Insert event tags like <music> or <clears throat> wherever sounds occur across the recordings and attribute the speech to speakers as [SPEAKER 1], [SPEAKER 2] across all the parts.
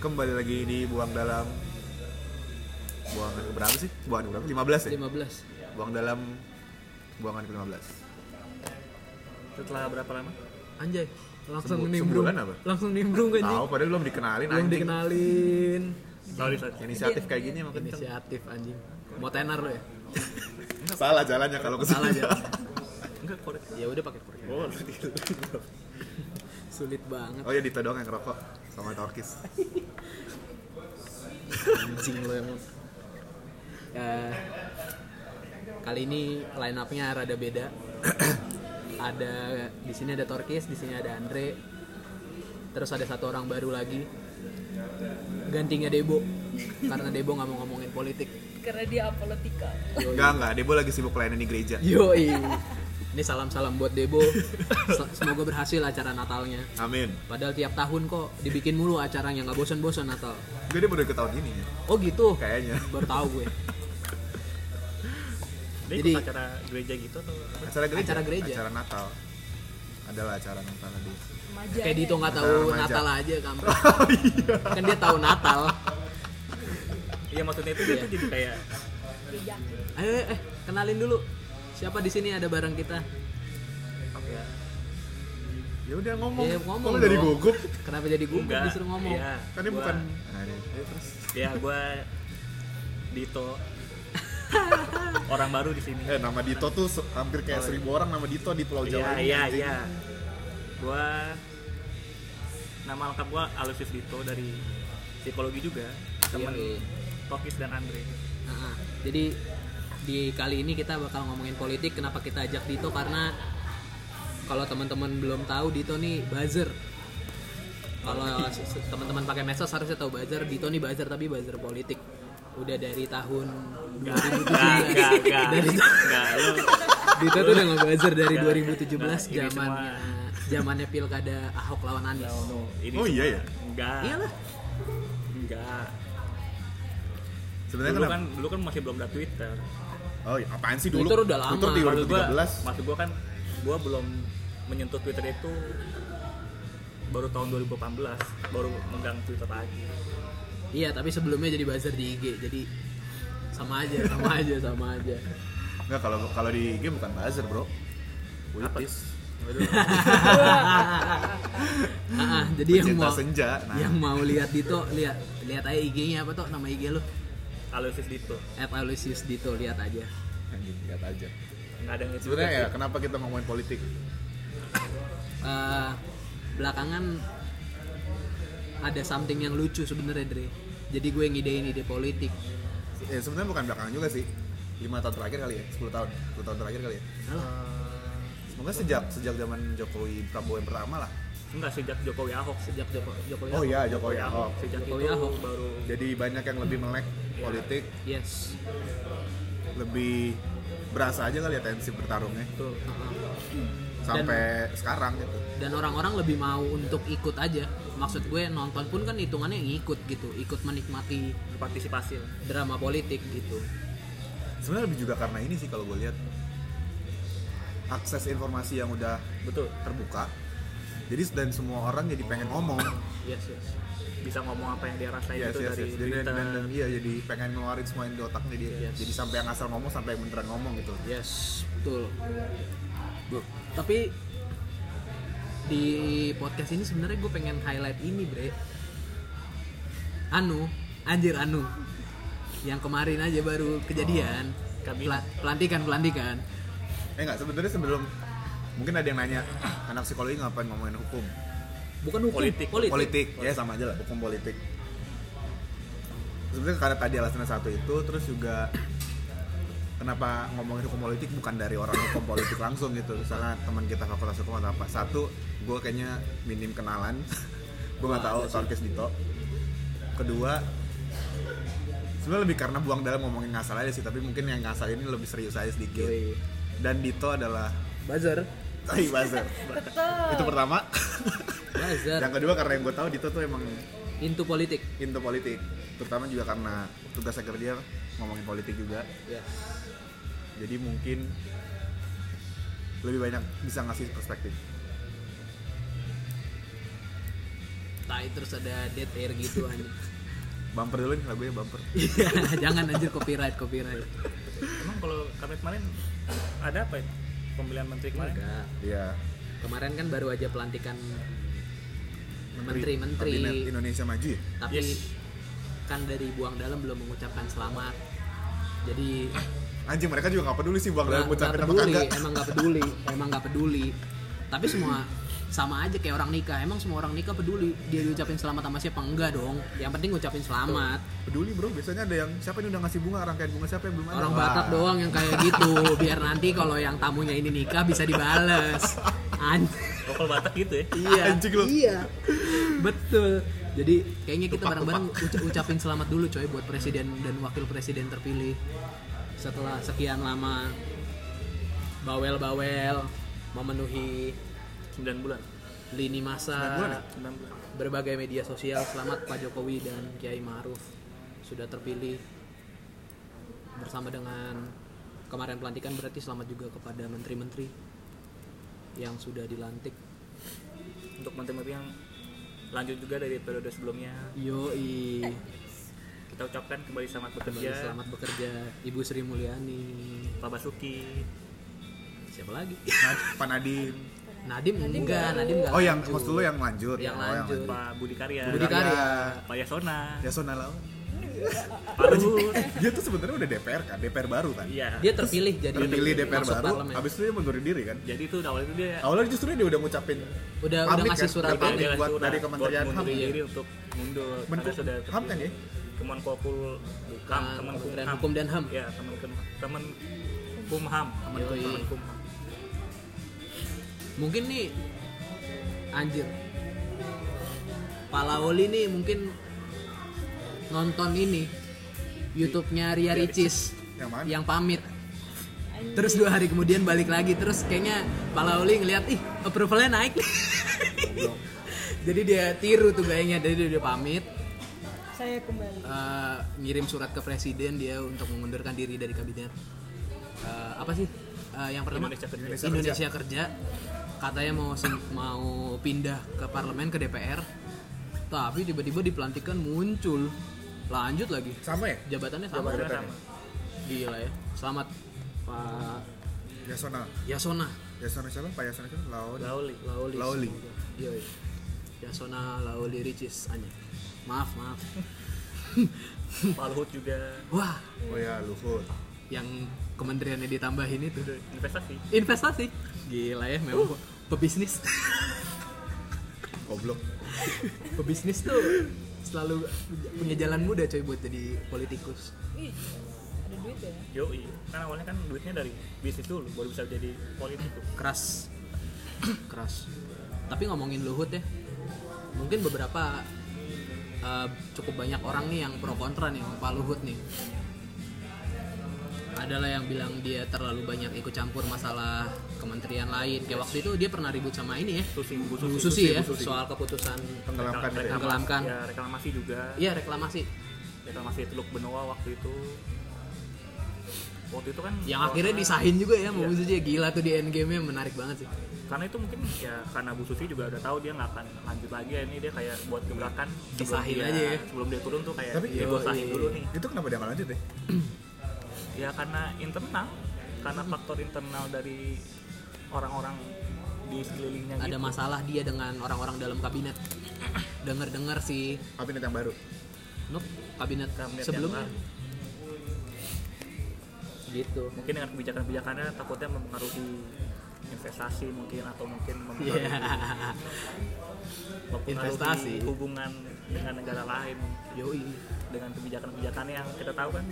[SPEAKER 1] Kembali lagi di Buang Dalam Buangan ke berapa sih? Buangan ke berapa? 15 ya?
[SPEAKER 2] 15
[SPEAKER 1] Buang Dalam Buangan ke 15 Setelah berapa lama?
[SPEAKER 2] Anjay langsung
[SPEAKER 1] Sembu-
[SPEAKER 2] nimbrung
[SPEAKER 1] sembulan apa?
[SPEAKER 2] langsung nimbrung kan
[SPEAKER 1] Tahu, padahal belum dikenalin
[SPEAKER 2] belum
[SPEAKER 1] anjing
[SPEAKER 2] dikenalin
[SPEAKER 3] Sorry, sorry.
[SPEAKER 1] Inisiatif kayak gini emang kenceng
[SPEAKER 2] inisiatif anjing mau tenar lo ya
[SPEAKER 1] Salah jalannya kalau kesana
[SPEAKER 2] salah aja
[SPEAKER 3] Enggak, korek.
[SPEAKER 2] ya udah pakai korek
[SPEAKER 3] Oh, gitu.
[SPEAKER 2] <laughs> sulit banget
[SPEAKER 1] <laughs> Oh ya Dito doang yang ngerokok Sama Torkis
[SPEAKER 2] <laughs> anjing lo emang Eh, kali ini line up-nya rada <coughs> beda ada di sini ada Torkis di sini ada Andre terus ada satu orang baru lagi gantinya Debo karena Debo nggak mau ngomongin politik
[SPEAKER 4] karena dia apolotika
[SPEAKER 1] Enggak, enggak, Debo lagi sibuk pelayanan di gereja
[SPEAKER 2] yoi ini salam-salam buat Debo Sel- semoga berhasil acara Natalnya
[SPEAKER 1] Amin
[SPEAKER 2] padahal tiap tahun kok dibikin mulu acaranya nggak bosan-bosan Natal
[SPEAKER 1] Gue dia baru ikut tahun ini ya
[SPEAKER 2] oh gitu
[SPEAKER 1] Kayaknya
[SPEAKER 2] baru tahu gue
[SPEAKER 3] Dia
[SPEAKER 2] Jadi-
[SPEAKER 3] ikut acara gereja gitu atau apa?
[SPEAKER 1] Acara gereja
[SPEAKER 2] Acara gereja.
[SPEAKER 1] Acara Natal Adalah acara Natal
[SPEAKER 2] <laughs>
[SPEAKER 1] tadi
[SPEAKER 4] remaja
[SPEAKER 2] Kayak Dito nggak tahu
[SPEAKER 1] Acara remaja.
[SPEAKER 2] Natal aja kampret. Kan dia tahu Natal.
[SPEAKER 3] Iya, maksudnya itu dia
[SPEAKER 2] Iya.
[SPEAKER 3] tuh jadi kayak
[SPEAKER 2] Ayo eh, eh, kenalin dulu. Siapa di sini ada bareng kita?
[SPEAKER 1] Ya udah ngomong
[SPEAKER 2] Ya,
[SPEAKER 1] Kok
[SPEAKER 2] ngomong
[SPEAKER 1] lu jadi
[SPEAKER 2] dong.
[SPEAKER 1] gugup?
[SPEAKER 2] Kenapa jadi gugup
[SPEAKER 3] enggak.
[SPEAKER 2] disuruh ngomong?
[SPEAKER 3] Iya,
[SPEAKER 1] Kan dia
[SPEAKER 3] gua-
[SPEAKER 1] bukan Nah, ini. Ayo terus
[SPEAKER 3] Ya, gua
[SPEAKER 1] <laughs>
[SPEAKER 3] Dito. Orang baru di sini.
[SPEAKER 1] Eh nama Dito tuh se- hampir kayak
[SPEAKER 3] Oh,
[SPEAKER 1] seribu orang nama Dito di Pulau
[SPEAKER 3] Iya,
[SPEAKER 1] Jawa ini,
[SPEAKER 3] iya,
[SPEAKER 1] anjing.
[SPEAKER 3] iya. Gua nama lengkap gua Alusius Dito dari psikologi juga, teman
[SPEAKER 1] Iya,
[SPEAKER 2] Yoi.
[SPEAKER 3] Tokis dan
[SPEAKER 1] <laughs>
[SPEAKER 3] Andre.
[SPEAKER 2] Nah, jadi di kali ini kita bakal ngomongin politik. Kenapa kita ajak Dito? Karena kalau teman-teman belum tahu Dito nih buzzer. Kalau se- se- teman-teman pakai medsos harusnya tahu buzzer. Dito nih buzzer tapi buzzer politik. Udah dari tahun
[SPEAKER 3] Enggak, enggak,
[SPEAKER 2] 2017.
[SPEAKER 3] enggak.
[SPEAKER 2] Dari
[SPEAKER 3] Enggak, lu
[SPEAKER 2] Dito tuh udah ngebuzzer dari
[SPEAKER 3] Enggak,
[SPEAKER 2] 2017
[SPEAKER 3] enggak, ini
[SPEAKER 2] zamannya zamannya pilkada Ahok lawan Anies.
[SPEAKER 3] ini
[SPEAKER 1] Oh, iya,
[SPEAKER 3] semua-
[SPEAKER 1] ya?
[SPEAKER 3] Enggak.
[SPEAKER 2] Iyalah,
[SPEAKER 3] Enggak.
[SPEAKER 1] Sebenarnya
[SPEAKER 3] Dulu
[SPEAKER 1] kenapa?
[SPEAKER 3] kan dulu kan masih belum ada Twitter.
[SPEAKER 1] Oh, iya, apaan sih dulu?
[SPEAKER 2] Twitter udah lama.
[SPEAKER 1] Twitter di
[SPEAKER 3] Maksud gua,
[SPEAKER 1] 2013.
[SPEAKER 3] maksud gua kan gua belum menyentuh Twitter itu baru tahun 2018 baru megang Twitter lagi.
[SPEAKER 2] iya tapi sebelumnya jadi buzzer di IG jadi sama aja sama aja sama aja.
[SPEAKER 1] Enggak kalau kalau di game bukan buzzer, Bro. Puitis. <laughs>
[SPEAKER 2] Ah, ah, jadi yang
[SPEAKER 1] Pencinta
[SPEAKER 2] mau
[SPEAKER 1] senja. Nah,
[SPEAKER 2] yang mau lihat Dito lihat lihat aja IG-nya apa tuh nama IG lu?
[SPEAKER 3] Alusis Dito.
[SPEAKER 2] @alusius Dito lihat aja.
[SPEAKER 1] anjing lihat aja.
[SPEAKER 3] Enggak ada yang nge-tweet
[SPEAKER 1] Sebenarnya ya
[SPEAKER 3] sih.
[SPEAKER 1] kenapa kita ngomongin politik?
[SPEAKER 2] Eh, belakangan ada something yang lucu sebenarnya Dre. Jadi gue ngidein ide politik.
[SPEAKER 1] Ya, sebenarnya bukan belakangan juga sih. 5 tahun terakhir kali ya, 10 tahun. 10 tahun terakhir kali ya.
[SPEAKER 2] Alah,
[SPEAKER 1] Semoga sejak sejak zaman Jokowi Prabowo yang pertama lah.
[SPEAKER 3] Enggak sejak Jokowi Ahok sih.
[SPEAKER 2] sejak Joko, Jokowi.
[SPEAKER 1] Oh
[SPEAKER 2] Ahok.
[SPEAKER 1] iya, Jokowi Ahok.
[SPEAKER 3] Sejak
[SPEAKER 2] Jokowi
[SPEAKER 3] itu
[SPEAKER 2] Ahok.
[SPEAKER 3] baru
[SPEAKER 1] Jadi banyak yang lebih melek
[SPEAKER 3] Iya.
[SPEAKER 1] politik,
[SPEAKER 2] Yes.
[SPEAKER 1] lebih berasa aja kali ya tensi bertarungnya
[SPEAKER 3] tuh
[SPEAKER 1] sampai sekarang gitu.
[SPEAKER 2] dan orang-orang lebih mau untuk ikut aja maksud gue nonton pun kan hitungannya ngikut gitu ikut menikmati
[SPEAKER 3] berpartisipasi lah.
[SPEAKER 2] drama politik gitu
[SPEAKER 1] Sebenarnya lebih juga karena ini sih kalau gue lihat akses informasi yang udah
[SPEAKER 3] Betul.
[SPEAKER 1] terbuka. Jadi dan semua orang jadi pengen ngomong.
[SPEAKER 2] yes yes
[SPEAKER 3] Bisa ngomong apa yang dia rasain
[SPEAKER 1] Yes,
[SPEAKER 3] itu
[SPEAKER 1] yes,
[SPEAKER 3] gitu
[SPEAKER 1] yes.
[SPEAKER 3] dari
[SPEAKER 1] Jadi dan,
[SPEAKER 3] Twitter.
[SPEAKER 1] dan- dan- iya jadi pengen ngeluarin semua yang di otaknya dia.
[SPEAKER 2] Yes.
[SPEAKER 1] Jadi sampai yang asal ngomong sampai yang beneran ngomong gitu.
[SPEAKER 2] yes betul tapi di podcast ini sebenarnya gue pengen highlight ini bre anu anjir anu yang kemarin aja baru kejadian
[SPEAKER 3] Kami-
[SPEAKER 2] Pela- pelantikan pelantikan
[SPEAKER 1] Eh enggak, sebenarnya sebelum mungkin ada yang nanya, <clears throat> "Ah, anak psikologi ngapain ngomongin hukum?
[SPEAKER 2] bukan hukum
[SPEAKER 3] Politik.
[SPEAKER 2] politik,
[SPEAKER 1] Politik. Ya sama aja lah, hukum politik. Sebenarnya karena tadi alasannya satu itu, terus juga <clears throat> kenapa ngomongin hukum politik bukan dari orang hukum politik langsung gitu. Misalnya teman kita fakultas hukum atau apa. Satu, gue kayaknya minim kenalan. <laughs> gue nggak tahu soal case Dito. Kedua, sebenarnya lebih karena buang dalam ngomongin ngasal aja sih, tapi mungkin yang ngasal ini lebih serius aja sedikit.
[SPEAKER 2] Yoi.
[SPEAKER 1] Dan Dito adalah <laughs>
[SPEAKER 2] buzzer
[SPEAKER 1] Tai <laughs> buzzer. itu pertama. <laughs>
[SPEAKER 2] buzzer
[SPEAKER 1] yang kedua karena yang gue tahu Dito tuh emang
[SPEAKER 2] into politik
[SPEAKER 1] into politik. Terutama juga karena tugasnya kerja ngomongin politik juga.
[SPEAKER 2] yes
[SPEAKER 1] Jadi mungkin lebih banyak bisa ngasih perspektif.
[SPEAKER 2] tai terus ada dead air gitu anjing. <laughs>
[SPEAKER 1] Bumper dulu nih lagunya bumper.
[SPEAKER 2] Iya, jangan anjir copyright, copyright.
[SPEAKER 3] Emang kalau kami kemarin ada apa ya? Pemilihan menteri kemarin?
[SPEAKER 2] Enggak.
[SPEAKER 1] Iya.
[SPEAKER 2] Kemarin kan baru aja pelantikan menteri-menteri.
[SPEAKER 1] Kabinet Indonesia Maju ya?
[SPEAKER 2] Tapi
[SPEAKER 3] Yes.
[SPEAKER 2] kan dari buang dalam belum mengucapkan selamat. Jadi
[SPEAKER 1] Anjing mereka juga nggak peduli sih bang dalam
[SPEAKER 2] nggak- nggak
[SPEAKER 1] ngucapin Ah, apa
[SPEAKER 2] peduli,
[SPEAKER 1] kagak.
[SPEAKER 2] emang nggak peduli, emang nggak peduli. Tapi semua sama aja kayak orang nikah. Emang semua orang nikah peduli dia diucapin selamat sama siapa enggak dong. Yang penting ngucapin selamat.
[SPEAKER 1] Peduli bro, biasanya ada yang siapa ini udah ngasih bunga, rangkaian bunga siapa yang belum ada?
[SPEAKER 2] Orang
[SPEAKER 1] Wah.
[SPEAKER 2] Batak doang yang kayak gitu. Biar nanti kalau yang tamunya ini nikah bisa
[SPEAKER 1] <laughs>
[SPEAKER 2] dibales. Anjing.
[SPEAKER 3] Oh, kalau Batak gitu ya?
[SPEAKER 2] <laughs> Iya.
[SPEAKER 1] Anjing lu.
[SPEAKER 2] Iya. Betul. Jadi kayaknya kita bareng-bareng uca- ucapin selamat dulu coy buat presiden dan wakil presiden terpilih. Setelah sekian lama bawel-bawel memenuhi
[SPEAKER 3] 9 bulan.
[SPEAKER 2] lini masa
[SPEAKER 1] 9 bulan ya?
[SPEAKER 3] 9 bulan.
[SPEAKER 2] berbagai media sosial selamat Pak Jokowi dan Kiai Maruf sudah terpilih bersama dengan kemarin pelantikan berarti selamat juga kepada menteri-menteri yang sudah dilantik
[SPEAKER 3] Untuk menteri-menteri yang lanjut juga dari periode sebelumnya,
[SPEAKER 2] yoi
[SPEAKER 3] kita ucapkan kembali selamat
[SPEAKER 2] kembali
[SPEAKER 1] Iya.
[SPEAKER 3] bekerja.
[SPEAKER 2] selamat bekerja Ibu Sri Mulyani
[SPEAKER 3] Pak Basuki.
[SPEAKER 2] siapa lagi
[SPEAKER 1] Nad- Pak Nadiem.
[SPEAKER 2] Nadim, enggak Nadim enggak
[SPEAKER 1] Oh yang
[SPEAKER 2] lanjut.
[SPEAKER 1] maksud lu yang lanjut?
[SPEAKER 2] Yang
[SPEAKER 1] Oh,
[SPEAKER 2] lanjut.
[SPEAKER 3] Pak Budi Karya.
[SPEAKER 2] Budi Karya
[SPEAKER 3] Pak Yasona.
[SPEAKER 1] Ya Sona Lawan.
[SPEAKER 3] Pak Luhut.
[SPEAKER 1] Dia tuh sebenarnya udah DPR kan, DPR baru kan.
[SPEAKER 3] Iya.
[SPEAKER 2] dia terpilih jadi
[SPEAKER 1] Terpilih DPR
[SPEAKER 2] masuk
[SPEAKER 1] baru,
[SPEAKER 2] parlemen.
[SPEAKER 1] habis itu dia mengundurin diri kan.
[SPEAKER 3] Jadi itu awalnya itu dia
[SPEAKER 1] Awalnya justru dia udah ngucapin
[SPEAKER 2] udah udah
[SPEAKER 1] pamit
[SPEAKER 2] ngasih
[SPEAKER 1] kan,
[SPEAKER 2] surat
[SPEAKER 1] dari-
[SPEAKER 2] pamit
[SPEAKER 1] buat-
[SPEAKER 3] surat
[SPEAKER 1] dari Kementerian
[SPEAKER 3] buat
[SPEAKER 1] Ham.
[SPEAKER 3] mundurin
[SPEAKER 2] Iya.
[SPEAKER 3] diri untuk mundur.
[SPEAKER 1] Menko
[SPEAKER 3] Karena sudah
[SPEAKER 1] Ham kan ya?
[SPEAKER 3] Kemenkopul Ham,
[SPEAKER 2] Bukan, Kementerian
[SPEAKER 3] Ham.
[SPEAKER 2] Hukum dan Ham.
[SPEAKER 3] Iya, Kemen Kemen Kumham, Kemenkum-
[SPEAKER 2] Yoi.
[SPEAKER 3] Kemenkumham.
[SPEAKER 2] mungkin nih anjir Palaoli nih mungkin nonton ini YouTube-nya Ria Ricis
[SPEAKER 1] Yang mana?
[SPEAKER 2] yang pamit terus dua hari kemudian balik lagi terus kayaknya Palaoli ngelihat ih approvalnya naik <laughs> nih jadi dia tiru tuh gayanya jadi dia- dia pamit
[SPEAKER 4] Saya kembali.
[SPEAKER 2] eh, ngirim surat ke presiden dia untuk mengundurkan diri dari kabinet Eh, apa sih Eh, yang pertama
[SPEAKER 3] Indonesia Kerja.
[SPEAKER 1] Indonesia
[SPEAKER 2] Indonesia kerja katanya mau sem- mau pindah ke parlemen ke DPR tapi tiba-tiba dipelantikan muncul lanjut lagi
[SPEAKER 1] Sama ya?
[SPEAKER 2] jabatannya sama
[SPEAKER 1] Jabatannya
[SPEAKER 3] sama.
[SPEAKER 2] gila ya selamat Pak
[SPEAKER 1] Ya Sona.
[SPEAKER 2] Yasona
[SPEAKER 1] Ya Sona siapa? Pak Yasona siapa? Lawan.
[SPEAKER 3] Lauli.
[SPEAKER 2] Lauli
[SPEAKER 1] Lauli.
[SPEAKER 2] Yoi. Iya, Yasona Lauli Ricis Anya maaf maaf
[SPEAKER 3] Pak Luhut juga
[SPEAKER 2] wah
[SPEAKER 1] Oh ya Luhut.
[SPEAKER 2] yang kementeriannya ditambahin itu
[SPEAKER 3] udah investasi.
[SPEAKER 2] investasi gila ya memang pebisnis
[SPEAKER 1] Goblok.
[SPEAKER 2] pebisnis tuh selalu punya jalan mudah coy buat jadi politikus
[SPEAKER 4] Ih, ada duit ya.
[SPEAKER 3] Yoi. Kan awalnya kan duitnya dari bisnis dulu baru bisa jadi politikus.
[SPEAKER 2] keras keras tapi ngomongin Luhut ya mungkin beberapa eh, cukup banyak orang nih yang pro kontra nih sama Pak Luhut nih adalah yang bilang dia terlalu banyak ikut campur masalah kementerian lain kayak waktu itu dia pernah ribut sama ini ya
[SPEAKER 3] Susi, Bu
[SPEAKER 2] Bu Susi
[SPEAKER 3] Susi.
[SPEAKER 2] ya
[SPEAKER 1] Bu Susi.
[SPEAKER 2] soal keputusan
[SPEAKER 1] Tenggelamkan gitu ya.
[SPEAKER 2] Tenggelamkan.
[SPEAKER 3] Ya, reklamasi juga.
[SPEAKER 2] iya reklamasi
[SPEAKER 3] Reklamasi Ya, Teluk Benoa waktu itu. Waktu itu kan
[SPEAKER 2] yang
[SPEAKER 3] corona-
[SPEAKER 2] akhirnya disahin juga ya sama Bu Susi ya gila tuh di endgame nya menarik banget sih
[SPEAKER 3] karena itu mungkin ya karena Bu Susi juga udah tahu dia nggak akan lanjut lagi ya ini dia kayak buat gebrakan sebelum
[SPEAKER 2] Disahin
[SPEAKER 3] dia-
[SPEAKER 2] aja ya.
[SPEAKER 3] sebelum dia turun tuh kayak
[SPEAKER 1] Tapi-
[SPEAKER 3] dia gua sahin
[SPEAKER 2] Yoi.
[SPEAKER 3] dulu nih
[SPEAKER 1] Itu kenapa dia nggak lanjut ya?
[SPEAKER 3] ya karena internal karena faktor internal dari orang-orang di sekelilingnya
[SPEAKER 2] ada
[SPEAKER 3] gitu
[SPEAKER 2] masalah dia dengan orang-orang dalam kabinet dengar-dengar si
[SPEAKER 1] Kabinet yang baru.
[SPEAKER 2] Nup kabinet,
[SPEAKER 3] Kabinet yang
[SPEAKER 2] sebelumnya
[SPEAKER 3] baru.
[SPEAKER 2] gitu
[SPEAKER 3] mungkin dengan kebijakan-kebijakannya takutnya mempengaruhi investasi mungkin atau mungkin mempengaruhi,
[SPEAKER 2] Iya.
[SPEAKER 3] mempengaruhi
[SPEAKER 2] Investasi.
[SPEAKER 3] hubungan dengan negara lain
[SPEAKER 2] yoi
[SPEAKER 3] dengan kebijakan-kebijakan yang kita tahu kan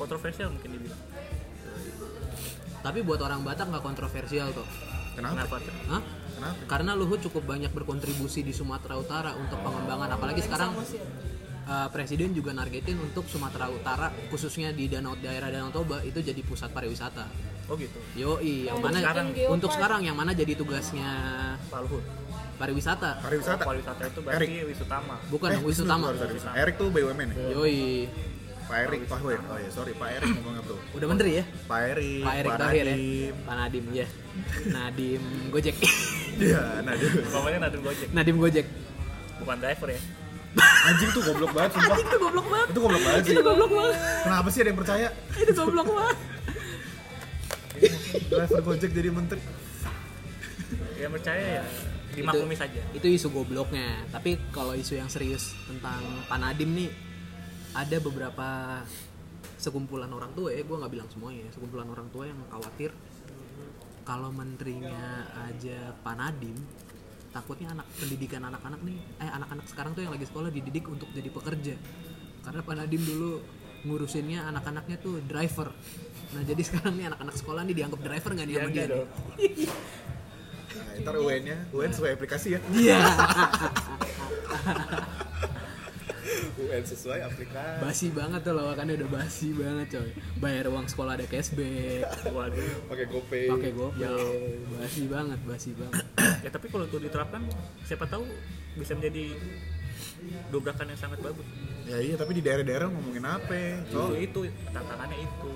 [SPEAKER 3] kontroversial mungkin dibilang
[SPEAKER 2] tapi buat orang Batak nggak kontroversial tuh
[SPEAKER 1] Kenapa?
[SPEAKER 3] kenapa tuh?
[SPEAKER 2] Hah?
[SPEAKER 1] Kenapa?
[SPEAKER 2] karena Luhut cukup banyak berkontribusi di Sumatera Utara untuk pengembangan apalagi sekarang eh, presiden juga nargetin untuk Sumatera Utara khususnya di danau daerah Danau Toba itu jadi pusat pariwisata
[SPEAKER 3] oh gitu
[SPEAKER 2] yoi yang
[SPEAKER 4] Untuk
[SPEAKER 2] mana
[SPEAKER 3] sekarang.
[SPEAKER 2] untuk sekarang yang mana jadi tugasnya
[SPEAKER 3] Pak Luhut
[SPEAKER 2] pariwisata
[SPEAKER 1] Oh, Pariwisata.
[SPEAKER 3] pariwisata itu berarti wisutama
[SPEAKER 2] bukan
[SPEAKER 1] Eh,
[SPEAKER 2] Wisnu Tama
[SPEAKER 1] Erik tuh BUMN ya?
[SPEAKER 2] Yoi.
[SPEAKER 1] Pak Erik Pak Erik oh ya sorry Pak Erik ngomong apa tuh
[SPEAKER 2] Udah menteri ya?
[SPEAKER 1] Pak Erik
[SPEAKER 2] Pak Erick
[SPEAKER 1] Pak
[SPEAKER 2] Thohir ya?
[SPEAKER 1] Nadiem.
[SPEAKER 2] Pak Nadim ya. Nadim Gojek. <laughs>
[SPEAKER 1] iya nah dia
[SPEAKER 3] Bapaknya Nadim Gojek,
[SPEAKER 2] Nadim Gojek.
[SPEAKER 3] bukan driver ya.
[SPEAKER 1] anjing tuh goblok banget sumpah
[SPEAKER 2] Itu goblok banget.
[SPEAKER 1] itu goblok banget sih
[SPEAKER 2] Itu goblok banget.
[SPEAKER 1] kenapa sih ada yang percaya
[SPEAKER 2] Itu goblok banget.
[SPEAKER 1] driver gojek jadi menteri
[SPEAKER 3] Yang percaya ya dimaklumi
[SPEAKER 2] Itu-
[SPEAKER 3] saja.
[SPEAKER 2] Itu isu gobloknya. Tapi kalau isu yang serius tentang Pak Nadim nih ada beberapa sekumpulan orang tua ya, gue nggak bilang semuanya, ya, sekumpulan orang tua yang khawatir kalau menterinya aja Pak Nadim takutnya anak pendidikan anak-anak nih eh anak-anak sekarang tuh yang lagi sekolah dididik untuk jadi pekerja karena Pak Nadim dulu ngurusinnya anak-anaknya tuh driver nah jadi sekarang nih anak-anak sekolah nih dianggap driver nggak nih sama
[SPEAKER 3] Iya,
[SPEAKER 2] dia
[SPEAKER 3] iya
[SPEAKER 2] nih?
[SPEAKER 3] dong.
[SPEAKER 1] nah, ntar UN nya UN sesuai aplikasi ya
[SPEAKER 2] iya
[SPEAKER 3] <laughs>
[SPEAKER 1] UN sesuai aplikasi
[SPEAKER 2] basi banget tuh lawakannya udah basi banget coy bayar uang sekolah ada cashback
[SPEAKER 3] Waduh.
[SPEAKER 1] pakai GoPay
[SPEAKER 2] pakai gopay basi banget basi banget
[SPEAKER 3] Ya tapi kalau itu diterapkan, siapa tahu bisa menjadi dobrakan yang sangat bagus.
[SPEAKER 1] ya iya tapi di daerah-daerah ngomongin apa
[SPEAKER 3] Oh.
[SPEAKER 1] oh
[SPEAKER 3] Itu, itu tantangannya itu.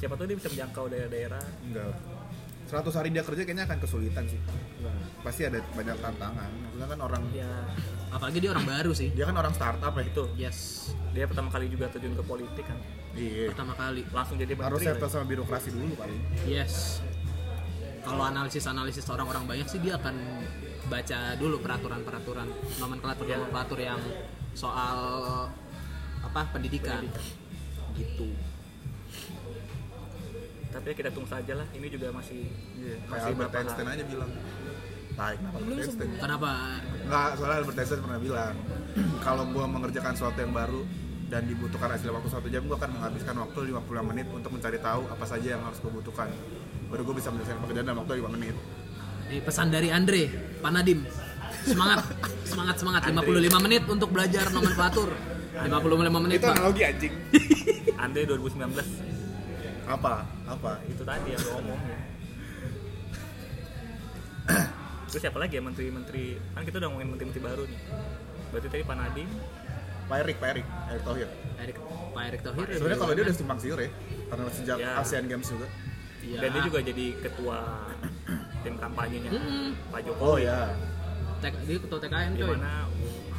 [SPEAKER 3] Siapa tahu dia bisa menjangkau daerah-daerah.
[SPEAKER 1] enggak 100 hari dia kerja kayaknya akan kesulitan sih pasti ada banyak tantangan maksudnya kan orang
[SPEAKER 3] Ya
[SPEAKER 2] apalagi dia orang baru sih
[SPEAKER 1] dia kan orang startup ya
[SPEAKER 3] itu.
[SPEAKER 2] yes
[SPEAKER 3] Dia pertama kali juga terjun ke politik kan.
[SPEAKER 1] iya
[SPEAKER 2] pertama kali
[SPEAKER 3] Langsung jadi
[SPEAKER 1] harus
[SPEAKER 3] menteri.
[SPEAKER 1] settle sama birokrasi dulu kali
[SPEAKER 2] Yes. Kalau analisis-analisis orang-orang banyak sih dia akan baca dulu peraturan-peraturan nomenklatur nomenklatur yang soal apa pendidikan. Gitu.
[SPEAKER 3] Tapi ya kita tunggu saja lah. Ini juga masih
[SPEAKER 1] Iya, kayak
[SPEAKER 3] masih
[SPEAKER 1] Albert
[SPEAKER 3] berapa
[SPEAKER 1] Einstein aja bilang. Tai, kenapa
[SPEAKER 4] Belum
[SPEAKER 1] Albert Einstein?
[SPEAKER 4] sebelum.
[SPEAKER 2] Kenapa?
[SPEAKER 1] Enggak, soalnya Albert Einstein pernah bilang, kalau gua mengerjakan sesuatu yang baru dan dibutuhkan hasil waktu satu jam, gua akan menghabiskan waktu 50 menit untuk mencari tahu apa saja yang harus gua butuhkan. Baru gua bisa menyelesaikan pekerjaan dalam waktu 5 menit.
[SPEAKER 2] Ini pesan dari Andre, Panadim. Semangat, semangat, semangat. 55 menit untuk belajar nomenklatur. 55 menit, Pak.
[SPEAKER 1] analogi anjing.
[SPEAKER 3] Andre 2019
[SPEAKER 1] Apa? Apa?
[SPEAKER 3] itu tadi yang gue omong ya. Terus siapa lagi ya menteri-menteri? Kan kita udah ngomongin menteri-menteri baru nih. Berarti tadi Pak Nadiem,
[SPEAKER 1] Pak Erik, Pak Erik, Erik Thohir.
[SPEAKER 2] Erik, Pak Erick Thohir.
[SPEAKER 1] Sebenarnya kalau dia udah simpang siur ya, karena sejak
[SPEAKER 3] Ya.
[SPEAKER 1] Asian Games juga.
[SPEAKER 2] Iya.
[SPEAKER 3] dan dia juga jadi ketua tim kampanyenya
[SPEAKER 2] Mm-mm.
[SPEAKER 3] Pak
[SPEAKER 1] Oh
[SPEAKER 3] Jokowi.
[SPEAKER 1] ya,
[SPEAKER 2] Tek- dia ketua TKN
[SPEAKER 3] Di
[SPEAKER 2] coy.
[SPEAKER 3] mana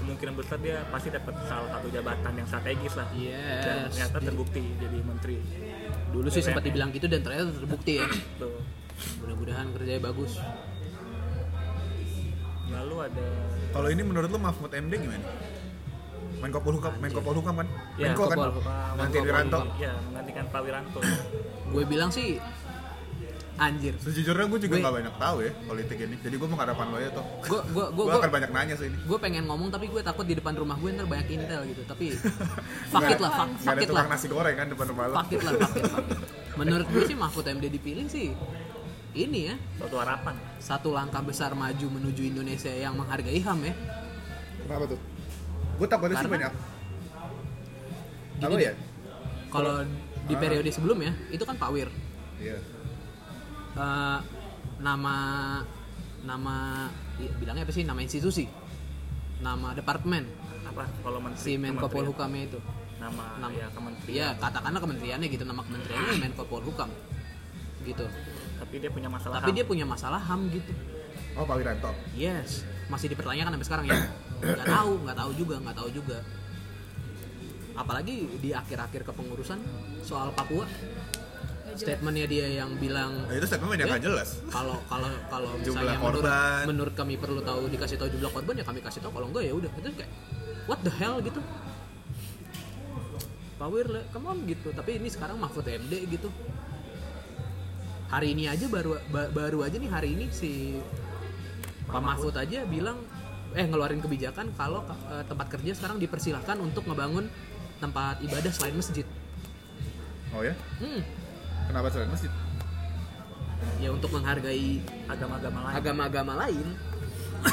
[SPEAKER 3] kemungkinan besar dia pasti dapat salah satu jabatan yang strategis lah. Dan
[SPEAKER 2] Yes.
[SPEAKER 3] ternyata terbukti jadi menteri.
[SPEAKER 2] Dulu sih sempat dibilang gitu dan ternyata terbukti ya.
[SPEAKER 3] Tuh.
[SPEAKER 2] Mudah-mudahan kerjanya bagus.
[SPEAKER 3] Lalu ada
[SPEAKER 1] iya. kalau ini menurut lu Mahfud MD gimana? Menko Polhukam, Menko Polhukam kan?
[SPEAKER 3] Ya,
[SPEAKER 1] Menko kan?
[SPEAKER 2] Menko
[SPEAKER 3] Pak
[SPEAKER 2] Polhukam.
[SPEAKER 1] Nanti
[SPEAKER 3] Menko
[SPEAKER 1] Wiranto.
[SPEAKER 3] Polhukam. Ya, menggantikan Pak Wiranto.
[SPEAKER 2] Gue bilang sih anjir.
[SPEAKER 1] Sejujurnya gue juga
[SPEAKER 2] Gue-
[SPEAKER 1] nggak banyak tahu ya politik ini. Jadi gue mau harapan lo ya toh.
[SPEAKER 2] Gue gue gue
[SPEAKER 1] Gue
[SPEAKER 2] gue
[SPEAKER 1] akan banyak nanya sih ini.
[SPEAKER 2] pengen ngomong tapi gue takut di depan rumah gue ntar banyak intel gitu. Tapi
[SPEAKER 1] <laughs>
[SPEAKER 2] fakit
[SPEAKER 1] Nggak-
[SPEAKER 2] lah, fuck,
[SPEAKER 1] nggak
[SPEAKER 2] fuck
[SPEAKER 1] ada
[SPEAKER 2] it lah.
[SPEAKER 1] tukang nasi goreng kan depan rumah lo.
[SPEAKER 2] Fakit lah, fuck it, fuck it. Menurut gue sih Mahfud MD dipilih sih ini ya
[SPEAKER 3] Suatu harapan.
[SPEAKER 2] satu langkah besar maju menuju Indonesia yang menghargai HAM ya.
[SPEAKER 1] Kenapa tuh? Gue takutnya sih
[SPEAKER 2] Karena-
[SPEAKER 1] banyak.
[SPEAKER 2] Gini
[SPEAKER 1] Halo
[SPEAKER 2] deh,
[SPEAKER 1] ya?
[SPEAKER 2] Kalau di
[SPEAKER 1] Ah.
[SPEAKER 2] periode sebelumnya itu kan Pak Wir.
[SPEAKER 1] Iya.
[SPEAKER 2] Eh, nama nama i- bilangnya apa sih nama institusi nama departemen
[SPEAKER 3] Apa kalau menteri?
[SPEAKER 2] si Menko
[SPEAKER 3] kementerian.
[SPEAKER 2] Polhukamnya itu
[SPEAKER 3] Nama,
[SPEAKER 2] Nama.
[SPEAKER 3] ya kementerian.
[SPEAKER 2] Iya, katakanlah kementeriannya gitu, nama kementeriannya Menko Polhukam. Gitu.
[SPEAKER 3] Tapi dia punya masalah.
[SPEAKER 2] Tapi
[SPEAKER 3] HAM.
[SPEAKER 2] dia punya masalah HAM gitu.
[SPEAKER 1] Oh Pak Wiranto.
[SPEAKER 2] Yes, masih dipertanyakan sampai sekarang ya. Nggak tahu, nggak tahu juga, nggak tahu juga. Apalagi di akhir-akhir kepengurusan soal Papua,
[SPEAKER 4] Nggak jelas.
[SPEAKER 2] statementnya dia yang bilang
[SPEAKER 1] Nah, itu statement yang
[SPEAKER 2] Ya.
[SPEAKER 1] nggak jelas.
[SPEAKER 2] kalau kalau kalau
[SPEAKER 1] Jumlah
[SPEAKER 2] misalnya menurut-
[SPEAKER 1] korban.
[SPEAKER 2] Menurut, kami perlu tahu dikasih tahu jumlah korban ya kami kasih tahu kalau enggak ya udah itu kayak what the hell gitu Pak Wirle, come on gitu. Tapi ini sekarang Mahfud MD gitu. Hari ini aja baru ba- baru aja nih hari ini si Pak Mahfud aja bilang eh ngeluarin kebijakan kalau eh, tempat kerja sekarang dipersilahkan untuk ngebangun tempat ibadah selain masjid.
[SPEAKER 1] Oh ya?
[SPEAKER 2] Hmm,
[SPEAKER 1] Kenapa selain masjid? <clears throat>
[SPEAKER 2] ya untuk menghargai
[SPEAKER 3] agama-agama lain.
[SPEAKER 2] agama-agama lain <coughs>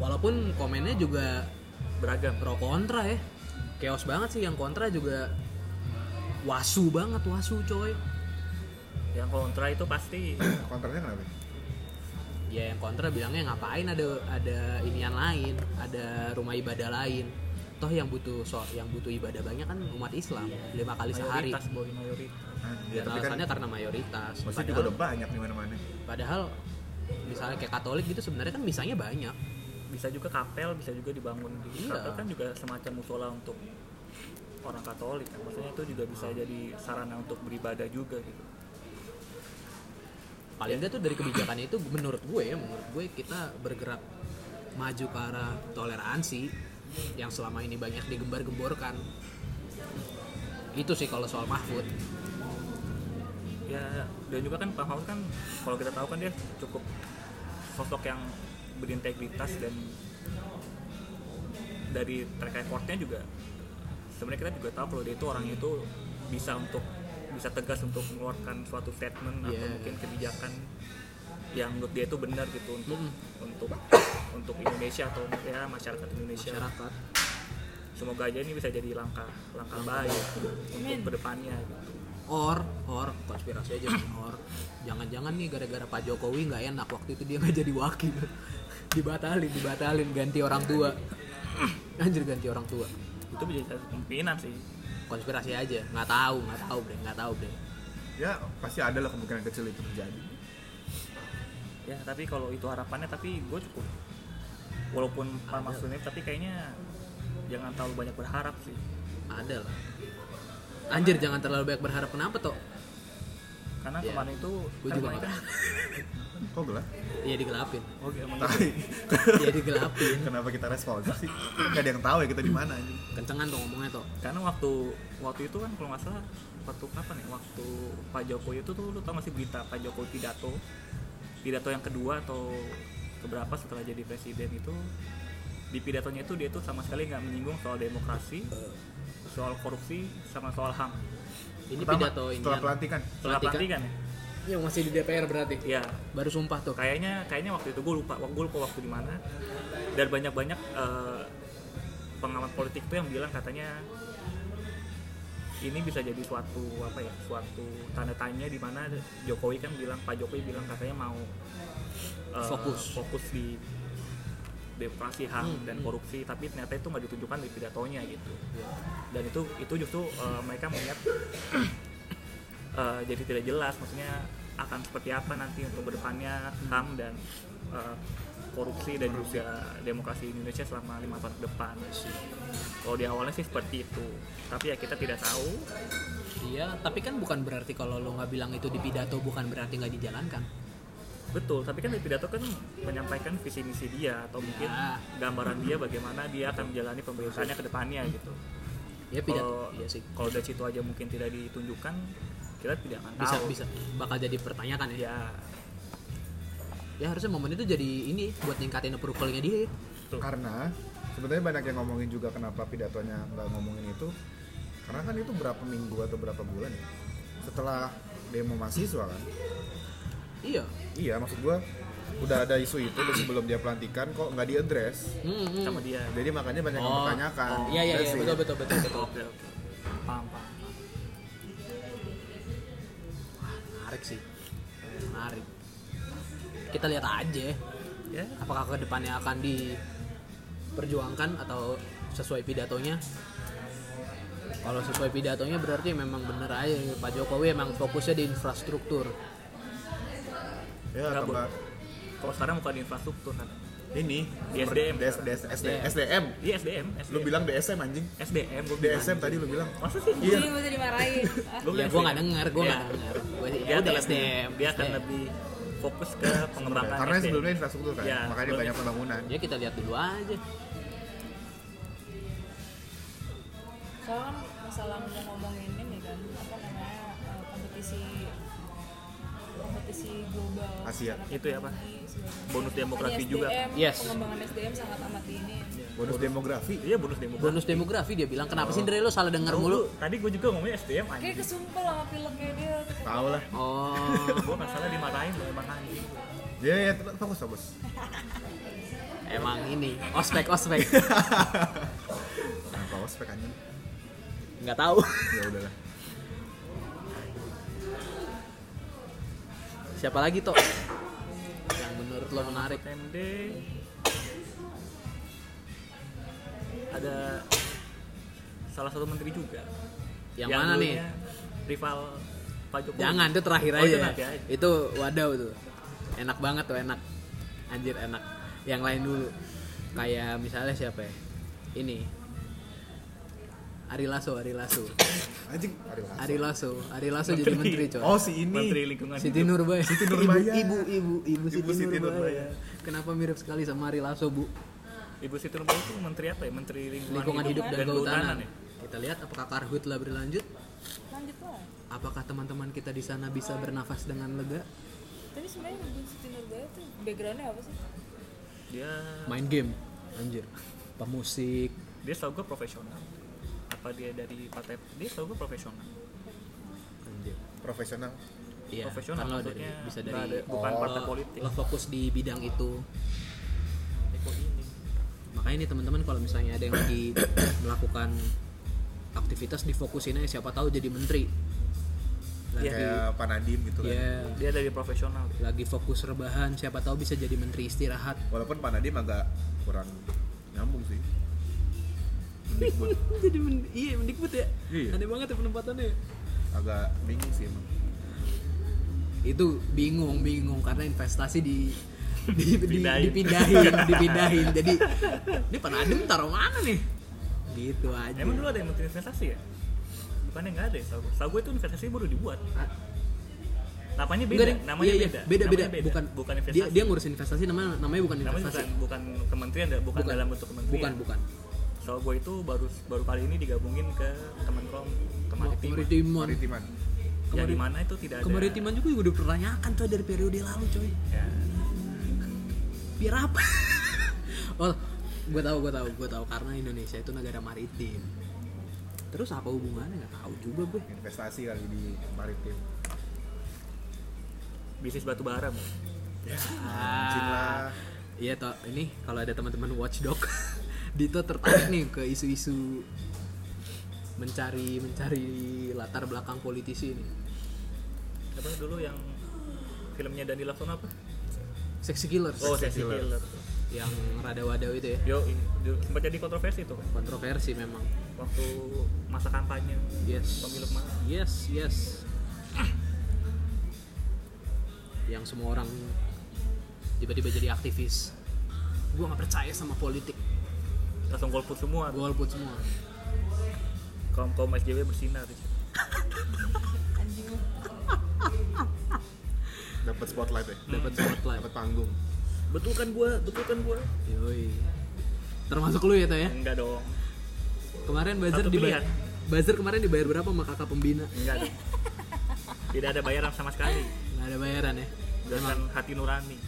[SPEAKER 2] walaupun komennya juga
[SPEAKER 3] beragam.
[SPEAKER 2] pro kontra ya chaos banget sih yang kontra juga wasu banget wasu coy
[SPEAKER 3] Yang kontra itu pasti
[SPEAKER 1] Kontranya kenapa?
[SPEAKER 2] ya yang kontra bilangnya ngapain ada ada inian lain ada rumah ibadah lain toh yang butuh so yang butuh ibadah banyak kan umat Islam lima kali sehari
[SPEAKER 3] mayoritas boy mayoritas
[SPEAKER 1] Ah, ya,
[SPEAKER 2] dan
[SPEAKER 1] tapi kan
[SPEAKER 2] alasannya karena mayoritas
[SPEAKER 1] maksudnya juga
[SPEAKER 2] padahal,
[SPEAKER 1] udah banyak di mana-mana.
[SPEAKER 2] padahal misalnya kayak Katolik gitu sebenarnya kan misalnya banyak
[SPEAKER 3] bisa juga kapel bisa juga dibangun di
[SPEAKER 2] Iya.
[SPEAKER 3] kapel kan juga semacam musola untuk orang Katolik kan. maksudnya itu juga bisa
[SPEAKER 2] Iya.
[SPEAKER 3] jadi sarana untuk beribadah juga gitu
[SPEAKER 2] paling enggak tuh dari kebijakan itu menurut gue ya menurut gue kita bergerak maju ke arah toleransi yang selama ini banyak digembar-gemborkan itu sih kalau soal Mahfud
[SPEAKER 3] ya dan juga kan Pak Mahfud kan kalau kita tahu kan dia cukup sosok yang berintegritas dan dari track recordnya juga sebenarnya kita juga tahu kalau dia itu orangnya
[SPEAKER 2] Hmm.
[SPEAKER 3] itu bisa untuk bisa tegas untuk mengeluarkan suatu statement atau
[SPEAKER 2] Yes.
[SPEAKER 3] mungkin kebijakan yang menurut dia itu benar gitu untuk
[SPEAKER 2] Mm.
[SPEAKER 3] untuk untuk Indonesia atau ya masyarakat Indonesia
[SPEAKER 2] masyarakat
[SPEAKER 3] semoga aja ini bisa jadi langkah langkah
[SPEAKER 2] Hmm.
[SPEAKER 3] baik untuk kedepannya gitu.
[SPEAKER 2] or or konspirasi aja nih, or jangan-jangan nih gara-gara Pak Jokowi nggak enak waktu itu dia nggak jadi wakil dibatalin dibatalin ganti orang tua anjir ganti orang tua
[SPEAKER 3] itu menjadi satu kemungkinan sih
[SPEAKER 2] konspirasi aja nggak tahu nggak tahu bre nggak tahu bre
[SPEAKER 1] Ya pasti ada lah kemungkinan kecil itu terjadi.
[SPEAKER 3] ya tapi kalau itu harapannya tapi gue cukup walaupun Pak maksudnya tapi kayaknya jangan terlalu banyak berharap sih
[SPEAKER 2] ada lah anjir jangan terlalu banyak berharap kenapa toh
[SPEAKER 3] karena
[SPEAKER 2] Iya.
[SPEAKER 3] kemarin itu
[SPEAKER 2] Gua juga
[SPEAKER 3] kemarin
[SPEAKER 2] nggak
[SPEAKER 1] Kok gelap? <laughs>
[SPEAKER 2] ya digelapin
[SPEAKER 3] <laughs> oke emang
[SPEAKER 1] Tai.
[SPEAKER 2] ya digelapin
[SPEAKER 1] Kenapa kita responsif sih? Gak ada yang tahu ya kita di mana anjing.
[SPEAKER 2] kencengan tuh ngomongnya toh
[SPEAKER 3] karena waktu waktu itu kan kalau nggak salah waktu kapan ya waktu Pak Jokowi itu tuh lu tau masih berita Pak Jokowi pidato pidato yang kedua atau keberapa setelah jadi presiden itu di pidatonya itu dia tuh sama sekali nggak menyinggung soal demokrasi
[SPEAKER 2] Eh.
[SPEAKER 3] soal korupsi sama soal ham
[SPEAKER 2] ini
[SPEAKER 1] Pertama,
[SPEAKER 2] pidato ini
[SPEAKER 1] setelah pelantikan.
[SPEAKER 3] setelah
[SPEAKER 2] Pelantikan.
[SPEAKER 3] pelantikan ya
[SPEAKER 2] yang masih di DPR berarti
[SPEAKER 3] Iya,
[SPEAKER 2] baru sumpah tuh
[SPEAKER 3] kayaknya kayaknya waktu itu gue lupa gue lupa waktu di mana dan banyak banyak pengamat politik tuh yang bilang katanya ini bisa jadi suatu apa ya suatu tanda tanya di mana Jokowi kan bilang Pak Jokowi bilang katanya mau eh,
[SPEAKER 2] Fokus.
[SPEAKER 3] fokus di demokrasi ham
[SPEAKER 2] Hmm,
[SPEAKER 3] dan
[SPEAKER 2] hmm.
[SPEAKER 3] korupsi tapi ternyata itu nggak ditunjukkan di pidatonya gitu dan itu itu justru eh, mereka melihat <clears throat> eh, jadi tidak jelas maksudnya akan seperti apa nanti untuk kedepannya ham dan eh, korupsi dan juga demokrasi Indonesia selama lima tahun ke depan kalau di awalnya sih seperti itu tapi ya kita tidak tahu
[SPEAKER 2] iya tapi kan bukan berarti kalau lo nggak bilang itu di pidato bukan berarti nggak dijalankan
[SPEAKER 3] betul tapi kan di pidato kan menyampaikan visi misi dia atau mungkin
[SPEAKER 2] Ya.
[SPEAKER 3] gambaran dia bagaimana dia akan menjalani pemerintahannya ke depannya gitu
[SPEAKER 2] ya pidato
[SPEAKER 3] kalau
[SPEAKER 2] iya sih
[SPEAKER 3] kalau dari situ aja mungkin tidak ditunjukkan kita tidak akan
[SPEAKER 2] bisa
[SPEAKER 3] tahu
[SPEAKER 2] bisa bakal jadi pertanyaan ya
[SPEAKER 3] ya
[SPEAKER 2] ya harusnya momen itu jadi ini buat ningkatin approvalnya dia ya.
[SPEAKER 3] Betul.
[SPEAKER 1] Karena sebenarnya banyak yang ngomongin juga kenapa pidatonya nggak ngomongin itu. Karena kan itu berapa minggu atau berapa bulan ya? Setelah demo mahasiswa kan?
[SPEAKER 2] iya
[SPEAKER 1] Iya maksud gua udah ada isu itu dan sebelum dia pelantikan kok nggak diadres.
[SPEAKER 2] Hmm, hmm.
[SPEAKER 3] sama dia
[SPEAKER 1] Jadi makanya banyak yang
[SPEAKER 2] Oh.
[SPEAKER 1] mempertanyakan.
[SPEAKER 2] iya iya
[SPEAKER 1] That's
[SPEAKER 2] iya
[SPEAKER 1] it.
[SPEAKER 2] betul betul betul betul
[SPEAKER 3] oke oke paham paham
[SPEAKER 2] menarik sih menarik kita lihat aja
[SPEAKER 3] ya
[SPEAKER 2] apakah kedepannya akan diperjuangkan atau sesuai pidatonya kalau sesuai pidatonya berarti memang bener aja Pak Jokowi emang fokusnya di infrastruktur
[SPEAKER 1] Ya,
[SPEAKER 3] Nggak
[SPEAKER 1] tambah
[SPEAKER 3] kalau sekarang bukan di infrastruktur kan
[SPEAKER 1] ini
[SPEAKER 3] Di SDM.
[SPEAKER 1] DS, DS,
[SPEAKER 2] SDM.
[SPEAKER 1] SDM.
[SPEAKER 3] di SDM SDM
[SPEAKER 1] Lu bilang DSM anjing.
[SPEAKER 3] SDM gue
[SPEAKER 1] DSM tadi lu bilang.
[SPEAKER 3] masa sih
[SPEAKER 1] Iya.
[SPEAKER 4] Ini mesti dimarahin. Ah,
[SPEAKER 2] ya
[SPEAKER 3] Gua bilang
[SPEAKER 2] gue
[SPEAKER 3] SDM.
[SPEAKER 2] nggak denger gue
[SPEAKER 3] Iya.
[SPEAKER 2] nggak denger gue
[SPEAKER 3] dia
[SPEAKER 2] ya
[SPEAKER 3] akan
[SPEAKER 2] udah
[SPEAKER 3] lebih-
[SPEAKER 2] SDM
[SPEAKER 3] dia akan
[SPEAKER 2] SDM.
[SPEAKER 3] lebih fokus ke pengembangan
[SPEAKER 1] Karena
[SPEAKER 3] SDM.
[SPEAKER 1] sebelumnya infrastruktur kan,
[SPEAKER 3] Iya,
[SPEAKER 1] makanya
[SPEAKER 3] sebelumnya. Iya.
[SPEAKER 1] banyak pembangunan.
[SPEAKER 2] ya kita lihat dulu aja
[SPEAKER 4] Soalnya kan masalah mau ngomongin ini kan apa namanya eh, kompetisi kompetisi global
[SPEAKER 1] Asia.
[SPEAKER 4] secara
[SPEAKER 3] Itu ya, apa?
[SPEAKER 4] teknologi, sebagainya.
[SPEAKER 3] Bonus demografi
[SPEAKER 2] Iya,
[SPEAKER 4] Makanya
[SPEAKER 3] juga.
[SPEAKER 4] SDM,
[SPEAKER 2] Yes.
[SPEAKER 4] Pengembangan SDM sangat amat ini.
[SPEAKER 1] Bonus demografi.
[SPEAKER 3] iya bonus demografi
[SPEAKER 2] bonus demografi dia bilang kenapa sih Dre lo salah denger
[SPEAKER 3] Tahu
[SPEAKER 2] mulu
[SPEAKER 3] lu, tadi gue juga ngomongnya SDM
[SPEAKER 4] Kayak
[SPEAKER 3] anjing
[SPEAKER 4] kesumpel sama pileknya dia.
[SPEAKER 1] Tahu lah.
[SPEAKER 2] oh
[SPEAKER 3] <laughs> gue nggak salah dimarahin loh emang anjing
[SPEAKER 1] Ya, ya, fokus, fokus.
[SPEAKER 2] emang ini ospek
[SPEAKER 3] <laughs>
[SPEAKER 2] ospek
[SPEAKER 1] Kenapa ospek Nah, anjing?
[SPEAKER 2] nggak tahu
[SPEAKER 1] Ya udahlah.
[SPEAKER 2] siapa lagi toh yang menurut lo menarik
[SPEAKER 3] MD ada salah satu menteri juga.
[SPEAKER 2] Yang mana nih?
[SPEAKER 3] dulunya Rival Pak Jokowi.
[SPEAKER 2] Jangan, itu terakhir
[SPEAKER 3] Oh,
[SPEAKER 2] aja.
[SPEAKER 3] itu nanti aja.
[SPEAKER 2] Itu wadaw tuh. Enak banget tuh, enak. Anjir enak. Yang lain dulu. Kayak misalnya siapa ya? Ini. Ari Lasso, Ari Lasso.
[SPEAKER 1] Anjing, Ari Lasso.
[SPEAKER 2] Ari Lasso, Ari Lasso jadi menteri, coy.
[SPEAKER 1] Oh si ini.
[SPEAKER 3] Menteri Lingkungan
[SPEAKER 2] Siti
[SPEAKER 3] Hidup.
[SPEAKER 2] Nurbaya.
[SPEAKER 1] Siti Nurbaya.
[SPEAKER 2] Ibu, ibu, ibu,
[SPEAKER 1] Ibu
[SPEAKER 2] ibu, Siti,
[SPEAKER 1] Siti
[SPEAKER 2] Nurbaya.
[SPEAKER 1] Nurbaya.
[SPEAKER 2] Kenapa mirip sekali sama Ari Lasso, Bu?
[SPEAKER 3] Ibu Siti Nurbaya itu menteri apa ya? Menteri Lingkungan,
[SPEAKER 2] Lingkungan hidup, dan kehutanan.
[SPEAKER 3] ya.
[SPEAKER 2] Kita lihat apakah karhutlah berlanjut?
[SPEAKER 4] lanjut lah
[SPEAKER 2] Apakah teman-teman kita di sana bisa bernafas dengan lega?
[SPEAKER 4] tapi sebenarnya Ibu Siti Nurbaya tuh backgroundnya apa sih
[SPEAKER 3] Dia
[SPEAKER 2] Main game, anjir. Pemusik,
[SPEAKER 3] dia selalu gue profesional. Apa dia dari partai? Dia selalu gue profesional.
[SPEAKER 2] anjir.
[SPEAKER 1] Profesional.
[SPEAKER 2] Iya,
[SPEAKER 3] profesional
[SPEAKER 2] kalau dari
[SPEAKER 3] maksudnya
[SPEAKER 2] bisa
[SPEAKER 3] nggak
[SPEAKER 2] dari
[SPEAKER 3] ada- bukan
[SPEAKER 1] Oh.
[SPEAKER 3] partai
[SPEAKER 2] lo-
[SPEAKER 3] politik.
[SPEAKER 2] lo fokus di bidang itu.
[SPEAKER 3] Eko ini.
[SPEAKER 2] Makanya nih teman-teman kalau misalnya ada yang lagi <coughs> melakukan aktivitas difokusin aja siapa tahu jadi menteri.
[SPEAKER 1] Iya,
[SPEAKER 3] Iya.
[SPEAKER 2] Lagi
[SPEAKER 1] Kayak Pak Nadiem gitu kan.
[SPEAKER 2] ya,
[SPEAKER 3] Dia dari profesional.
[SPEAKER 2] lagi fokus rebahan siapa tahu bisa jadi menteri istirahat.
[SPEAKER 1] Walaupun Pak Nadiem agak kurang nyambung sih. Mendikbud.
[SPEAKER 2] jadi men- iya mendikbud ya.
[SPEAKER 1] Iya.
[SPEAKER 2] Aneh banget ya penempatannya.
[SPEAKER 1] agak bingung sih emang.
[SPEAKER 2] Itu bingung-bingung karena investasi di di- di-
[SPEAKER 3] Pindahin. <laughs>
[SPEAKER 2] dipindahin, dipindahin. Jadi ini panadem taruh mana nih? Gitu aja.
[SPEAKER 3] Emang dulu ada yang menteri investasi ya? Bukannya nggak ada ya? Setahu gue. Setahu gue itu investasi baru dibuat. Namanya beda,
[SPEAKER 2] Ah. Enggak, deh. Iya,
[SPEAKER 3] namanya
[SPEAKER 2] iya.
[SPEAKER 3] beda.
[SPEAKER 2] beda, beda,
[SPEAKER 3] Namanya
[SPEAKER 2] bukan
[SPEAKER 3] bukan
[SPEAKER 2] Dia,
[SPEAKER 3] investasi.
[SPEAKER 2] dia ngurusin investasi namanya namanya bukan
[SPEAKER 3] namanya Iya.
[SPEAKER 2] investasi.
[SPEAKER 3] bukan bukan kementerian, ya, bukan, bukan dalam bentuk kementerian.
[SPEAKER 2] Bukan, bukan.
[SPEAKER 3] Setahu gue itu baru baru kali ini digabungin ke Kemenkom Kemaritiman.
[SPEAKER 2] Kemaritiman.
[SPEAKER 1] Maritiman.
[SPEAKER 3] Ya
[SPEAKER 2] Kemarin-
[SPEAKER 3] di mana itu tidak ada.
[SPEAKER 2] Kemaritiman juga udah dipertanyakan coy dari periode lalu coy.
[SPEAKER 3] Ya.
[SPEAKER 2] Biar apa? <laughs> oh, gue tahu, gue tahu, gue tahu karena Indonesia itu negara maritim. Terus apa hubungannya nggak tahu juga gue.
[SPEAKER 1] Investasi kali di maritim.
[SPEAKER 3] Bisnis batu bara. Bu. Ah.
[SPEAKER 1] Anjing lah.
[SPEAKER 2] Iya toh ini kalau ada teman-teman watchdog <laughs> Dito tertarik nih ke isu-isu mencari mencari latar belakang politisi ini.
[SPEAKER 3] Apa dulu yang filmnya Dani Laksono apa?
[SPEAKER 2] Sexy killers
[SPEAKER 3] Oh, Sexy
[SPEAKER 1] Killer.
[SPEAKER 3] Killer.
[SPEAKER 2] yang rada wadau itu ya.
[SPEAKER 3] Yo, sempat jadi kontroversi tuh kan?
[SPEAKER 2] Kontroversi memang.
[SPEAKER 3] waktu masa kampanye
[SPEAKER 2] Yes.
[SPEAKER 3] pemilu kemarin.
[SPEAKER 2] Yes, yes. Yang semua orang tiba-tiba jadi aktivis. Gua nggak percaya sama politik.
[SPEAKER 3] Langsung golput semua.
[SPEAKER 2] Golput semua.
[SPEAKER 3] kaum kaum SJW bersinar
[SPEAKER 4] anjing
[SPEAKER 1] Dapat spotlight ya.
[SPEAKER 2] Dapat spotlight.
[SPEAKER 1] Dapat panggung.
[SPEAKER 3] betul kan gua betul kan gua
[SPEAKER 2] Yoi. Termasuk lu ya, Toh ya?
[SPEAKER 3] enggak dong
[SPEAKER 2] Kemarin buzzer
[SPEAKER 3] Satu
[SPEAKER 2] dibayar
[SPEAKER 3] pilihan.
[SPEAKER 2] buzzer kemarin dibayar berapa sama kakak pembina?
[SPEAKER 3] enggak dong tidak ada bayaran sama sekali
[SPEAKER 2] Nggak ada bayaran ya.
[SPEAKER 3] dengan hati nurani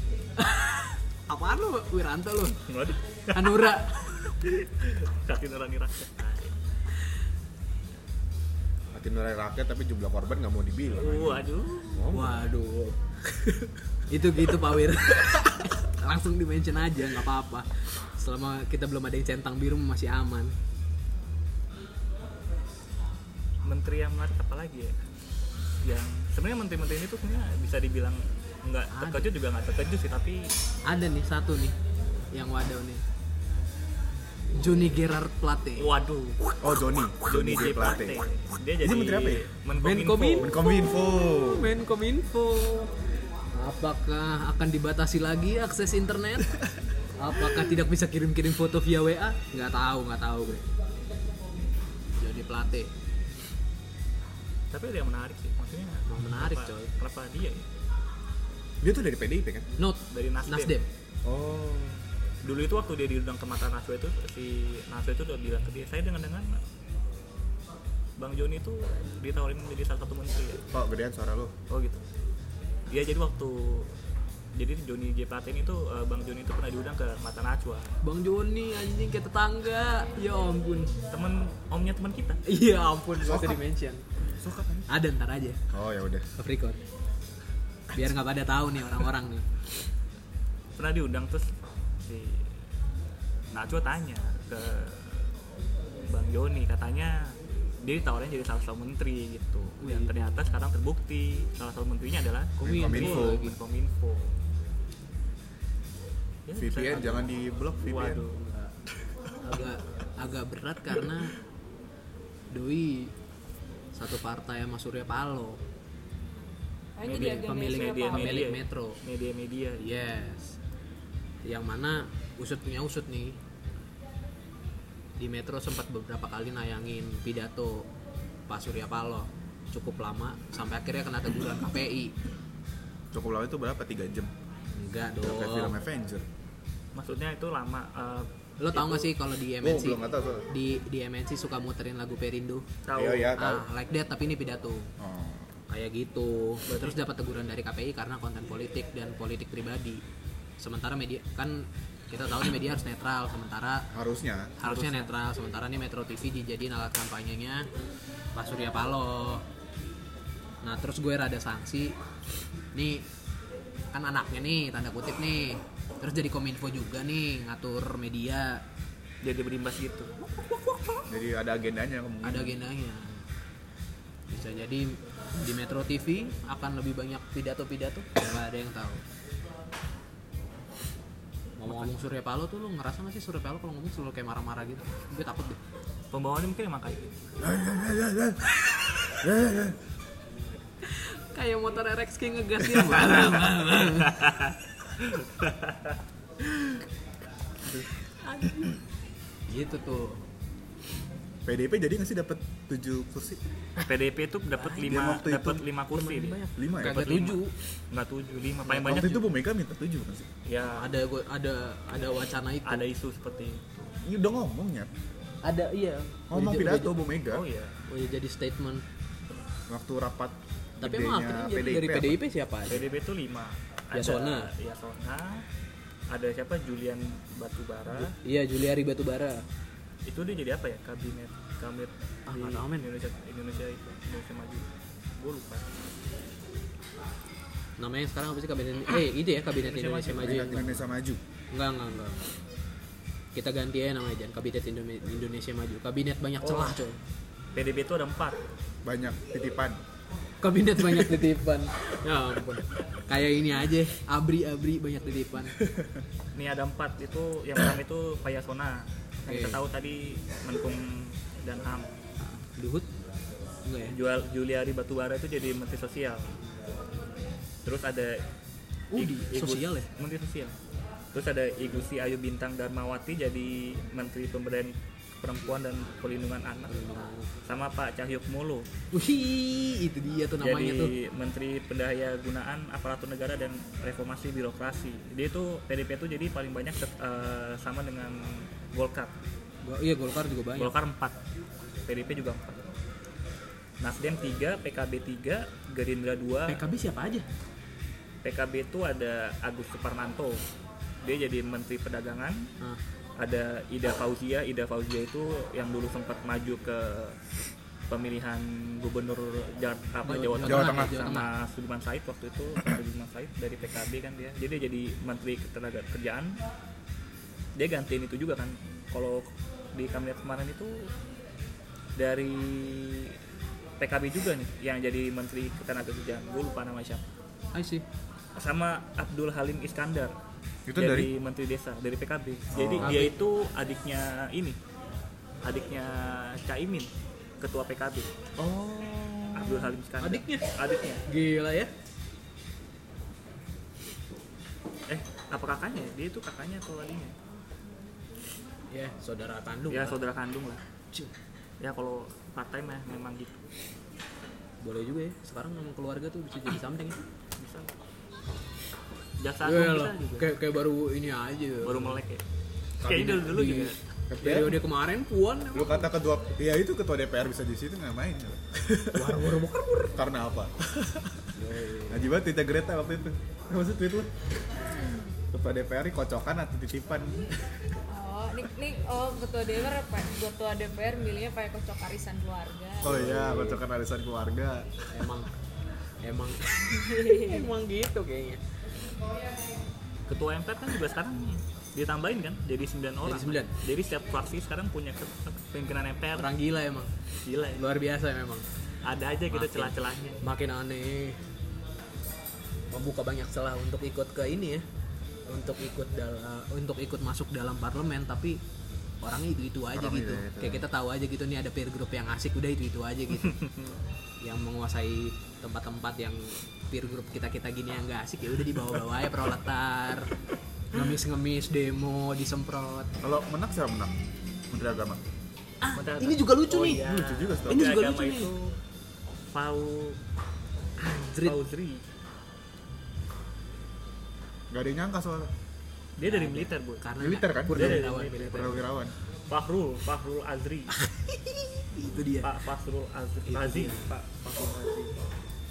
[SPEAKER 2] Apaan lu, Wiranto lu?
[SPEAKER 3] Waduh, <laughs>
[SPEAKER 2] Hanura.
[SPEAKER 3] hati nurani rakyat
[SPEAKER 1] Hati nurani rakyat tapi jumlah korban nggak mau dibilang.
[SPEAKER 3] waduh
[SPEAKER 2] Waduh. Itu gitu Pak Wir. <laughs> Langsung di mention aja nggak apa-apa. Selama kita belum ada yang centang biru masih aman.
[SPEAKER 3] menteri yang menarik apa lagi ya yang sebenarnya menteri-menteri ini tuh sebenarnya bisa dibilang nggak
[SPEAKER 2] Ada.
[SPEAKER 3] terkejut juga nggak terkejut sih tapi
[SPEAKER 2] Ada nih satu nih yang wadaw nih. Joni Gerard Plate.
[SPEAKER 3] waduh
[SPEAKER 1] Oh Joni.
[SPEAKER 3] Joni J Plate dia jadi
[SPEAKER 1] menteri apa ya?
[SPEAKER 3] Menkominfo.
[SPEAKER 2] Menkomin.
[SPEAKER 1] Menkominfo.
[SPEAKER 2] Menkominfo. Apakah akan dibatasi lagi akses internet? Apakah tidak bisa kirim-kirim foto via WA? Nggak tahu, nggak tahu gue. Jadi Plate.
[SPEAKER 3] tapi ada yang menarik sih maksudnya
[SPEAKER 2] Emang menarik,
[SPEAKER 3] kenapa-
[SPEAKER 2] coy.
[SPEAKER 3] kenapa dia ya?
[SPEAKER 1] Dia tuh dari PDIP kan?
[SPEAKER 2] Note
[SPEAKER 3] dari Nasdem.
[SPEAKER 2] Nasdem.
[SPEAKER 1] Oh.
[SPEAKER 3] dulu itu waktu dia diundang ke mata Naswa itu si Naswa itu udah bilang ke dia saya dengan dengan Bang Joni itu ditawarin menjadi salah satu menteri ya.
[SPEAKER 1] Kok gedean suara lu?
[SPEAKER 3] oh gitu dia jadi waktu jadi Joni G Platin itu eh, Bang Joni itu pernah diundang ke mata Najwa
[SPEAKER 2] Bang Joni anjing kayak tetangga. Ya ampun. <laughs>
[SPEAKER 3] temen omnya teman kita
[SPEAKER 2] Iya ampun, gak usah di-mention.
[SPEAKER 1] Suka kan?
[SPEAKER 2] Ada ntar aja,
[SPEAKER 1] Oh ya udah.
[SPEAKER 2] off record. Biar nggak pada tahu nih orang-orang nih.
[SPEAKER 3] pernah diundang terus si Najwa tanya ke Bang Joni katanya dia ditawarin jadi salah satu menteri gitu
[SPEAKER 2] Wih.
[SPEAKER 3] dan ternyata sekarang terbukti salah satu menterinya adalah
[SPEAKER 1] Kominfo.
[SPEAKER 3] lagi kominfo Ya,
[SPEAKER 1] VPN
[SPEAKER 3] bisa-
[SPEAKER 1] jangan di blok VPN.
[SPEAKER 3] waduh
[SPEAKER 2] Agak agak berat karena Doi satu partai sama Surya Palo
[SPEAKER 4] Oh, itu
[SPEAKER 3] Media-
[SPEAKER 4] diagendain
[SPEAKER 2] pemilik
[SPEAKER 4] siapa?
[SPEAKER 3] media- media. iya.
[SPEAKER 2] pemilik Metro
[SPEAKER 3] media-media
[SPEAKER 2] yes yang mana usut punya usut nih di Metro sempat beberapa kali nayangin pidato Pak Surya Paloh cukup lama sampai akhirnya kena teguran KPI
[SPEAKER 1] Cukup lama itu berapa? 3 jam.
[SPEAKER 2] enggak
[SPEAKER 1] Udah Kayak film
[SPEAKER 2] dong
[SPEAKER 1] Avenger.
[SPEAKER 3] maksudnya itu lama eh,
[SPEAKER 2] lo tau gak sih kalau di
[SPEAKER 1] Oh,
[SPEAKER 2] MNC
[SPEAKER 1] belum nggak tahu. sorry.
[SPEAKER 2] di di MNC suka muterin lagu Perindo
[SPEAKER 3] tahu
[SPEAKER 1] Iya, iya, tahu.
[SPEAKER 2] ah like that tapi ini pidato
[SPEAKER 1] Oh.
[SPEAKER 2] kayak gitu terus dapat teguran dari KPI karena konten politik dan politik pribadi sementara media kan kita tahu nih media harus netral sementara
[SPEAKER 1] Harusnya
[SPEAKER 2] harusnya netral sementara nih Metro TV dijadiin alat kampanyenya Pak Surya Paloh nah terus gue rada sanksi nih kan anaknya nih tanda kutip nih terus jadi kominfo juga nih ngatur media
[SPEAKER 3] jadi berimbas gitu
[SPEAKER 1] jadi ada agendanya kemungkinan.
[SPEAKER 2] ada agendanya bisa jadi di Metro TV akan lebih banyak pidato-pidato nggak ada yang tahu ngomong-ngomong Surya Paloh tuh lu ngerasa nggak sih Surya Paloh kalau ngomong selalu kayak marah-marah gitu gue takut deh
[SPEAKER 3] pembawaannya mungkin emang kayak
[SPEAKER 2] <laughs>
[SPEAKER 3] gitu
[SPEAKER 2] kayak motor RX King ngegas dia marah-marah gitu tuh
[SPEAKER 1] PDP jadi nggak sih dapat 7 kursi?
[SPEAKER 3] PDP itu dapat lima
[SPEAKER 1] waktu itu
[SPEAKER 3] dapat lima kursi dia.
[SPEAKER 2] banyak.
[SPEAKER 1] 5 ya?
[SPEAKER 2] kagak
[SPEAKER 3] Dapat lima.
[SPEAKER 2] tujuh
[SPEAKER 3] nggak tujuh lima paling banyak
[SPEAKER 1] Nah, Waktu itu
[SPEAKER 3] juga.
[SPEAKER 1] Bu Mega minta 7 kan sih?
[SPEAKER 3] ya
[SPEAKER 2] ada gua- ada ada wacana itu
[SPEAKER 3] ada isu seperti itu.
[SPEAKER 1] Ini udah ngomongnya.
[SPEAKER 2] ada iya
[SPEAKER 1] Ngomong
[SPEAKER 2] Udah-
[SPEAKER 1] pidato
[SPEAKER 2] udah-
[SPEAKER 1] Bu Mega
[SPEAKER 3] oh iya
[SPEAKER 2] udah jadi statement
[SPEAKER 1] waktu rapat
[SPEAKER 2] Tapi emang
[SPEAKER 1] gedenya
[SPEAKER 2] akhirnya jadi dari
[SPEAKER 1] apa?
[SPEAKER 2] PDIP siapa aja?
[SPEAKER 3] PDB itu lima ada
[SPEAKER 2] Yasona.
[SPEAKER 3] Yasona ada siapa Julian Batubara
[SPEAKER 2] Iya, Juliari Batubara.
[SPEAKER 3] itu dia jadi apa ya kabinet kabinet
[SPEAKER 2] Ah,
[SPEAKER 3] di
[SPEAKER 2] nggak tahu, men.
[SPEAKER 3] Indonesia Indonesia itu Indonesia maju gue lupa
[SPEAKER 2] Namanya sekarang apa sih kabinet? eh, itu ya kabinet Indonesia,
[SPEAKER 3] Indonesia
[SPEAKER 2] Maju.
[SPEAKER 1] Kabinet
[SPEAKER 2] Enggak,
[SPEAKER 1] Indonesia Maju.
[SPEAKER 2] enggak, enggak. enggak. Kita ganti aja namanya jangan kabinet Indome- Indonesia Maju. Kabinet banyak
[SPEAKER 3] Oh.
[SPEAKER 2] celah, coy.
[SPEAKER 3] PDB itu ada empat
[SPEAKER 1] Banyak titipan.
[SPEAKER 2] Kabinet banyak titipan. Ya ampun. Kayak ini aja, abri-abri banyak titipan.
[SPEAKER 3] ini ada empat itu yang pertama itu Pak Yasona yang kita
[SPEAKER 2] Oke.
[SPEAKER 3] tahu tadi Menkum dan Ham
[SPEAKER 2] Duhut? Ah, Enggak ya?
[SPEAKER 3] Jual Juliari Batubara itu jadi Menteri Sosial terus ada
[SPEAKER 2] Oh, di
[SPEAKER 3] Igu-
[SPEAKER 2] sosial ya?
[SPEAKER 3] Menteri Sosial terus ada Igusti Ayu Bintang Darmawati jadi Menteri Pemberdayaan Perempuan dan Perlindungan Anak sama Pak Cahyuk Mulu
[SPEAKER 2] Wih, itu dia tuh namanya
[SPEAKER 3] jadi
[SPEAKER 2] tuh.
[SPEAKER 3] Menteri Pendaya Gunaan Aparatur Negara dan Reformasi Birokrasi. Dia itu PDP itu jadi paling banyak eh, sama dengan Golkar.
[SPEAKER 2] Go- Iya, Golkar juga banyak.
[SPEAKER 3] Golkar 4, PDP juga 4. Nasdem 3, PKB 3, Gerindra 2.
[SPEAKER 2] PKB siapa aja?
[SPEAKER 3] PKB itu ada Agus Suparmanto. Dia jadi Menteri Perdagangan.
[SPEAKER 2] Nah,
[SPEAKER 3] Ada Ida Fauzia. Ida Fauzia itu yang dulu sempat maju ke pemilihan gubernur Jawa, apa, Jawa
[SPEAKER 1] Tengah.
[SPEAKER 3] Tengah
[SPEAKER 2] ya, Jawa Tengah.
[SPEAKER 3] sama Sudirman Said waktu itu Sudirman Said dari PKB kan dia jadi dia jadi menteri ketenaga kerjaan dia gantiin itu juga kan kalau di kabinet kemarin itu dari PKB juga nih yang jadi menteri ketenaga kerjaan gue lupa nama siapa
[SPEAKER 2] Ah, I see.
[SPEAKER 3] sama Abdul Halim Iskandar
[SPEAKER 1] Itu dari?
[SPEAKER 3] jadi menteri desa dari PKB jadi
[SPEAKER 1] Oh.
[SPEAKER 3] dia itu adiknya ini adiknya Caimin ketua PKB
[SPEAKER 2] Oh.
[SPEAKER 3] Abdul Halim Iskandar
[SPEAKER 2] Adiknya?
[SPEAKER 3] adiknya
[SPEAKER 2] Gila ya.
[SPEAKER 3] eh apa kakaknya ya? dia itu kakaknya atau adiknya
[SPEAKER 2] Ya, saudara kandung.
[SPEAKER 3] ya
[SPEAKER 2] lah.
[SPEAKER 3] saudara kandung lah
[SPEAKER 2] Cih,
[SPEAKER 3] ya kalau part time ya memang gitu
[SPEAKER 2] Boleh juga ya. Sekarang ngomong keluarga tuh bisa jadi something. ya.
[SPEAKER 3] bisa jasa
[SPEAKER 2] Iya
[SPEAKER 3] agung
[SPEAKER 2] lah.
[SPEAKER 3] bisa juga
[SPEAKER 2] Kayak kayak baru ini aja.
[SPEAKER 3] baru melek ya
[SPEAKER 1] Kabinet
[SPEAKER 3] kayaknya dulu dulu
[SPEAKER 2] di-
[SPEAKER 3] juga
[SPEAKER 1] Ketua-
[SPEAKER 2] Periode kemarin puan
[SPEAKER 1] Lu kata ketua, ya itu ketua DPR bisa di situ ngapain? Karena apa? Haji banget Tita Greta waktu itu. Maksud tweet lu? Ketua DPR ini kocokan atau titipan?
[SPEAKER 4] Oh, nih, nih oh ketua DPR apa? Ketua DPR milihnya pakai kocok arisan keluarga.
[SPEAKER 1] Oh iya, kocokan arisan keluarga.
[SPEAKER 2] emang
[SPEAKER 3] <laughs>
[SPEAKER 2] emang emang gitu kayaknya.
[SPEAKER 3] ketua MPR kan juga sekarang ditambahin kan jadi 9 orang
[SPEAKER 2] sembilan. Nah.
[SPEAKER 3] kan? jadi setiap fraksi sekarang punya ke- pimpinan MPR
[SPEAKER 2] Orang gila emang.
[SPEAKER 3] gila ya.
[SPEAKER 2] Luar biasa memang.
[SPEAKER 3] ada aja gitu
[SPEAKER 2] Makin.
[SPEAKER 3] celah-celahnya
[SPEAKER 2] Makin aneh. Membuka banyak celah untuk eh, ikut ke ini ya. Untuk ikut dalam untuk ikut masuk dalam parlemen tapi orangnya itu itu aja
[SPEAKER 1] Orangnya
[SPEAKER 2] gitu
[SPEAKER 1] itu-itu.
[SPEAKER 2] kayak kita tahu aja gitu nih ada peer group yang asik udah itu itu aja gitu yang menguasai tempat-tempat yang peer group kita kita gini yang nggak asik ya udah dibawa-bawa ya proletar ngemis-ngemis demo disemprot
[SPEAKER 1] Kalau menang siapa menang? Menteri Agama.
[SPEAKER 2] ah
[SPEAKER 3] Bentar,
[SPEAKER 2] ini
[SPEAKER 3] bentar.
[SPEAKER 2] juga lucu
[SPEAKER 3] Oh,
[SPEAKER 2] nih
[SPEAKER 3] iya.
[SPEAKER 1] Lucu juga
[SPEAKER 2] Ini
[SPEAKER 1] setelah.
[SPEAKER 2] juga
[SPEAKER 3] Agama
[SPEAKER 2] lucu nih.
[SPEAKER 3] itu Fau
[SPEAKER 2] Zrit.
[SPEAKER 3] Fauzri.
[SPEAKER 1] Gak ada yang nyangka soalnya.
[SPEAKER 3] Dia
[SPEAKER 2] Nah,
[SPEAKER 3] dari militer, Bu.
[SPEAKER 2] karena
[SPEAKER 1] Militer kan?
[SPEAKER 2] Purnawirawan,
[SPEAKER 3] Iya, iya,
[SPEAKER 2] militer.
[SPEAKER 1] Purnawirawan.
[SPEAKER 3] Fahrul, Fahrul Azri.
[SPEAKER 2] Ah, itu dia
[SPEAKER 3] Pak Fahrul Azri.
[SPEAKER 2] Itu
[SPEAKER 3] Razi,
[SPEAKER 2] dia.
[SPEAKER 3] Pak Fahrul Razi.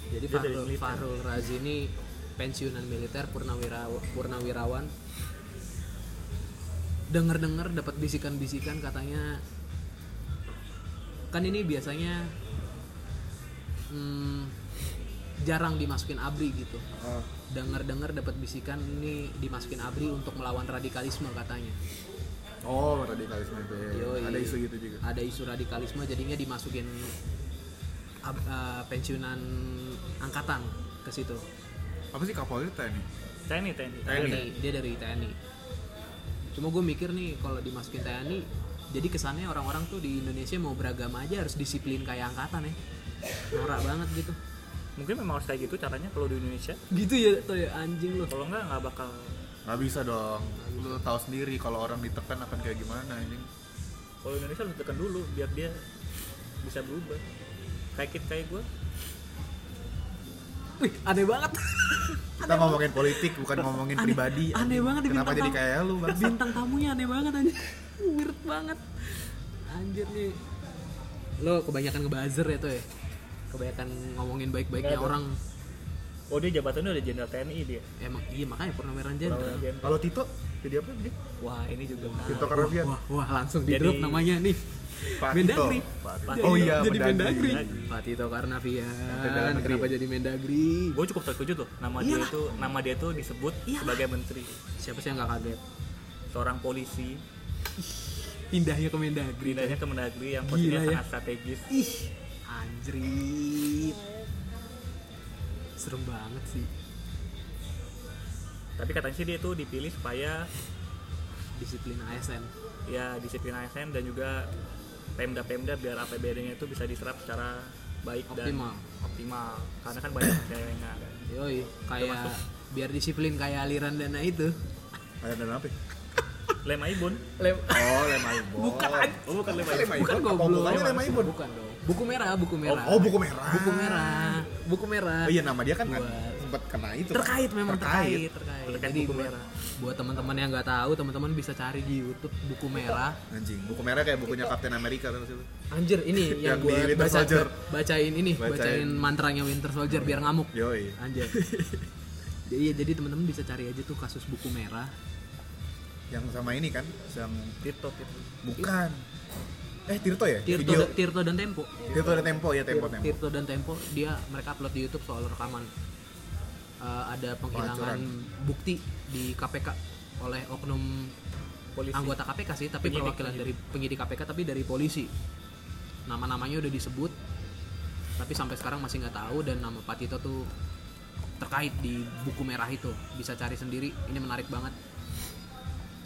[SPEAKER 2] Jadi
[SPEAKER 3] Dia dari
[SPEAKER 2] Farul,
[SPEAKER 3] militer.
[SPEAKER 2] Farul Razi ini pensiunan militer purnawira purnawirawan. Dengar-dengar dapat bisikan-bisikan katanya kan ini biasanya hmm, jarang dimasukin ABRI gitu.
[SPEAKER 1] Ah,
[SPEAKER 2] Dengar-dengar dapat bisikan ini dimasukin ABRI untuk melawan radikalisme katanya.
[SPEAKER 1] Oh, radikalisme itu. ya.
[SPEAKER 2] Yoi.
[SPEAKER 1] Ada isu gitu juga.
[SPEAKER 2] Ada isu radikalisme jadinya dimasukin ab- eh, pensiunan angkatan ke situ.
[SPEAKER 1] Apa sih Kapolri TNI?
[SPEAKER 3] TNI, TNI.
[SPEAKER 2] TNI, dia dari TNI. Cuma gue mikir nih kalau dimasukin TNI, jadi kesannya orang-orang tuh di Indonesia mau beragama aja harus disiplin kayak angkatan ya. Norak banget gitu.
[SPEAKER 3] Mungkin memang harus kayak gitu caranya kalau di Indonesia.
[SPEAKER 2] Gitu ya, tuh ya anjing loh.
[SPEAKER 3] Kalau enggak nggak bakal
[SPEAKER 1] Gak bisa dong. Lu tahu sendiri kalau orang ditekan akan kayak gimana ini.
[SPEAKER 3] kalau Indonesia harus tekan dulu biar dia bisa berubah. Kayak kit kayak gue.
[SPEAKER 2] Wih, aneh banget.
[SPEAKER 1] Kita ngomongin politik bukan ngomongin
[SPEAKER 2] Aneh-
[SPEAKER 1] pribadi.
[SPEAKER 2] aneh banget di
[SPEAKER 1] Kenapa
[SPEAKER 2] bintang
[SPEAKER 1] jadi
[SPEAKER 2] tamu.
[SPEAKER 1] kayak lu, Bang?
[SPEAKER 2] Bintang tamunya aneh banget anjing. Weird banget. Anjir nih. Lo kebanyakan ngebuzzer ya tuh ya. Kebanyakan ngomongin baik-baiknya
[SPEAKER 3] Nggak ada.
[SPEAKER 2] orang.
[SPEAKER 3] Oh dia jabatannya udah jenderal TNI dia.
[SPEAKER 2] Emang iya makanya Purnawirawan
[SPEAKER 3] Purnawirawan.
[SPEAKER 2] Jenderal.
[SPEAKER 1] Kalau Tito jadi apa dia?
[SPEAKER 2] Wah, ini juga
[SPEAKER 1] Tito Karnavian.
[SPEAKER 2] Wah, wah langsung di
[SPEAKER 3] Jadi-
[SPEAKER 2] drop namanya nih.
[SPEAKER 1] Pak
[SPEAKER 2] Mendagri.
[SPEAKER 1] Tito. Pak
[SPEAKER 3] Pak
[SPEAKER 1] Tito. Oh iya,
[SPEAKER 2] jadi Mendagri.
[SPEAKER 1] Mendagri.
[SPEAKER 2] Pak Tito
[SPEAKER 1] Menteri Dalam
[SPEAKER 2] Karnavian.
[SPEAKER 1] Negeri
[SPEAKER 2] Kenapa
[SPEAKER 1] ya?
[SPEAKER 2] jadi Mendagri?
[SPEAKER 3] Gue cukup terkejut loh. Nama dia
[SPEAKER 2] Iyalah.
[SPEAKER 3] itu nama dia itu disebut
[SPEAKER 2] Iyalah.
[SPEAKER 3] sebagai menteri.
[SPEAKER 2] Siapa sih yang nggak kaget?
[SPEAKER 3] Seorang polisi
[SPEAKER 2] Pindahnya ke Mendagri.
[SPEAKER 3] pindahnya ke Mendagri yang
[SPEAKER 2] Gila
[SPEAKER 3] posisinya
[SPEAKER 2] ya.
[SPEAKER 3] sangat strategis.
[SPEAKER 2] Ih, anjrit. Serem banget sih.
[SPEAKER 3] Tapi katanya sih dia itu dipilih supaya
[SPEAKER 2] Disiplin ASN.
[SPEAKER 3] ya disiplin ASN dan juga pemda-pemda biar APBD-nya itu bisa diserap secara baik
[SPEAKER 2] Optimal.
[SPEAKER 3] dan optimal karena kan banyak daerahnya
[SPEAKER 2] Yoi, kayak biar disiplin kayak aliran dana itu.
[SPEAKER 1] Ada dana apa? ya?
[SPEAKER 3] lem ibon
[SPEAKER 2] Lem-
[SPEAKER 1] Oh, Lema Ibon.
[SPEAKER 2] Bukan, anjing.
[SPEAKER 3] oh bukan lem ibon
[SPEAKER 1] Lema
[SPEAKER 2] Bukan
[SPEAKER 1] Ibon. Apa
[SPEAKER 2] goblok.
[SPEAKER 1] hubungannya Lema Ibon?
[SPEAKER 2] Bukan dong. Buku merah, buku merah.
[SPEAKER 1] Oh, buku merah.
[SPEAKER 2] Buku merah. Buku merah.
[SPEAKER 1] Oh iya nama dia kan
[SPEAKER 2] Buat-
[SPEAKER 1] sempat kena itu. kan?
[SPEAKER 2] terkait memang terkait terkait,
[SPEAKER 3] Terkait buku
[SPEAKER 2] buat-
[SPEAKER 3] merah.
[SPEAKER 2] buat teman-teman yang nggak tahu teman-teman bisa cari di YouTube buku merah
[SPEAKER 1] Anjing, buku merah kayak bukunya Captain America kan, tuh sih.
[SPEAKER 2] anjir ini
[SPEAKER 1] Yang
[SPEAKER 2] yang, gua
[SPEAKER 1] di Winter
[SPEAKER 2] baca
[SPEAKER 1] Soldier.
[SPEAKER 2] bacain ini
[SPEAKER 1] Bacain. Iya.
[SPEAKER 2] bacain. mantranya Winter Soldier biar ngamuk
[SPEAKER 1] Yoi.
[SPEAKER 2] anjir jadi iya, jadi teman-teman bisa cari aja tuh kasus buku merah
[SPEAKER 1] Yang sama ini kan, yang
[SPEAKER 3] Tirto Tirto
[SPEAKER 1] bukan. Eh Tirto ya?
[SPEAKER 2] Tirto
[SPEAKER 1] Video.
[SPEAKER 2] Tirto dan Tempo
[SPEAKER 1] Tirto ada tempo
[SPEAKER 3] iya,
[SPEAKER 1] ya tempo tempo.
[SPEAKER 2] Tirto dan Tempo dia mereka upload di YouTube soal rekaman Eh, ada
[SPEAKER 3] Oh,
[SPEAKER 2] penghilangan bukti di KPK oleh oknum
[SPEAKER 3] polisi
[SPEAKER 2] anggota KPK sih tapi
[SPEAKER 3] Penyidik,
[SPEAKER 2] perwakilan dari penyidik KPK tapi dari polisi nama-namanya udah disebut tapi sampai sekarang masih nggak tahu dan nama Pak Tito tuh terkait di buku merah itu bisa cari sendiri ini menarik banget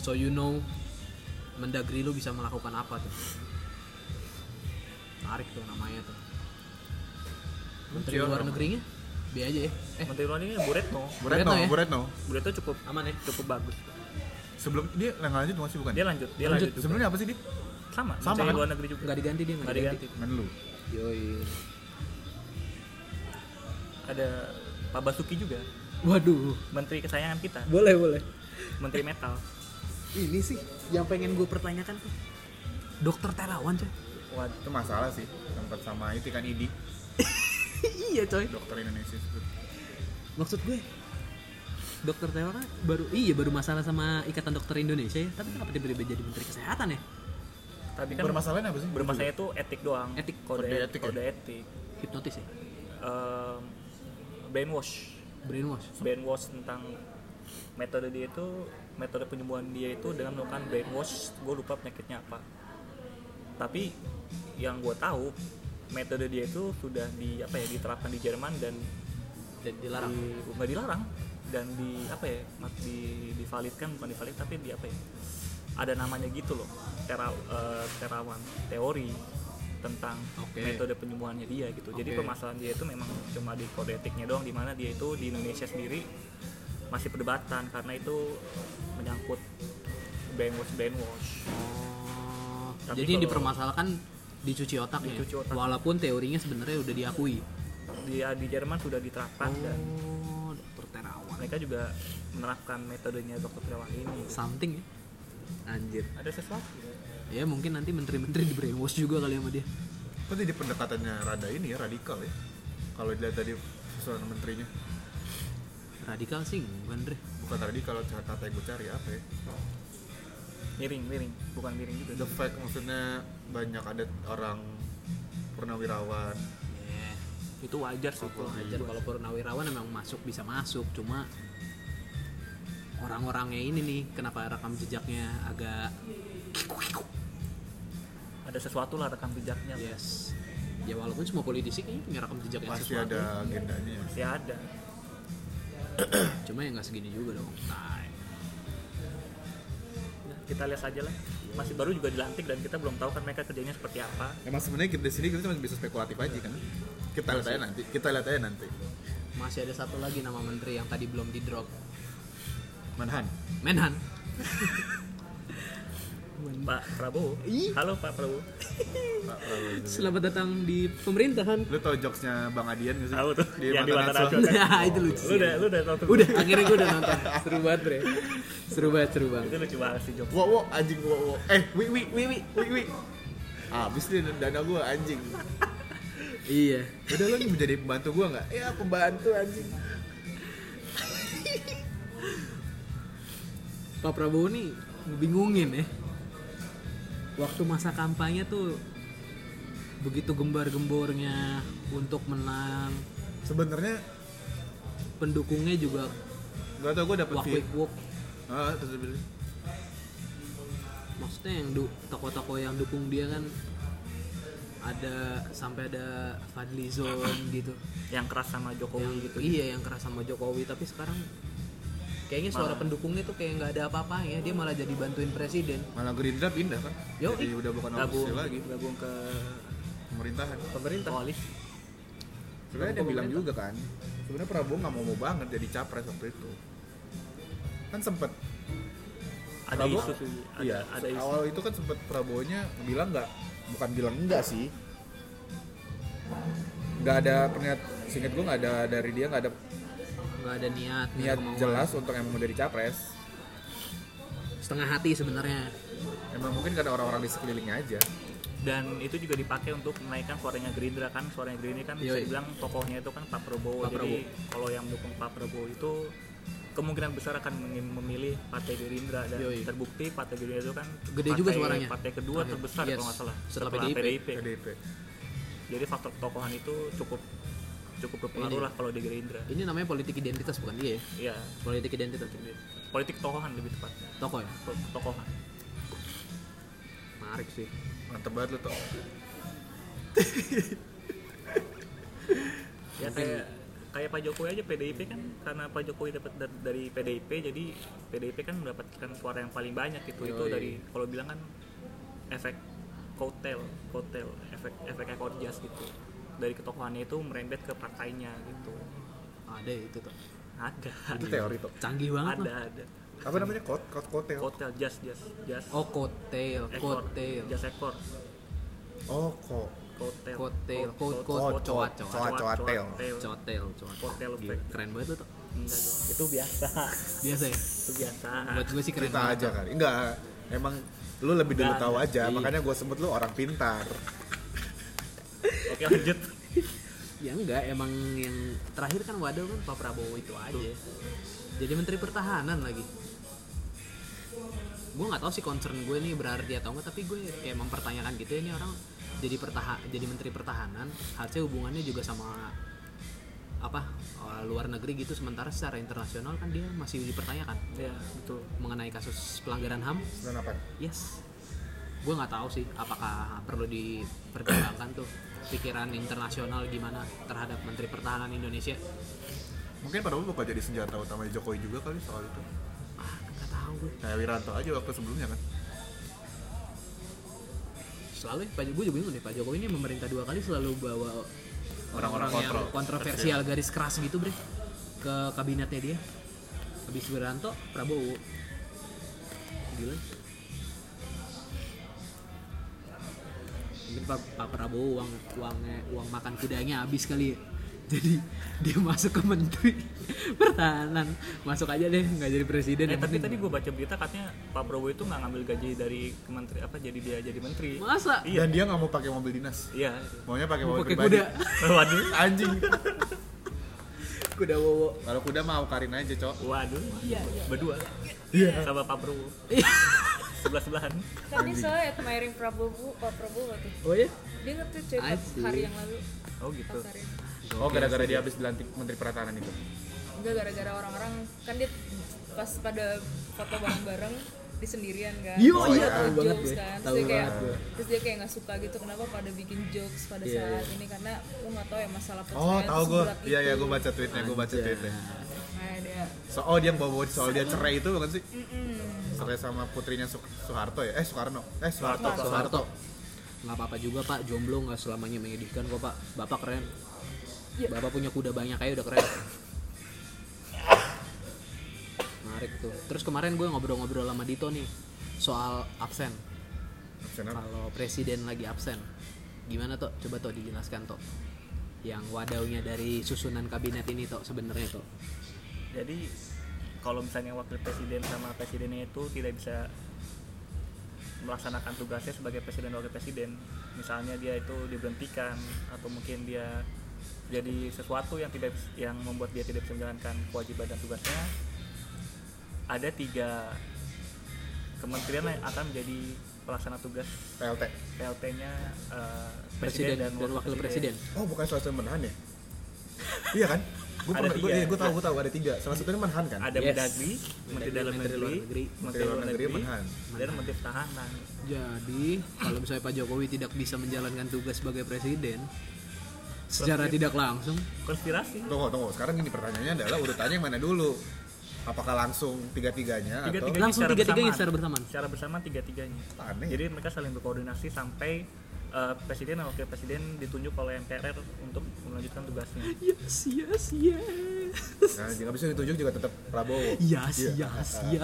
[SPEAKER 2] so you know Mendagri lu bisa melakukan apa tuh menarik tuh namanya tuh Menteri
[SPEAKER 1] Lucu ya
[SPEAKER 2] luar
[SPEAKER 1] nama.
[SPEAKER 2] negerinya biar aja ya eh
[SPEAKER 3] menteri luar negeri Bu Retno
[SPEAKER 1] Bu Retno,
[SPEAKER 2] Retno ya?
[SPEAKER 1] Bu Retno.
[SPEAKER 3] Bu Retno cukup
[SPEAKER 2] aman ya
[SPEAKER 3] cukup bagus
[SPEAKER 1] Sebelum dia yang lanjut masih bukan?
[SPEAKER 3] dia lanjut dia
[SPEAKER 2] Lanjut.
[SPEAKER 3] lanjut, juga.
[SPEAKER 1] Sebenarnya apa sih dia?
[SPEAKER 3] sama
[SPEAKER 1] Sama
[SPEAKER 3] menteri
[SPEAKER 1] kan?
[SPEAKER 3] luar negeri juga
[SPEAKER 2] nggak diganti dia nggak
[SPEAKER 3] nggak
[SPEAKER 2] diganti
[SPEAKER 3] diganti
[SPEAKER 1] Menlu.
[SPEAKER 2] yoi
[SPEAKER 3] ada Pak Basuki juga
[SPEAKER 2] waduh
[SPEAKER 3] menteri kesayangan kita
[SPEAKER 2] boleh boleh
[SPEAKER 3] menteri metal
[SPEAKER 2] ini sih yang pengen gue pertanyakan tuh dokter terawan coy
[SPEAKER 3] Wah,
[SPEAKER 1] Itu masalah sih. Tempat sama itu kan ID,
[SPEAKER 2] <laughs> iya coy
[SPEAKER 1] dokter Indonesia.
[SPEAKER 2] maksud gue dokter terawan baru iya baru masalah sama ikatan dokter Indonesia ya tapi kenapa dia berubah jadi menteri kesehatan ya
[SPEAKER 3] tapi kan
[SPEAKER 1] Bermasalahnya apa sih?
[SPEAKER 3] bermasalahnya itu etik doang
[SPEAKER 2] Etik.
[SPEAKER 3] kode,
[SPEAKER 1] Kode etik
[SPEAKER 3] etik
[SPEAKER 1] ya?
[SPEAKER 3] kode etik
[SPEAKER 2] hipnotis ya
[SPEAKER 3] Em, brainwash
[SPEAKER 2] brainwash
[SPEAKER 3] brainwash tentang metode dia itu metode penyembuhan dia itu dengan melakukan brainwash gue lupa penyakitnya apa tapi yang gue tahu metode dia itu sudah di apa ya diterapkan di Jerman dan
[SPEAKER 2] dan dilarang
[SPEAKER 3] di- nggak dilarang dan di apa ya mat- di divalidkan bukan divalid tapi di apa ya ada namanya gitu loh tera- eh, terawan teori tentang
[SPEAKER 2] Oke.
[SPEAKER 3] metode penyembuhannya dia gitu jadi
[SPEAKER 2] Oke.
[SPEAKER 3] permasalahan dia itu memang cuma di kode etiknya doang di mana dia itu di Indonesia sendiri masih perdebatan karena itu menyangkut brainwash brainwash
[SPEAKER 2] Oh,
[SPEAKER 3] Tapi
[SPEAKER 2] jadi yang
[SPEAKER 3] kalau-
[SPEAKER 2] dipermasalahkan dicuci otak ya?
[SPEAKER 3] Dicuci otak.
[SPEAKER 2] walaupun teorinya sebenarnya udah diakui
[SPEAKER 3] dia di Jerman sudah diterapkan dan
[SPEAKER 2] oh dokter terawan
[SPEAKER 3] mereka juga menerapkan metodenya dokter terawan ini
[SPEAKER 2] something ya anjir
[SPEAKER 3] ada sesuatu
[SPEAKER 2] ya mungkin nanti menteri-menteri <laughs> di brainwash juga kali sama dia
[SPEAKER 1] Kok jadi pendekatannya rada ini ya, radikal ya? Kalau dilihat dari susunan menterinya.
[SPEAKER 2] radikal sih bukan deh
[SPEAKER 1] Bukan radikal, cara kata yang gue cari apa ya?
[SPEAKER 3] miring miring bukan miring juga
[SPEAKER 1] The fact maksudnya banyak ada orang purnawirawan.
[SPEAKER 3] Iya. itu wajar sih gitu.
[SPEAKER 1] Oke.
[SPEAKER 2] wajar kalau purnawirawan memang masuk bisa masuk cuma orang-orangnya ini nih kenapa rekam jejaknya agak
[SPEAKER 3] ada sesuatu lah rekam jejaknya
[SPEAKER 2] Iya. yes ya walaupun semua politisi kayaknya punya rekam jejak yang
[SPEAKER 1] Pasti
[SPEAKER 2] sesuatu
[SPEAKER 1] ada agendanya.
[SPEAKER 3] masih Ya ada
[SPEAKER 2] cuma ya nggak segini juga dong Nah,
[SPEAKER 3] Nah, kita lihat aja lah masih baru juga dilantik dan kita belum tahu kan mereka kerjanya seperti apa
[SPEAKER 1] Emang sebenarnya kita di sini kita cuma bisa spekulatif aja kan. Kita lihat aja nanti. Kita lihat aja nanti.
[SPEAKER 2] masih ada satu lagi nama menteri yang tadi belum di drop
[SPEAKER 1] Manhan.
[SPEAKER 2] Menhan
[SPEAKER 3] Pak Prabowo
[SPEAKER 2] Ih.
[SPEAKER 3] halo Pak Prabowo
[SPEAKER 1] Pak
[SPEAKER 3] Iya.
[SPEAKER 1] Prabowo.
[SPEAKER 2] selamat datang di pemerintahan
[SPEAKER 1] Lu tau jokesnya Bang Adian gak sih?
[SPEAKER 3] Tahu tuh, yang di kan? Mata Najwa.
[SPEAKER 2] <laughs> nah itu lucu
[SPEAKER 3] lu
[SPEAKER 2] sih
[SPEAKER 3] udah lu udah tahu tuh
[SPEAKER 2] udah akhirnya gue udah nonton seru banget bre seru banget seru banget
[SPEAKER 3] itu lucu banget sih Jok
[SPEAKER 1] Wo wo anjing wo wo. Eh wi wi wi
[SPEAKER 2] Wih, wih.
[SPEAKER 1] wi wi. Abis nih dana gue anjing.
[SPEAKER 2] iya
[SPEAKER 1] Udah lu nih mau jadi pembantu gue nggak? Ya pembantu anjing.
[SPEAKER 2] Pak Prabowo nih ngebingungin ya. Waktu masa kampanye tuh begitu gembar-gembornya untuk menang,
[SPEAKER 1] Sebenarnya
[SPEAKER 2] pendukungnya juga
[SPEAKER 1] gak tau gue dapet
[SPEAKER 2] wak
[SPEAKER 1] feel.
[SPEAKER 2] wik wok.
[SPEAKER 1] Ah, terus dia bilang,
[SPEAKER 2] Maksudnya yang du- tokoh-tokoh yang dukung dia kan ada sampai ada Fadlizon gitu.
[SPEAKER 3] yang keras sama
[SPEAKER 2] yang
[SPEAKER 3] Jokowi
[SPEAKER 2] gitu. Iya, yang keras sama Jokowi, tapi sekarang kayaknya suara pendukungnya tuh kayak nggak ada apa-apa ya. Dia malah jadi bantuin presiden.
[SPEAKER 1] malah Gerindra pindah kan?
[SPEAKER 2] Yo,
[SPEAKER 1] Jadi udah bukan
[SPEAKER 3] gabung
[SPEAKER 1] oposisi lagi
[SPEAKER 3] gabung ke
[SPEAKER 1] pemerintahan.
[SPEAKER 2] Pemerintah.
[SPEAKER 3] koalisi
[SPEAKER 1] Sebenarnya dia bilang juga kan, sebenarnya Prabowo nggak mau mau banget jadi capres waktu itu. Kan sempet
[SPEAKER 3] ada
[SPEAKER 1] Prabowo?
[SPEAKER 3] isu tuh ada,
[SPEAKER 1] iya,
[SPEAKER 3] ada isu
[SPEAKER 1] awal itu kan sempet Prabowo-nya bilang nggak, bukan bilang enggak sih. Nggak ada perniat, singkat gue nggak ada dari dia nggak ada
[SPEAKER 2] nggak ada niat, nggak ada
[SPEAKER 1] niat
[SPEAKER 2] kemauan.
[SPEAKER 1] jelas untuk emang mau jadi capres.
[SPEAKER 2] Setengah hati sebenarnya.
[SPEAKER 1] Emang mungkin karena orang-orang di sekelilingnya aja.
[SPEAKER 3] dan itu juga dipakai untuk menaikkan suaranya Gerindra kan suaranya Gerindra kan bisa
[SPEAKER 2] Yoi.
[SPEAKER 3] bilang tokohnya itu kan Pak
[SPEAKER 2] Pak
[SPEAKER 3] Prabowo jadi kalau yang mendukung Pak Prabowo itu kemungkinan besar akan mem- memilih Partai Gerindra dan
[SPEAKER 2] Yoi.
[SPEAKER 3] terbukti Partai Gerindra itu kan
[SPEAKER 2] Gede
[SPEAKER 3] partai,
[SPEAKER 2] juga suaranya.
[SPEAKER 3] partai kedua
[SPEAKER 2] Terakhir.
[SPEAKER 3] terbesar
[SPEAKER 2] Yes.
[SPEAKER 3] kalau nggak salah
[SPEAKER 2] Setelah PDIP.
[SPEAKER 1] PDIP.
[SPEAKER 3] jadi faktor ketokohan itu cukup cukup berpengaruh
[SPEAKER 2] Ini.
[SPEAKER 3] lah kalau di Gerindra
[SPEAKER 2] Ini namanya politik identitas bukan dia ya?
[SPEAKER 3] ya
[SPEAKER 2] Politik identitas.
[SPEAKER 3] politik tokohan lebih tepatnya
[SPEAKER 2] Toko ya?
[SPEAKER 3] Pol- ketokohan
[SPEAKER 2] Menarik sih.
[SPEAKER 1] Mantep banget lu tau.
[SPEAKER 3] ya kayak kayak Pak Jokowi aja PDIP kan karena Pak Jokowi dapat da- dari PDIP jadi PDIP kan mendapatkan suara yang paling banyak gitu itu
[SPEAKER 2] Yoi.
[SPEAKER 3] dari kalau bilang kan efek kotel kotel efek efek ekor jas gitu dari ketokohannya itu merembet ke partainya gitu
[SPEAKER 2] Ada ya itu tuh.
[SPEAKER 3] ada
[SPEAKER 1] Itu teori tuh.
[SPEAKER 2] Canggih banget
[SPEAKER 3] ada
[SPEAKER 2] lah.
[SPEAKER 3] ada
[SPEAKER 1] Apa namanya? Kot, kot, ya? kotel.
[SPEAKER 3] kotel jas jas jas
[SPEAKER 2] Oh, kotel,
[SPEAKER 3] ekor
[SPEAKER 2] kotel,
[SPEAKER 3] jas ekor
[SPEAKER 1] Oh, kok.
[SPEAKER 3] kotel
[SPEAKER 2] Kotel, kot-
[SPEAKER 3] Ko- ko-
[SPEAKER 2] kot-
[SPEAKER 3] ko-
[SPEAKER 2] coat,
[SPEAKER 3] coat,
[SPEAKER 1] coat,
[SPEAKER 3] coat,
[SPEAKER 1] coatel.
[SPEAKER 3] coatel.
[SPEAKER 2] cotel, cotel.
[SPEAKER 3] kotel
[SPEAKER 2] Gila,
[SPEAKER 3] efek.
[SPEAKER 2] Keren banget lu tuh.
[SPEAKER 3] Enggak, itu biasa
[SPEAKER 2] Biasa ya?
[SPEAKER 3] itu biasa
[SPEAKER 2] Buat gue sih keren
[SPEAKER 1] Kita
[SPEAKER 2] banget.
[SPEAKER 1] aja kali. Enggak. Emang lu lebih dulu
[SPEAKER 3] Enggak,
[SPEAKER 1] tahu aja,
[SPEAKER 2] iya.
[SPEAKER 1] makanya gue sebut lu orang pintar.
[SPEAKER 3] oke lanjut
[SPEAKER 2] Ya enggak, emang yang terakhir kan waduh kan Pak Prabowo itu aja. Jadi Menteri Pertahanan lagi. Gue nggak tahu sih concern gue nih berarti atau enggak, tapi gue kayak mempertanyakan gitu ya ini orang jadi pertaha jadi Menteri Pertahanan harusnya hubungannya juga sama apa eh, luar negeri gitu sementara secara internasional kan dia masih dipertanyakan
[SPEAKER 3] ya betul
[SPEAKER 2] mengenai kasus pelanggaran ham
[SPEAKER 1] Dan apa?
[SPEAKER 2] Yes. Gue nggak tahu sih apakah perlu dipertimbangkan tuh pikiran internasional gimana terhadap Menteri Pertahanan Indonesia.
[SPEAKER 1] Mungkin pada bakal jadi senjata utama Jokowi juga kali soal itu.
[SPEAKER 2] Ah, nggak tahu gue.
[SPEAKER 1] Kayak Wiranto aja waktu sebelumnya kan.
[SPEAKER 2] selalu Pak gue juga bingung deh Pak Jokowi ini memerintah dua kali selalu bawa
[SPEAKER 1] Orang-orang
[SPEAKER 2] yang
[SPEAKER 1] kontrol-
[SPEAKER 2] kontroversial garis keras gitu bre ke kabinetnya dia habis Wiranto Prabowo gila mungkin Pak, Pak Prabowo uang uangnya uang makan kudanya habis kali ya <laughs> jadi dia masuk ke menteri <laughs> pertahanan masuk aja deh nggak jadi presiden ya.
[SPEAKER 3] Eh,
[SPEAKER 2] yang
[SPEAKER 3] tapi
[SPEAKER 2] penting.
[SPEAKER 3] tadi gue baca berita katanya Pak Prabowo itu nggak ngambil gaji dari kementeri apa jadi dia jadi menteri.
[SPEAKER 2] masa
[SPEAKER 1] Dan
[SPEAKER 3] Iya.
[SPEAKER 1] dia nggak mau pakai mobil dinas.
[SPEAKER 3] Iya. <laughs>
[SPEAKER 1] Maunya pakai
[SPEAKER 2] Mau
[SPEAKER 1] mobil
[SPEAKER 2] pakai
[SPEAKER 1] pribadi.
[SPEAKER 2] kuda
[SPEAKER 3] Waduh.
[SPEAKER 1] <laughs> Anjing.
[SPEAKER 2] kuda wowo
[SPEAKER 1] Kalau kuda mau karin aja, Cok.
[SPEAKER 3] Waduh.
[SPEAKER 4] Iya, iya.
[SPEAKER 3] Berdua. Sama Pak
[SPEAKER 4] <laughs>
[SPEAKER 3] Prabowo. Sebelah sebelahan.
[SPEAKER 4] Tadi saya admiring Prabowo, Pak Prabowo tuh.
[SPEAKER 2] oh ya
[SPEAKER 4] Dia nge-tweet cuy,
[SPEAKER 2] I see.
[SPEAKER 4] hari yang lalu.
[SPEAKER 3] Oh gitu.
[SPEAKER 4] Pas hari itu.
[SPEAKER 1] Oh, gara-gara dia habis dilantik Menteri Pertahanan itu.
[SPEAKER 4] Enggak gara-gara orang-orang kan dia pas pada foto bareng-bareng di sendirian kan.
[SPEAKER 2] Yo,
[SPEAKER 4] Terus
[SPEAKER 1] iya,
[SPEAKER 4] dia
[SPEAKER 1] tahu
[SPEAKER 4] buat
[SPEAKER 2] banget
[SPEAKER 4] jokes
[SPEAKER 2] gue,
[SPEAKER 4] kan.
[SPEAKER 2] tahu
[SPEAKER 4] Terus dia kayak
[SPEAKER 2] banget gue.
[SPEAKER 4] terus dia kayak nggak suka gitu kenapa pada bikin jokes pada
[SPEAKER 2] Iya,
[SPEAKER 4] saat
[SPEAKER 2] iya.
[SPEAKER 4] ini karena lu nggak tahu ya masalah
[SPEAKER 1] Oh,
[SPEAKER 4] perceraian
[SPEAKER 1] tahu
[SPEAKER 4] tuh
[SPEAKER 1] gue.
[SPEAKER 4] seberat
[SPEAKER 1] Iya,
[SPEAKER 4] itu.
[SPEAKER 1] iya, gue baca tweetnya, gue baca
[SPEAKER 2] Anjay.
[SPEAKER 1] tweetnya.
[SPEAKER 4] Nah, dia
[SPEAKER 1] So, oh, dia yang bawa soal dia cerai itu bukan sih?
[SPEAKER 4] mm-mm.
[SPEAKER 1] Cerai sama putrinya Su- Soeharto ya? Eh, Soekarno. Eh, Soeharto.
[SPEAKER 3] Soeharto.
[SPEAKER 1] Soeharto.
[SPEAKER 2] Soeharto nggak apa-apa juga pak jomblo nggak selamanya menyedihkan kok pak bapak keren
[SPEAKER 4] Iya.
[SPEAKER 2] bapak punya kuda banyak kayak udah keren menarik tuh terus kemarin gue ngobrol-ngobrol sama Dito nih soal absen
[SPEAKER 1] Kenapa?
[SPEAKER 2] kalau presiden lagi absen gimana toh coba toh dijelaskan toh yang wadahnya dari susunan kabinet ini toh sebenarnya toh
[SPEAKER 3] Jadi kalau misalnya wakil presiden sama presidennya itu tidak bisa melaksanakan tugasnya sebagai presiden dan wakil presiden, misalnya dia itu diberhentikan atau mungkin dia jadi sesuatu yang tidak yang membuat dia tidak bisa menjalankan kewajiban dan tugasnya, ada tiga kementerian yang akan menjadi pelaksana tugas
[SPEAKER 1] PLT.
[SPEAKER 3] PLT-nya eh,
[SPEAKER 2] presiden, dan, wakil presiden,
[SPEAKER 1] Oh, bukan selesai menahan ya? iya kan? Gue
[SPEAKER 3] Ada
[SPEAKER 1] pernah, gue,
[SPEAKER 3] tiga.
[SPEAKER 1] iya, gue tahu, gue tahu ada tiga. Salah satunya Menhan kan?
[SPEAKER 3] Ada
[SPEAKER 2] Yes.
[SPEAKER 3] Mendagri, Menteri
[SPEAKER 2] Mendagri,
[SPEAKER 3] Dalam
[SPEAKER 2] Menteri Luar
[SPEAKER 3] Negeri,
[SPEAKER 2] Negeri,
[SPEAKER 1] Menteri Luar Negeri Menhan.
[SPEAKER 3] dan Menteri Pertahanan.
[SPEAKER 2] Jadi, kalau misalnya Pak Jokowi tidak bisa menjalankan tugas sebagai presiden secara tidak langsung,
[SPEAKER 3] Konspirasi.
[SPEAKER 1] Tunggu, tunggu. Sekarang gini pertanyaannya adalah urutannya yang mana dulu? Apakah langsung tiga-tiganya atau
[SPEAKER 3] Tiga-tiganya
[SPEAKER 2] Langsung
[SPEAKER 3] secara
[SPEAKER 2] tiga-tiganya
[SPEAKER 3] bersamaan.
[SPEAKER 2] secara bersamaan.
[SPEAKER 3] Secara bersamaan tiga-tiganya.
[SPEAKER 1] Aneh.
[SPEAKER 3] Jadi mereka saling berkoordinasi sampai eh, presiden dan wakil presiden ditunjuk oleh MPR untuk melanjutkan tugasnya.
[SPEAKER 2] yes, yes, yes,
[SPEAKER 1] Nah, jadi nggak bisa ditunjuk juga tetap Prabowo.
[SPEAKER 2] <laughs> yes, yes, yes.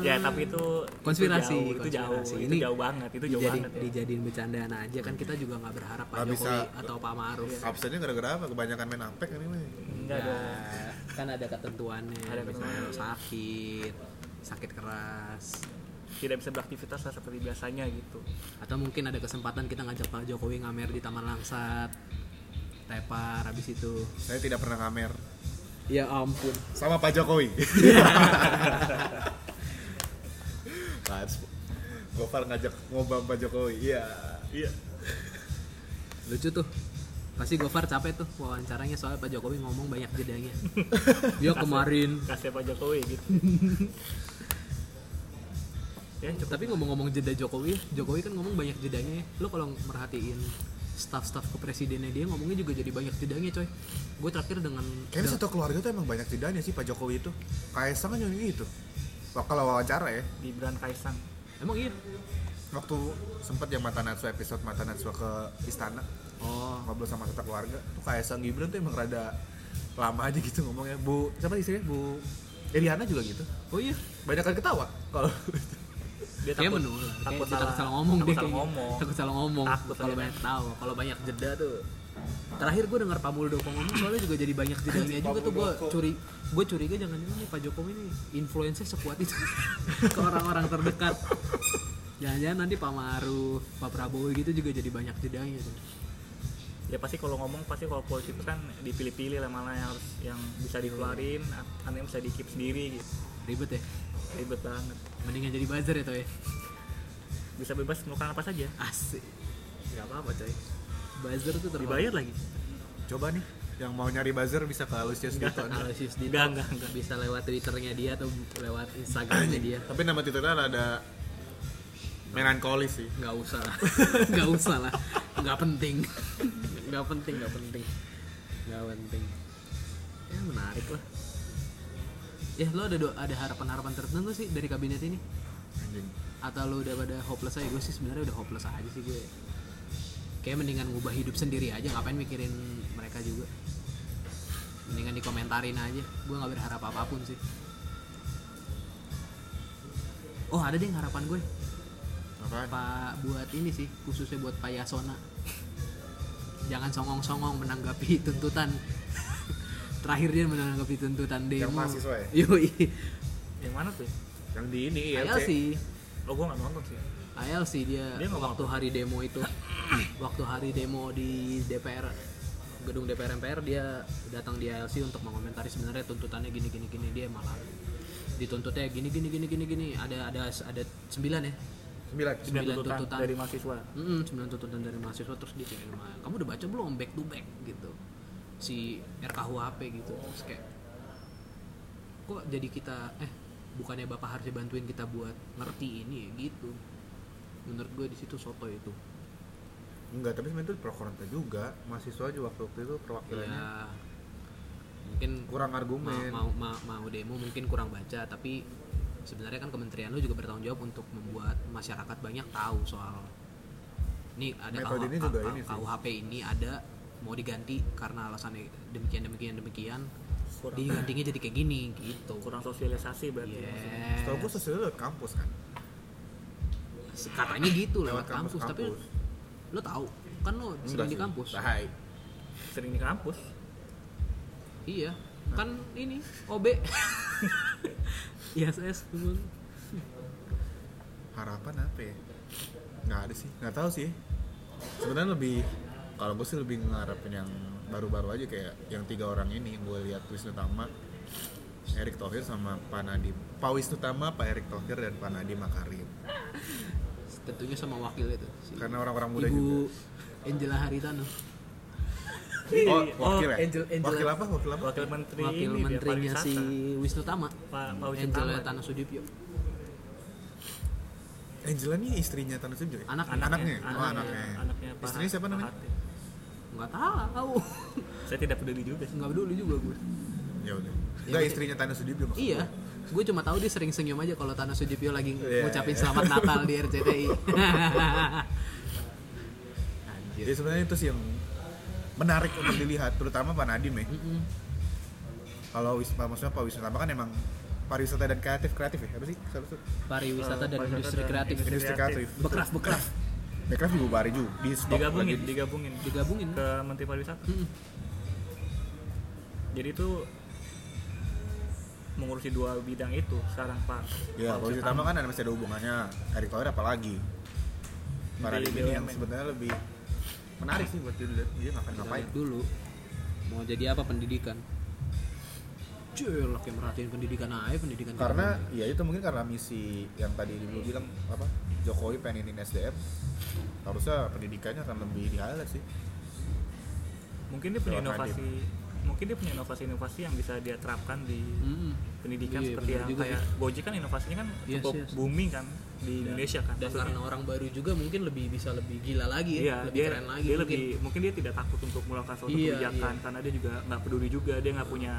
[SPEAKER 3] Ya, tapi itu
[SPEAKER 2] Konspirasi,
[SPEAKER 3] itu jauh,
[SPEAKER 2] konspirasi.
[SPEAKER 3] itu jauh, itu
[SPEAKER 2] Ini
[SPEAKER 3] jauh banget, itu jauh
[SPEAKER 2] Dijadi-
[SPEAKER 3] banget. Ya.
[SPEAKER 2] dijadiin bercandaan aja kan kita juga nggak berharap Pak
[SPEAKER 1] Nggak
[SPEAKER 2] Jokowi
[SPEAKER 1] bisa.
[SPEAKER 2] atau Pak Maruf.
[SPEAKER 1] Absennya gara-gara apa? Kebanyakan main apek kan ini.
[SPEAKER 3] Enggak dong.
[SPEAKER 2] Ya, kan ada ketentuannya,
[SPEAKER 3] Ada
[SPEAKER 2] misalnya
[SPEAKER 3] ketentuannya.
[SPEAKER 2] sakit, sakit keras,
[SPEAKER 3] Tidak bisa beraktivitas lah seperti biasanya gitu.
[SPEAKER 2] atau mungkin ada kesempatan kita ngajak Pak Jokowi ngamer di Taman Langsat, tepar habis itu.
[SPEAKER 1] Saya tidak pernah ngamer
[SPEAKER 2] Ya ampun.
[SPEAKER 1] sama Pak
[SPEAKER 3] <laughs>
[SPEAKER 1] Jokowi. Nah, terus Gofar ngajak ngobam Pak Jokowi. Iya.
[SPEAKER 3] Iya.
[SPEAKER 2] lucu tuh pasti Gofar capek tuh wawancaranya soalnya Pak Jokowi ngomong banyak jedanya dia kemarin
[SPEAKER 3] Kasih Pak Jokowi
[SPEAKER 2] <laughs>
[SPEAKER 3] gitu. ya, cukup.
[SPEAKER 2] tapi ngomong-ngomong jeda Jokowi Jokowi kan ngomong banyak jedanya ya. lo kalau merhatiin staff-staff kepresidennya dia ngomongnya juga jadi banyak jedanya coy gue terakhir dengan
[SPEAKER 1] Kayaknya satu keluarga tuh emang banyak jedanya sih Pak Jokowi itu. Kaisang kan yang gitu. Wah, Kalau wawancara ya,
[SPEAKER 3] di Bran Kaisang.
[SPEAKER 2] emang iya
[SPEAKER 1] waktu sempat yang Mata Najwa episode Mata Najwa ke istana
[SPEAKER 2] oh
[SPEAKER 1] ngobrol sama satu keluarga tuh Kaisang Gibran tuh emang rada lama aja gitu ngomongnya Bu siapa istrinya Bu Iriana juga gitu
[SPEAKER 2] oh iya
[SPEAKER 1] banyak kan ketawa kalau <laughs>
[SPEAKER 3] Dia
[SPEAKER 2] kayak
[SPEAKER 3] takut,
[SPEAKER 2] menolak
[SPEAKER 3] takut,
[SPEAKER 2] Kayak Iya, dia
[SPEAKER 3] salah,
[SPEAKER 2] salah ngomong
[SPEAKER 3] takut
[SPEAKER 2] dia
[SPEAKER 3] salah
[SPEAKER 2] kayaknya.
[SPEAKER 3] ngomong.
[SPEAKER 2] takut salah ngomong
[SPEAKER 3] Takut
[SPEAKER 2] kalau
[SPEAKER 3] aja.
[SPEAKER 2] banyak tahu kalau banyak jeda tuh terakhir gue dengar Pak Muldoko ngomong soalnya juga jadi banyak jedanya juga tuh gue curi gue curiga jangan jangan nih Pak Jokowi nih influence sekuat itu <laughs> ke orang-orang terdekat jangan-jangan nanti Pak Maruf Pak Prabowo gitu juga jadi banyak jedanya tuh
[SPEAKER 3] ya pasti kalau ngomong pasti kalau politikus kan dipilih-pilih lah mana yang harus yang bisa dikeluarin mana yang bisa dikip sendiri gitu
[SPEAKER 2] ribet ya
[SPEAKER 3] ribet banget
[SPEAKER 2] mendingan jadi buzzer ya toh ya
[SPEAKER 3] bisa bebas melakukan apa saja
[SPEAKER 2] asik nggak apa-apa coy buzzer tuh terlalu
[SPEAKER 3] dibayar lagi
[SPEAKER 1] coba nih yang mau nyari buzzer bisa ke Lucius Dito nih.
[SPEAKER 2] analisis di
[SPEAKER 3] enggak enggak enggak
[SPEAKER 2] bisa lewat twitternya dia atau lewat instagramnya dia
[SPEAKER 1] <laughs> tapi nama titelnya ada melankolis sih
[SPEAKER 2] nggak usah lah <laughs> nggak usah lah nggak penting nggak penting nggak penting nggak penting ya menarik lah ya lo ada do- ada harapan harapan tertentu sih dari kabinet ini
[SPEAKER 1] anjing
[SPEAKER 2] atau lu udah pada hopeless aja gue sih sebenarnya udah hopeless aja sih gue kayak mendingan ngubah hidup sendiri aja ngapain mikirin mereka juga mendingan dikomentarin aja gue nggak berharap apapun sih oh ada deh harapan gue
[SPEAKER 1] Apaan?
[SPEAKER 2] pak buat ini sih khususnya buat pak Yasona jangan songong-songong menanggapi <laughs> tuntutan terakhir dia menanggapi tuntutan demo
[SPEAKER 1] Yang mahasiswa ya?
[SPEAKER 2] Yoi.
[SPEAKER 3] Yang mana tuh?
[SPEAKER 1] yang di ini
[SPEAKER 3] Iya,
[SPEAKER 2] ILC
[SPEAKER 3] Oh, gua nggak nonton sih.
[SPEAKER 2] ILC dia,
[SPEAKER 3] Dia ngomong
[SPEAKER 2] waktu hari demo itu <clears throat> waktu hari demo di DPR gedung DPR MPR dia datang di ILC untuk mengomentari sebenarnya tuntutannya gini gini gini dia malah dituntutnya gini gini gini gini gini ada ada ada sembilan ya
[SPEAKER 1] sembilan
[SPEAKER 3] Sembilan
[SPEAKER 2] Sembilan
[SPEAKER 3] tuntutan,
[SPEAKER 2] tuntutan.
[SPEAKER 3] dari mahasiswa.
[SPEAKER 2] Mm, sembilan tuntutan dari mahasiswa terus dia kayak kamu udah baca belum back to back gitu si RKUHP gitu terus kayak kok jadi kita eh bukannya bapak harusnya bantuin kita buat ngerti ini ya gitu menurut gue di situ soto itu
[SPEAKER 1] enggak tapi sebenarnya itu pro kontra juga mahasiswa juga waktu itu perwakilannya
[SPEAKER 2] ya mungkin
[SPEAKER 1] kurang
[SPEAKER 2] mau,
[SPEAKER 1] argumen
[SPEAKER 2] mau ma- mau demo mungkin kurang baca tapi sebenarnya kan kementerian lu juga bertanggung jawab untuk membuat masyarakat banyak tahu soal ini ada
[SPEAKER 1] Metode
[SPEAKER 2] KUH
[SPEAKER 1] ini juga
[SPEAKER 2] KUH
[SPEAKER 1] ini sih.
[SPEAKER 2] KUHP ini ada mau diganti karena alasan demikian demikian demikian
[SPEAKER 3] Kurang.
[SPEAKER 2] digantinya jadi kayak gini gitu Iya.
[SPEAKER 3] Kurang sosialisasi berarti.
[SPEAKER 1] Iya.
[SPEAKER 3] maksudnya.
[SPEAKER 2] Yes.
[SPEAKER 1] setahu gue sosial lewat kampus kan
[SPEAKER 2] katanya gitu
[SPEAKER 1] Lewat
[SPEAKER 2] lewat kampus, tapi
[SPEAKER 1] kampus-kampus.
[SPEAKER 2] lu tahu kan lu
[SPEAKER 1] Enggak
[SPEAKER 2] sering di
[SPEAKER 1] sih.
[SPEAKER 2] kampus
[SPEAKER 1] Bahai.
[SPEAKER 3] Sering di kampus.
[SPEAKER 1] Nah.
[SPEAKER 2] iya kan ini <laughs> Iya, OB ISS temen
[SPEAKER 1] harapan apa ya nggak ada sih nggak tahu sih sebenarnya lebih kalau gue sih lebih ngarepin yang baru-baru aja kayak yang tiga orang ini yang gue lihat Wisnu Tama Erick Thohir sama Panadi Pak Wisnu Tama Pak Erick Thohir dan Panadi Makarim
[SPEAKER 2] tentunya sama wakil itu si
[SPEAKER 1] karena orang-orang muda
[SPEAKER 2] Ibu
[SPEAKER 1] juga
[SPEAKER 2] Angela Haritano
[SPEAKER 1] oh
[SPEAKER 3] Iya.
[SPEAKER 1] wakil ya
[SPEAKER 2] Oh, Angel- Angela.
[SPEAKER 1] wakil apa wakil apa
[SPEAKER 3] Wakil Menteri
[SPEAKER 2] wakil
[SPEAKER 3] ini, dia,
[SPEAKER 2] menterinya si
[SPEAKER 3] pariwisata.
[SPEAKER 2] Wisnu Tama
[SPEAKER 3] Pak Pak Wisnu
[SPEAKER 2] Angela
[SPEAKER 3] Tama.
[SPEAKER 2] Tanah Sudipyo
[SPEAKER 1] Angela ini istrinya Tanah Sudipyo ya?
[SPEAKER 2] Anak-
[SPEAKER 1] anaknya oh
[SPEAKER 3] anaknya,
[SPEAKER 1] anaknya,
[SPEAKER 3] anaknya Pak-
[SPEAKER 1] istrinya siapa
[SPEAKER 3] Pak
[SPEAKER 1] namanya
[SPEAKER 3] Hati.
[SPEAKER 2] nggak tahu <laughs>
[SPEAKER 3] Saya tidak peduli juga
[SPEAKER 1] Oh,
[SPEAKER 3] sih.
[SPEAKER 2] nggak peduli juga gue
[SPEAKER 1] ya udah nggak
[SPEAKER 2] Iya.
[SPEAKER 1] istrinya Tanah Sudipyo maksud
[SPEAKER 2] iya
[SPEAKER 1] gue.
[SPEAKER 2] gue cuma tahu dia sering senyum aja kalau Tanah Sudipyo lagi
[SPEAKER 1] Iya.
[SPEAKER 2] ngucapin selamat Natal
[SPEAKER 1] <laughs>
[SPEAKER 2] di RCTI <laughs> Anjir.
[SPEAKER 1] jadi sebenarnya itu sih yang menarik untuk dilihat terutama Pak Nadiem ya
[SPEAKER 2] Mm-mm.
[SPEAKER 1] kalau wisata maksudnya pak wisata kan emang pariwisata dan kreatif kreatif ya apa sih Salah satu
[SPEAKER 2] pariwisata
[SPEAKER 3] Eh,
[SPEAKER 2] dan
[SPEAKER 3] pariwisata
[SPEAKER 2] industri
[SPEAKER 3] dan
[SPEAKER 2] kreatif
[SPEAKER 1] industri kreatif
[SPEAKER 2] bekraf bekraf
[SPEAKER 1] Bekraf juga bari juga di stop
[SPEAKER 3] Digabungin,
[SPEAKER 1] lagi.
[SPEAKER 3] digabungin
[SPEAKER 2] digabungin
[SPEAKER 3] ke Menteri Pariwisata.
[SPEAKER 2] Mm-mm.
[SPEAKER 3] Jadi itu mengurusi dua bidang itu sekarang Pak.
[SPEAKER 1] ya
[SPEAKER 3] Pak
[SPEAKER 1] kalau
[SPEAKER 3] Wisnu
[SPEAKER 1] wisata kan ada masih ada hubungannya Erick Thohir apalagi para
[SPEAKER 3] Jadi
[SPEAKER 1] ini yang
[SPEAKER 3] BUMN.
[SPEAKER 1] sebenarnya lebih menarik sih buat dilihat dia ngapain
[SPEAKER 2] Kita
[SPEAKER 1] ngapain
[SPEAKER 2] lihat dulu mau jadi apa pendidikan Jelek yang merhatiin pendidikan aja pendidikan
[SPEAKER 1] karena ya itu mungkin karena misi yang tadi dulu bilang apa Jokowi pengen ini SDM harusnya pendidikannya akan lebih di highlight sih
[SPEAKER 3] Mungkin dia punya
[SPEAKER 1] Seorang
[SPEAKER 3] inovasi, mungkin dia punya inovasi-inovasi yang bisa dia terapkan di
[SPEAKER 2] Mm-mm.
[SPEAKER 3] pendidikan
[SPEAKER 2] Iya,
[SPEAKER 3] seperti
[SPEAKER 2] benar
[SPEAKER 3] yang
[SPEAKER 2] juga
[SPEAKER 3] kayak Gojek kan inovasinya kan
[SPEAKER 2] Yes,
[SPEAKER 3] cukup
[SPEAKER 2] yes. Iya.
[SPEAKER 3] booming kan di Indonesia kan.
[SPEAKER 2] dan
[SPEAKER 3] Maksudnya,
[SPEAKER 2] karena orang baru juga mungkin lebih bisa lebih gila lagi
[SPEAKER 3] Iya,
[SPEAKER 2] ya lebih
[SPEAKER 3] dia,
[SPEAKER 2] keren lagi
[SPEAKER 3] dia
[SPEAKER 2] mungkin.
[SPEAKER 3] lebih mungkin dia tidak takut untuk melakukan suatu
[SPEAKER 2] Iya,
[SPEAKER 3] kebijakan
[SPEAKER 2] iya.
[SPEAKER 3] karena dia juga nggak peduli juga dia nggak punya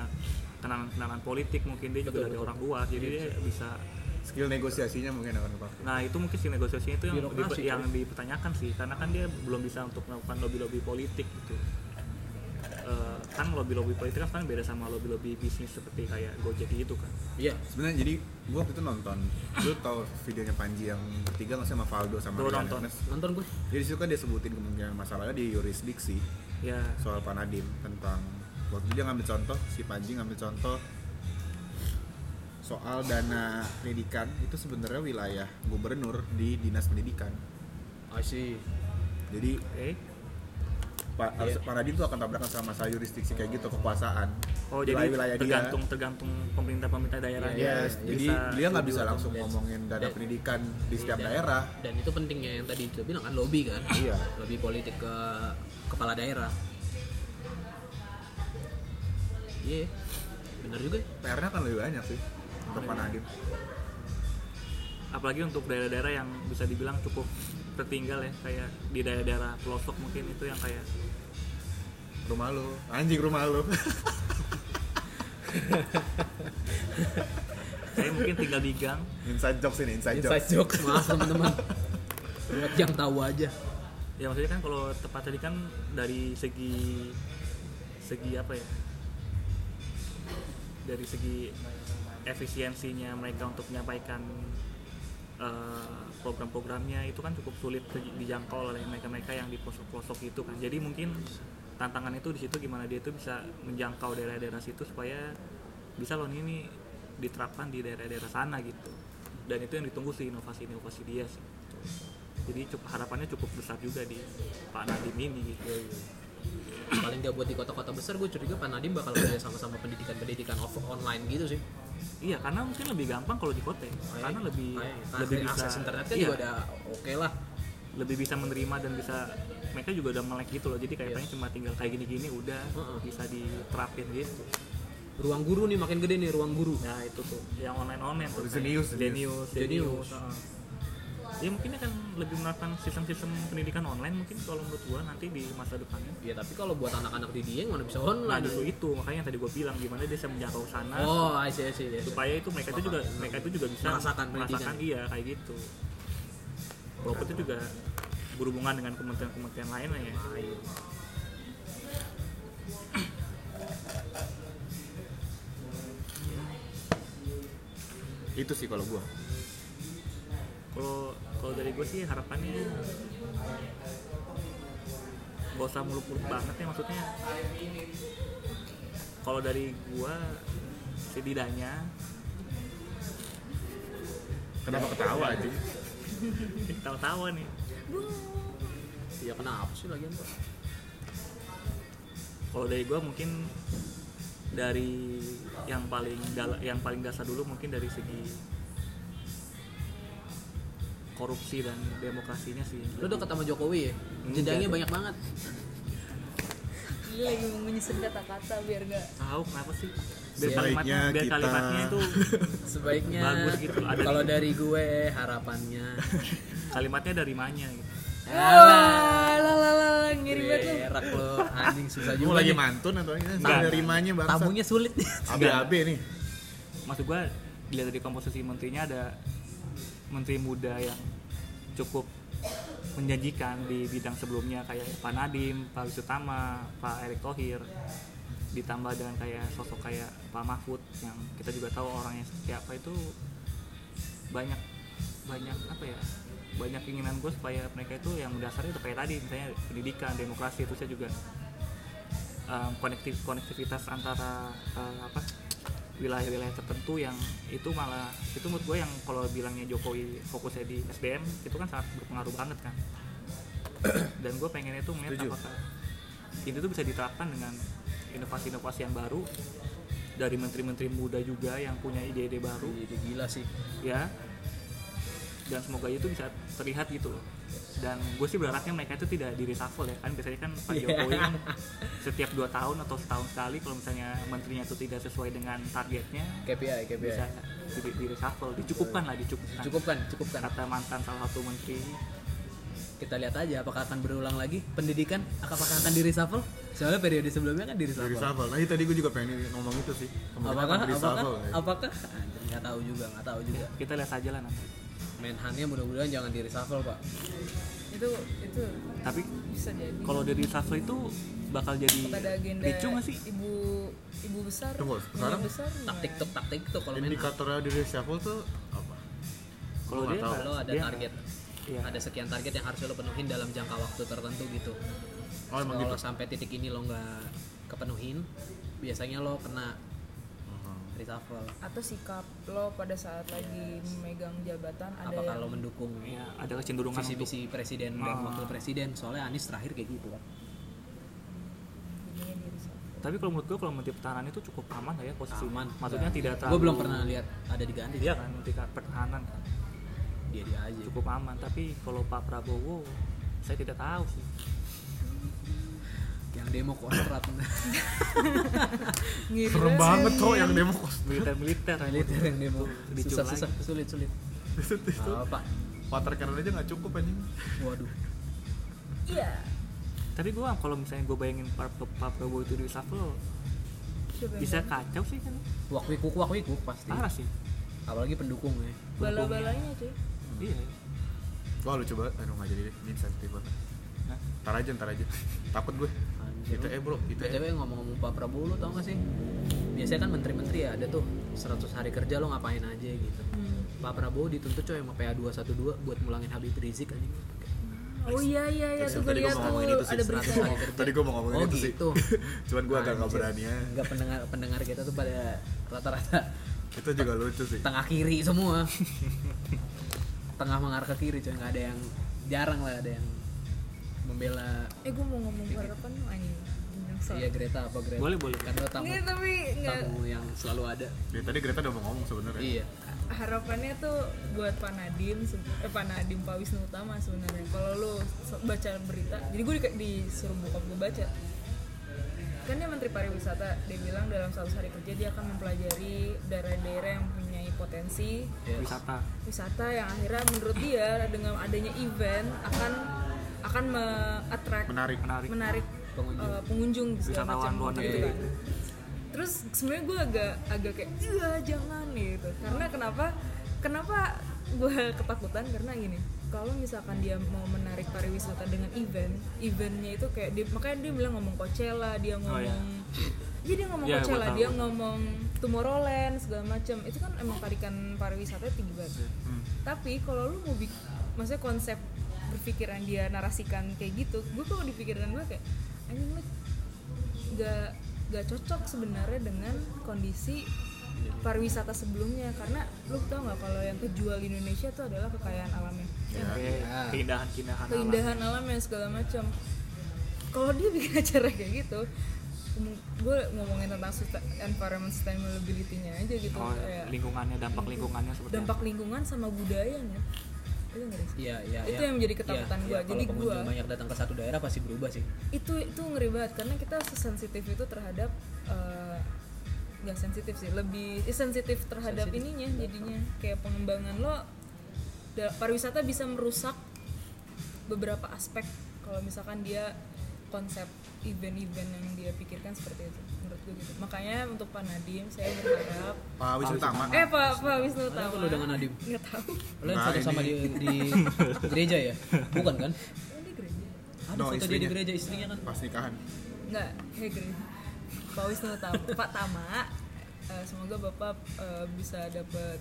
[SPEAKER 3] kenalan-kenalan politik mungkin dia juga
[SPEAKER 2] Betul,
[SPEAKER 3] dari
[SPEAKER 2] betul. Iya,
[SPEAKER 3] orang luar jadi dia bisa
[SPEAKER 1] skill negosiasinya mungkin akan kepake
[SPEAKER 3] nah itu mungkin si negosiasinya itu yang,
[SPEAKER 2] Birokrasi,
[SPEAKER 3] dipe-
[SPEAKER 2] cuy.
[SPEAKER 3] yang dipertanyakan sih karena kan dia belum bisa untuk melakukan lobby-lobby politik gitu Eh, kan lobby-lobby politik kan beda sama lobby-lobby bisnis seperti kayak Gojek gitu kan
[SPEAKER 2] iya
[SPEAKER 1] sebenarnya jadi gua waktu itu nonton lu tau videonya Panji yang ketiga nggak sih sama Valdo sama
[SPEAKER 3] Gua
[SPEAKER 1] Rian
[SPEAKER 3] nonton.
[SPEAKER 1] Ernest?
[SPEAKER 2] nonton gue
[SPEAKER 1] jadi situ kan dia sebutin kemungkinan masalahnya di yurisdiksi
[SPEAKER 3] ya
[SPEAKER 1] soal Panadim tentang waktu dia ngambil contoh si Panji ngambil contoh soal dana pendidikan itu sebenarnya wilayah gubernur di dinas pendidikan
[SPEAKER 2] I see
[SPEAKER 1] jadi
[SPEAKER 3] oke
[SPEAKER 1] Pak harus
[SPEAKER 3] Iya.
[SPEAKER 1] Panadim tuh akan tabrakan sama masalah yurisdiksi kayak gitu kekuasaan
[SPEAKER 3] oh jadi
[SPEAKER 1] wilayah-wilayah dia.
[SPEAKER 3] tergantung Iya, tergantung pemerintah pemerintah daerah dia
[SPEAKER 1] Yes, jadi dia nggak bisa langsung
[SPEAKER 2] Yes.
[SPEAKER 1] ngomongin
[SPEAKER 3] Iya.
[SPEAKER 1] dana
[SPEAKER 2] Yes.
[SPEAKER 1] pendidikan di setiap
[SPEAKER 2] Dan-
[SPEAKER 1] daerah
[SPEAKER 2] dan itu pentingnya yang tadi kita bilang kan lobby kan
[SPEAKER 1] Iya.
[SPEAKER 2] lobby politik ke kepala daerah iya bener juga ya.
[SPEAKER 1] PR-nya akan kan lebih banyak sih untuk Panadim
[SPEAKER 3] apalagi untuk daerah-daerah yang bisa dibilang cukup tertinggal ya kayak di daerah-daerah pelosok mungkin itu yang kayak
[SPEAKER 1] rumah lu <laughs> anjing rumah lu
[SPEAKER 3] saya mungkin tinggal di gang
[SPEAKER 1] Inside jokes ini, inside,
[SPEAKER 2] Inside
[SPEAKER 1] jokes.
[SPEAKER 2] joke. Maaf
[SPEAKER 3] <laughs>
[SPEAKER 2] teman-teman. Buat yang tahu aja.
[SPEAKER 3] ya maksudnya kan kalau tempat tadi kan dari segi segi apa ya dari segi efisiensinya mereka untuk menyampaikan eh, program-programnya itu kan cukup sulit di- dijangkau oleh mereka-mereka yang di pelosok-pelosok itu kan jadi mungkin tantangan itu di situ gimana dia itu bisa menjangkau daerah-daerah situ supaya bisa loh ini nih diterapkan di daerah-daerah sana gitu dan itu yang ditunggu sih inovasi-inovasi dia sih jadi cukup, harapannya cukup besar juga di Pak Nadiem ini gitu
[SPEAKER 2] Iya, Paling dia buat di kota-kota besar gue curiga Pak Nadiem bakal kerja sama-sama pendidikan-pendidikan off online gitu sih.
[SPEAKER 3] iya karena mungkin lebih gampang kalau di kota ya.
[SPEAKER 2] Iya,
[SPEAKER 3] karena lebih
[SPEAKER 2] Makanya,
[SPEAKER 3] lebih
[SPEAKER 2] akses-
[SPEAKER 3] bisa
[SPEAKER 2] akses internet kan
[SPEAKER 3] iya,
[SPEAKER 2] juga udah oke lah.
[SPEAKER 3] lebih bisa menerima dan bisa mereka juga udah melek gitu loh jadi kayak
[SPEAKER 2] Iya.
[SPEAKER 3] pengen cuma tinggal kayak gini-gini udah
[SPEAKER 2] Heeh.
[SPEAKER 3] bisa diterapin gitu
[SPEAKER 2] Ruang guru nih makin gede nih ruang guru.
[SPEAKER 3] nah itu tuh yang online online tuh
[SPEAKER 1] Zenius,
[SPEAKER 3] kayak
[SPEAKER 1] Zenius.
[SPEAKER 3] Zenius
[SPEAKER 2] Zenius.
[SPEAKER 3] Zenius heeh. ya mungkin akan lebih menerapkan sistem-sistem pendidikan online mungkin kalau menurut gua nanti di masa depannya
[SPEAKER 2] Ya tapi kalau buat anak-anak di dia mana bisa
[SPEAKER 3] nah
[SPEAKER 2] online.
[SPEAKER 3] justru itu makanya yang tadi gua bilang gimana dia bisa menjangkau sana
[SPEAKER 2] Oh, I see, I see, I see.
[SPEAKER 3] supaya itu mereka itu juga mereka itu juga bisa
[SPEAKER 2] Merasakan
[SPEAKER 3] merasakan
[SPEAKER 2] pendidikan.
[SPEAKER 3] iya kayak gitu walaupun itu juga berhubungan dengan kementerian-kementerian lain lah ya
[SPEAKER 1] Itu sih kalau gua.
[SPEAKER 3] kalau kalau dari gue sih harapannya gak usah muluk-muluk banget ya maksudnya kalau dari gue setidaknya
[SPEAKER 1] Kenapa ketawa aja?
[SPEAKER 3] tawa-tawa nih
[SPEAKER 2] Ya kenapa sih lagian Pak?
[SPEAKER 3] kalau dari gue mungkin dari yang paling dal- yang paling dasar dulu mungkin dari segi korupsi dan demokrasinya sih
[SPEAKER 2] Lu udah ketemu Jokowi ya? Jedanya
[SPEAKER 3] Enggak.
[SPEAKER 2] banyak banget.
[SPEAKER 4] Dia lagi mau menyusun kata-kata biar gak
[SPEAKER 3] tahu kenapa sih biar
[SPEAKER 2] Sebaiknya
[SPEAKER 3] kalimatnya biar
[SPEAKER 1] kita-
[SPEAKER 3] kalimatnya itu
[SPEAKER 2] Sebaiknya
[SPEAKER 3] Bagus gitu, <laughs> ada
[SPEAKER 2] kalau
[SPEAKER 3] di-
[SPEAKER 2] dari gue harapannya
[SPEAKER 3] <laughs>
[SPEAKER 2] Ya
[SPEAKER 3] kalimatnya dari mana gitu
[SPEAKER 4] Wah, lalalala,
[SPEAKER 2] Iya,
[SPEAKER 4] ngiri banget lu
[SPEAKER 2] Berak lo anjing susah
[SPEAKER 1] Lu
[SPEAKER 2] juga.
[SPEAKER 1] lagi
[SPEAKER 2] nih.
[SPEAKER 1] mantun atau ini?
[SPEAKER 3] Enggak.
[SPEAKER 1] Sampai rimanya bangsa.
[SPEAKER 2] Tabungnya sulit <laughs> nih.
[SPEAKER 1] Abe-abe nih.
[SPEAKER 3] maksud gue dilihat dari komposisi menterinya ada menteri muda yang cukup menjanjikan di bidang sebelumnya kayak Pak Nadiem, Pak Wisutama, Pak Erick Thohir ditambah dengan kayak sosok kayak Pak Mahfud yang kita juga tahu orangnya seperti apa itu banyak banyak apa ya banyak keinginan gue supaya mereka itu yang dasarnya itu kayak tadi misalnya pendidikan demokrasi itu saya juga um, konektif konektivitas antara uh, apa wilayah-wilayah tertentu yang itu malah itu menurut gue yang kalau bilangnya Jokowi fokusnya di SDM itu kan sangat berpengaruh banget kan dan gue pengennya itu melihat
[SPEAKER 1] Setuju.
[SPEAKER 3] apakah itu tuh bisa diterapkan dengan inovasi-inovasi yang baru dari menteri-menteri muda juga yang punya ide-ide baru
[SPEAKER 2] Aduh, itu gila sih.
[SPEAKER 3] ya dan semoga itu bisa terlihat gitu loh dan gue sih berharapnya mereka itu tidak di reshuffle ya kan biasanya kan Pak Jokowi kan setiap dua tahun atau setahun sekali kalau misalnya menterinya itu tidak sesuai dengan targetnya
[SPEAKER 2] KPI, KPI.
[SPEAKER 3] bisa di, di reshuffle dicukupkan lah dicukupkan
[SPEAKER 2] Cukupkan,
[SPEAKER 4] Nah.
[SPEAKER 2] cukupkan.
[SPEAKER 3] kata mantan salah satu menteri
[SPEAKER 2] Kita lihat aja apakah akan berulang lagi pendidikan, apakah akan di reshuffle? Soalnya periode sebelumnya kan di
[SPEAKER 1] Dari
[SPEAKER 2] reshuffle.
[SPEAKER 1] Shuffle. Nah, iya tadi gua juga pengen ngomong itu sih. Kemungkinan
[SPEAKER 2] Apakah,
[SPEAKER 1] akan di
[SPEAKER 2] apakah,
[SPEAKER 1] Shuffle, ya.
[SPEAKER 2] apakah? Anjir, Nggak tahu juga, nggak tahu juga.
[SPEAKER 3] kita lihat aja lah nanti
[SPEAKER 2] Menhannya mudah-mudahan jangan di reshuffle pak.
[SPEAKER 4] Itu, itu
[SPEAKER 3] tapi
[SPEAKER 4] bisa jadi
[SPEAKER 3] kalau dari reshuffle itu bakal jadi
[SPEAKER 4] Pada agenda
[SPEAKER 3] ricu nggak sih
[SPEAKER 4] ibu ibu besar,
[SPEAKER 1] Tunggu,
[SPEAKER 4] ibu
[SPEAKER 1] sekarang
[SPEAKER 4] besar
[SPEAKER 2] Taktik tuh, taktik tuh kalau Menhan.
[SPEAKER 1] Indikatornya dari Shuffle tuh apa?
[SPEAKER 3] kalau
[SPEAKER 1] Gua
[SPEAKER 3] dia
[SPEAKER 1] nggak tahu.
[SPEAKER 2] Lo ada
[SPEAKER 3] dia-
[SPEAKER 2] target,
[SPEAKER 3] iya.
[SPEAKER 2] ada sekian target yang harus lo penuhin dalam jangka waktu tertentu gitu.
[SPEAKER 1] Oh, emang gitu.
[SPEAKER 2] Kalau lo sampai titik ini lo nggak kepenuhin, biasanya lo kena
[SPEAKER 1] Aha.
[SPEAKER 2] reshuffle.
[SPEAKER 4] atau sikap lo pada saat lagi memegang jabatan ada
[SPEAKER 2] Apakah
[SPEAKER 4] yang Iya.
[SPEAKER 2] lo mendukung
[SPEAKER 3] ya, ada kecenderungan untuk
[SPEAKER 2] visi-visi presiden dan
[SPEAKER 3] Ah.
[SPEAKER 2] wakil presiden? Soalnya Anies terakhir kayak gitu kan.
[SPEAKER 4] jadinya diri sendiri.
[SPEAKER 3] tapi kalau menurut gue kalau menteri pertahanan itu cukup aman lah ya posisi
[SPEAKER 2] Aman. Iya.
[SPEAKER 3] maksudnya tidak terlalu
[SPEAKER 2] Gue Nah, belum pernah lihat ada diganti.
[SPEAKER 3] dia kan menteri pertahanan kan
[SPEAKER 2] Dia dia aja.
[SPEAKER 3] cukup aman tapi kalau Pak Prabowo saya tidak tahu sih
[SPEAKER 2] Yang demo
[SPEAKER 3] <laughs>
[SPEAKER 2] kontrat.
[SPEAKER 4] Ngiri
[SPEAKER 1] Serem
[SPEAKER 4] banget
[SPEAKER 1] banget
[SPEAKER 4] sih.
[SPEAKER 1] cowok yang demo kos.
[SPEAKER 3] militer militer kan
[SPEAKER 2] Militer yang demo.
[SPEAKER 3] Dicul
[SPEAKER 2] Susah
[SPEAKER 3] lagi.
[SPEAKER 2] susah sulit sulit. Apa?
[SPEAKER 1] Water cannon aja nggak cukup anjing.
[SPEAKER 2] Waduh.
[SPEAKER 4] iya
[SPEAKER 3] tapi gue kalau misalnya gue bayangin Pak, Pak Prabowo itu di reshuffle
[SPEAKER 4] Siapa yang
[SPEAKER 3] bisa kacau sih kan
[SPEAKER 2] Iya. Wak wikuk wak wikuk pasti.
[SPEAKER 3] parah sih
[SPEAKER 2] apalagi pendukung ya
[SPEAKER 4] bala-balanya cuy
[SPEAKER 2] iya
[SPEAKER 1] Wah lu coba, aduh nggak jadi deh, ini sensitif banget.
[SPEAKER 3] Hah?
[SPEAKER 1] Ntar aja, ntar aja. Takut gue.
[SPEAKER 2] Anjir.
[SPEAKER 1] ITE bro, E. ITE.
[SPEAKER 2] BTW ngomong-ngomong Pak Prabowo lu tau gak sih? Biasanya kan menteri-menteri ya ada tuh 100 hari kerja lo ngapain aja gitu. Pak Prabowo dituntut coy sama PA212 buat mulangin Habib Rizik anjing.
[SPEAKER 4] oh iya iya iya tuh gue
[SPEAKER 1] Tadi gue
[SPEAKER 4] lihat
[SPEAKER 1] mau
[SPEAKER 4] tuh
[SPEAKER 1] ngomongin itu sih,
[SPEAKER 4] ada berita
[SPEAKER 1] 100 ngomong- tadi gue mau ngomongin
[SPEAKER 2] Oh,
[SPEAKER 1] itu sih.
[SPEAKER 2] gitu.
[SPEAKER 1] Cuman gue agak nggak
[SPEAKER 2] Anjir.
[SPEAKER 1] berani ya.
[SPEAKER 2] Enggak pendengar pendengar kita tuh pada rata-rata
[SPEAKER 1] Itu juga lucu sih.
[SPEAKER 2] tengah kiri
[SPEAKER 1] <laughs>
[SPEAKER 2] semua. tengah mengarah ke kiri coy, nggak ada yang jarang lah ada yang membela
[SPEAKER 4] eh gue mau ngomong harapan lu anjing Nyesel.
[SPEAKER 2] Iya Greta apa Greta?
[SPEAKER 3] Boleh, boleh.
[SPEAKER 2] Kan lo tamu,
[SPEAKER 4] Nggak, tapi nggak
[SPEAKER 2] tamu yang selalu ada.
[SPEAKER 1] Dari tadi Greta udah mau ngomong sebenarnya.
[SPEAKER 2] Iya.
[SPEAKER 4] harapannya tuh buat Pak Nadiem se- eh, Pak Nadiem Pak Wisnu Utama sebenarnya kalau lu se- baca berita jadi gue di- disuruh bokap gue baca kan dia menteri pariwisata dia bilang dalam satu hari kerja dia akan mempelajari daerah-daerah yang mempunyai potensi
[SPEAKER 2] Yes.
[SPEAKER 3] Iya. wisata
[SPEAKER 4] wisata yang akhirnya menurut dia dengan adanya event akan akan me-attract
[SPEAKER 1] Menarik.
[SPEAKER 3] menarik
[SPEAKER 4] menarik
[SPEAKER 2] Pengunjung.
[SPEAKER 4] eh, pengunjung segala
[SPEAKER 3] Wisatawan luar
[SPEAKER 4] macam gitu
[SPEAKER 3] negeri.
[SPEAKER 4] kan. Terus sebenarnya gue agak agak kayak iya jangan gitu. Karena kenapa? Kenapa gue <laughs> ketakutan karena gini. Kalau misalkan dia mau menarik pariwisata dengan event, eventnya itu kayak dia, makanya dia bilang ngomong Coachella, dia ngomong
[SPEAKER 3] iya.
[SPEAKER 4] Iya dia ngomong
[SPEAKER 3] Iya, gua
[SPEAKER 4] Coachella,
[SPEAKER 3] tahu.
[SPEAKER 4] dia ngomong Tomorrowland segala macam. Itu kan emang tarikan pariwisata tinggi banget
[SPEAKER 1] Hmm.
[SPEAKER 4] tapi kalau lu mau bikin maksudnya konsep berpikiran dia narasikan kayak gitu gue kalau di pikiran gue kayak anjing lu gak gak cocok sebenarnya dengan kondisi pariwisata sebelumnya karena lu tau nggak kalau yang kejual di Indonesia tuh adalah kekayaan alamnya
[SPEAKER 3] Oke,
[SPEAKER 2] Iya.
[SPEAKER 3] keindahan-keindahan alam.
[SPEAKER 4] keindahan alamnya segala macam kalau dia <laughs> bikin acara kayak gitu gue ngomongin tentang susta- environment sustainability-nya aja gitu
[SPEAKER 3] Oh,
[SPEAKER 4] kayak
[SPEAKER 3] lingkungannya dampak lingkungannya seperti
[SPEAKER 4] dampak lingkungan sama budayanya itu nggak sih
[SPEAKER 2] Iya, iya,
[SPEAKER 4] Itu
[SPEAKER 2] iya.
[SPEAKER 4] yang menjadi ketakutan
[SPEAKER 2] Iya,
[SPEAKER 4] gua.
[SPEAKER 2] iya,
[SPEAKER 4] Jadi
[SPEAKER 2] kalau pengunjung
[SPEAKER 4] gua-
[SPEAKER 2] banyak datang ke satu daerah pasti berubah sih.
[SPEAKER 4] itu itu ngeri banget karena kita sesensitif itu terhadap eh, nggak sensitif sih lebih eh, sensitif terhadap ininya jadinya kayak pengembangan lo da- pariwisata bisa merusak beberapa aspek kalau misalkan dia konsep event-event yang dia pikirkan seperti itu menurut gue gitu makanya untuk Pak Nadiem saya berharap
[SPEAKER 1] Pak Wisnu Tama.
[SPEAKER 4] eh Pak Pak Wisnu
[SPEAKER 2] Ada
[SPEAKER 4] Tama
[SPEAKER 2] perlu dengan Nadim.
[SPEAKER 4] nggak tahu
[SPEAKER 2] Lo yang
[SPEAKER 1] Nah,
[SPEAKER 2] foto sama di,
[SPEAKER 1] ini- <laughs>
[SPEAKER 2] di gereja ya? Bukan kan?
[SPEAKER 4] ini Oh, gereja
[SPEAKER 2] Ada
[SPEAKER 1] No,
[SPEAKER 2] foto dia
[SPEAKER 1] istrinya.
[SPEAKER 2] di gereja istrinya kan?
[SPEAKER 1] Pas nikahan.
[SPEAKER 4] Enggak, ya gini. Pak Wisnu Tama, Pak Tama, eh, semoga Bapak eh, bisa dapat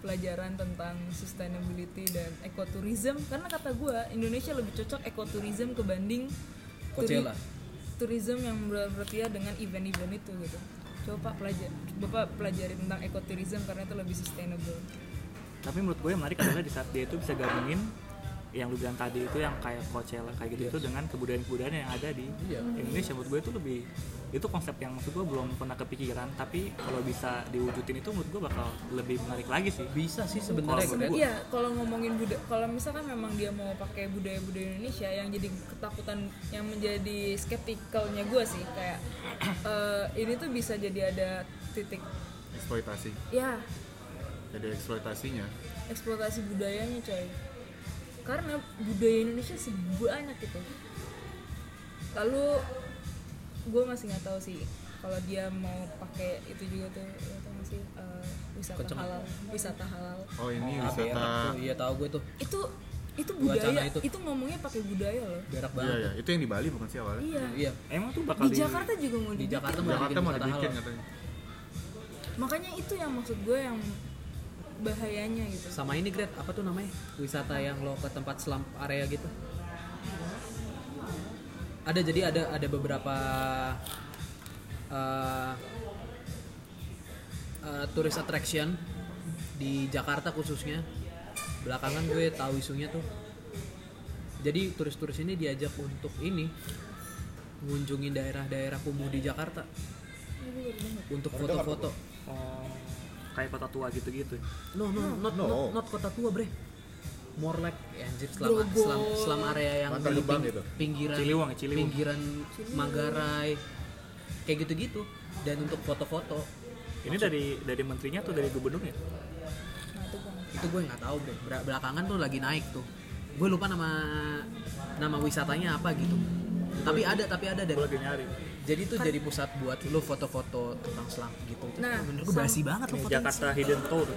[SPEAKER 4] pelajaran tentang sustainability dan ekoturism karena kata gue Indonesia lebih cocok ekoturism kebanding turi-
[SPEAKER 2] Coachella.
[SPEAKER 4] tourism yang ber- berpihak dengan event-event itu gitu. Coba Pak pelajar, Bapak pelajari tentang ekoturism karena itu lebih sustainable.
[SPEAKER 3] tapi menurut gue yang menarik adalah di saat dia itu bisa gabungin yang lu bilang tadi itu yang kayak Coachella kayak gitu itu dengan kebudayaan-kebudayaan yang ada di
[SPEAKER 2] Iya.
[SPEAKER 3] Indonesia menurut gue itu lebih itu konsep yang maksud gue belum pernah kepikiran tapi kalau bisa diwujudin itu menurut gue bakal lebih menarik lagi sih
[SPEAKER 2] Bisa sih sebenarnya
[SPEAKER 3] Kalau
[SPEAKER 2] Gret.
[SPEAKER 3] gua-
[SPEAKER 4] Iya, kalau ngomongin budaya, kalau misalkan memang dia mau pakai budaya-budaya Indonesia yang jadi ketakutan yang menjadi skeptikalnya gue sih kayak <clears throat> eh, ini tuh bisa jadi ada titik
[SPEAKER 1] Eksploitasi.
[SPEAKER 4] ya
[SPEAKER 1] Jadi eksploitasinya.
[SPEAKER 4] eksploitasi budayanya coy. Karena budaya Indonesia sebanyak itu. Lalu gue masih nggak tahu sih kalau dia mau pakai itu juga tuh ya, tau nggak sih, eh, wisata
[SPEAKER 2] Kocok.
[SPEAKER 4] halal, wisata halal.
[SPEAKER 1] Oh ini
[SPEAKER 2] Ah, berak
[SPEAKER 1] wisata.
[SPEAKER 2] tuh. Iya tahu gue tuh.
[SPEAKER 4] Itu itu
[SPEAKER 2] Wacana
[SPEAKER 4] budaya,
[SPEAKER 2] itu.
[SPEAKER 4] itu ngomongnya pakai budaya loh.
[SPEAKER 2] Berak
[SPEAKER 1] Iya
[SPEAKER 2] banget.
[SPEAKER 1] ya, itu yang di Bali bukan sih awalnya.
[SPEAKER 4] Iya.
[SPEAKER 2] Iya.
[SPEAKER 3] emang tuh bakal
[SPEAKER 4] Di Jakarta juga mau
[SPEAKER 2] Di
[SPEAKER 4] di
[SPEAKER 2] Jakarta mau
[SPEAKER 1] Jakarta mau
[SPEAKER 2] wisata
[SPEAKER 1] dibikin
[SPEAKER 2] halal.
[SPEAKER 1] katanya.
[SPEAKER 4] Makanya itu yang maksud gue yang bahayanya
[SPEAKER 1] kan?
[SPEAKER 4] gitu.
[SPEAKER 2] Sama ini Gret, apa tuh namanya? Wisata yang lo ke tempat selam area gitu. Ada jadi ada ada beberapa eh eh, tourist attraction di Jakarta khususnya. Belakangan gue tahu isunya tuh. Jadi turis-turis ini diajak untuk ini mengunjungi daerah-daerah kumuh di Jakarta untuk foto-foto.
[SPEAKER 3] oh, kayak kota tua gitu-gitu
[SPEAKER 2] No, no, no, Hmm, not,
[SPEAKER 1] No.
[SPEAKER 2] Not, not kota tua, bre. More like ya, anjir selama,
[SPEAKER 4] Grogol.
[SPEAKER 2] selama, selama area yang
[SPEAKER 1] Bantar
[SPEAKER 2] di
[SPEAKER 1] Gebang
[SPEAKER 2] ping-
[SPEAKER 1] gitu.
[SPEAKER 2] pinggiran
[SPEAKER 3] Ciliwung ya, Ciliwung.
[SPEAKER 2] pinggiran Manggarai kayak gitu-gitu dan untuk foto-foto
[SPEAKER 3] ini dari dari menterinya tuh dari gubernurnya
[SPEAKER 4] Nah, itu gue nggak-
[SPEAKER 2] itu gue nggak tahu bre Ber- belakangan tuh lagi naik tuh gue lupa nama nama wisatanya apa gitu tapi ada tapi ada
[SPEAKER 3] gue
[SPEAKER 2] dan
[SPEAKER 3] lagi nyari
[SPEAKER 2] jadi tuh jadi pusat buat lu foto-foto tentang selam gitu
[SPEAKER 4] Nah,
[SPEAKER 2] menurut gue basi banget lu
[SPEAKER 3] Ini
[SPEAKER 2] foto
[SPEAKER 3] Jakarta Hidden Tour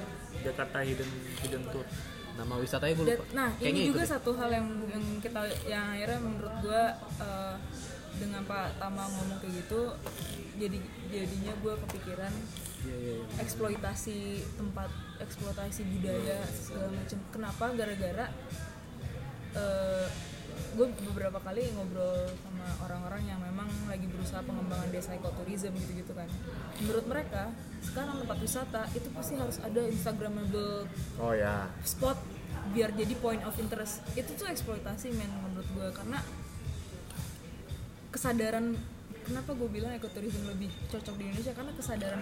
[SPEAKER 3] Jakarta Hidden Hidden Tour.
[SPEAKER 2] Nama wisatanya gue
[SPEAKER 4] Dan-
[SPEAKER 2] lupa.
[SPEAKER 4] nah
[SPEAKER 2] Kayaknya
[SPEAKER 4] ini
[SPEAKER 2] itu
[SPEAKER 4] juga
[SPEAKER 2] deh.
[SPEAKER 4] satu hal yang, yang kita yang akhirnya menurut gue dengan Pak Tama ngomong kayak gitu jadi jadinya gue kepikiran
[SPEAKER 2] Iya, iya, iya.
[SPEAKER 4] eksploitasi tempat eksploitasi budaya segala macam kenapa gara-gara gue beberapa kali ngobrol sama orang-orang yang memang lagi berusaha pengembangan desa ekoturism gitu-gitu kan menurut mereka sekarang tempat wisata itu pasti harus ada instagramable
[SPEAKER 1] oh ya
[SPEAKER 4] spot biar jadi point of interest itu tuh eksploitasi men menurut gue karena kesadaran kenapa gue bilang ekoturism lebih cocok di Indonesia karena kesadaran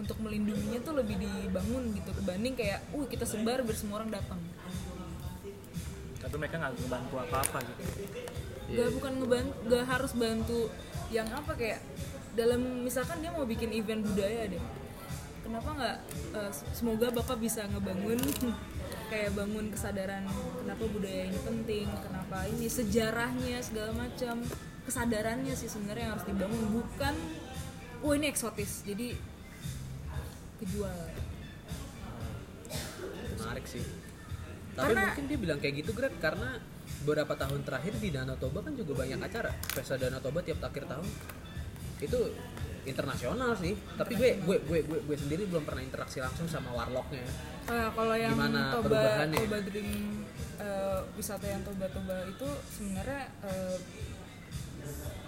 [SPEAKER 4] untuk melindunginya tuh lebih dibangun gitu dibanding kayak uh kita sebar biar semua orang datang
[SPEAKER 3] Tapi mereka nggak ngebantu apa-apa gitu.
[SPEAKER 4] gak bukan ngebantu gak harus bantu yang apa kayak dalam misalkan dia mau bikin event budaya deh kenapa nggak eh, semoga bapak bisa ngebangun <laughs> kayak bangun kesadaran kenapa budaya ini penting kenapa ini sejarahnya segala macam kesadarannya sih sebenarnya yang harus dibangun bukan oh ini eksotis jadi kejual
[SPEAKER 2] menarik sih tapi
[SPEAKER 4] Karena-
[SPEAKER 2] mungkin dia bilang kayak gitu Greg karena beberapa tahun terakhir di Danau Toba kan juga banyak acara pesta Danau Toba tiap akhir tahun itu internasional sih tapi gue gue gue gue, gue sendiri belum pernah interaksi langsung sama warlocknya
[SPEAKER 4] Eh, kalau yang
[SPEAKER 2] Gimana
[SPEAKER 4] toba
[SPEAKER 2] perubahannya?
[SPEAKER 4] toba dream eh, wisata yang toba toba itu sebenarnya eh,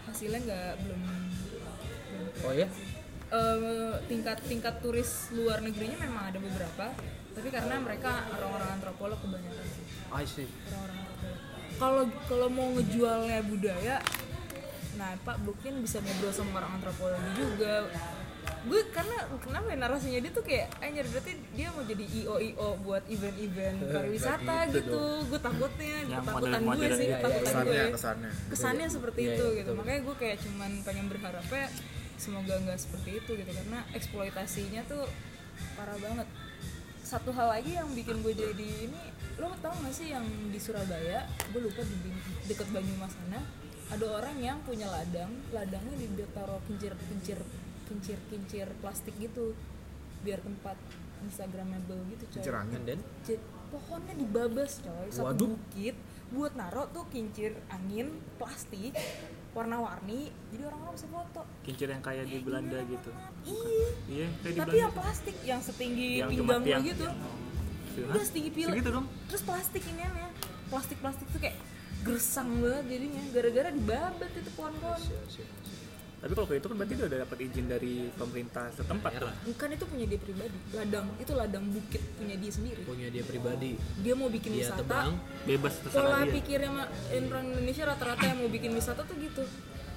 [SPEAKER 4] hasilnya nggak belum belum.
[SPEAKER 2] oh ya
[SPEAKER 4] Eh, tingkat tingkat turis luar negerinya memang ada beberapa tapi karena mereka orang-orang antropolog kebanyakan sih
[SPEAKER 2] I see
[SPEAKER 4] orang-orang antropolog. kalau kalau mau ngejualnya budaya nah pak mungkin bisa ngobrol sama orang antropologi juga gue karena kenapa ya narasinya dia tuh kayak anjir berarti dia mau jadi io io buat event-event pariwisata
[SPEAKER 2] gitu
[SPEAKER 4] gitu gue takutnya
[SPEAKER 3] Yang
[SPEAKER 4] ketakutan gue
[SPEAKER 3] modern-modern
[SPEAKER 4] sih
[SPEAKER 3] gitu.
[SPEAKER 4] ketakutan
[SPEAKER 1] kesannya
[SPEAKER 4] gue
[SPEAKER 1] kesannya
[SPEAKER 4] kesannya seperti
[SPEAKER 2] Iya,
[SPEAKER 4] itu
[SPEAKER 2] iya,
[SPEAKER 4] gitu makanya gue kayak cuman pengen berharapnya semoga nggak seperti itu gitu karena eksploitasinya tuh parah banget satu hal lagi yang bikin gue jadi ini lo tau gak sih yang di Surabaya gue lupa di Bin- deket Banyumas sana ada orang yang punya ladang ladangnya ditaruh kincir kincir kincir kincir plastik gitu biar tempat instagramable gitu coy
[SPEAKER 1] kincir angin
[SPEAKER 2] and then
[SPEAKER 4] Jadi, pohonnya dibabas coy satu
[SPEAKER 2] Waduh.
[SPEAKER 4] bukit buat naro tuh kincir angin plastik warna-warni jadi orang-orang bisa foto Eh,
[SPEAKER 3] Kincir yang kayak di Belanda gitu.
[SPEAKER 4] iya
[SPEAKER 3] Iya, kayak di
[SPEAKER 4] tapi yang
[SPEAKER 3] Belanda.
[SPEAKER 4] plastik yang setinggi
[SPEAKER 3] Yang cuma
[SPEAKER 4] pinggang lo
[SPEAKER 3] tiang.
[SPEAKER 4] gitu
[SPEAKER 3] Gitu,
[SPEAKER 4] udah
[SPEAKER 3] hah?
[SPEAKER 4] setinggi pil
[SPEAKER 3] Segitu dong.
[SPEAKER 4] terus plastik ini ya plastik plastik tuh kayak gersang banget jadinya gara-gara dibabat itu pohon-pohon
[SPEAKER 3] Iya, Tapi kalau kayak itu kan berarti dia udah dapat izin dari pemerintah setempat tuh.
[SPEAKER 2] Daerah.
[SPEAKER 4] bukan itu punya dia pribadi ladang itu ladang bukit punya dia sendiri
[SPEAKER 2] punya dia pribadi
[SPEAKER 4] dia mau bikin
[SPEAKER 2] dia
[SPEAKER 4] wisata
[SPEAKER 2] tebang
[SPEAKER 3] Bebas terserah
[SPEAKER 4] pola
[SPEAKER 3] dia.
[SPEAKER 4] pikirnya ma- orang Indonesia rata-rata yang mau bikin wisata tuh gitu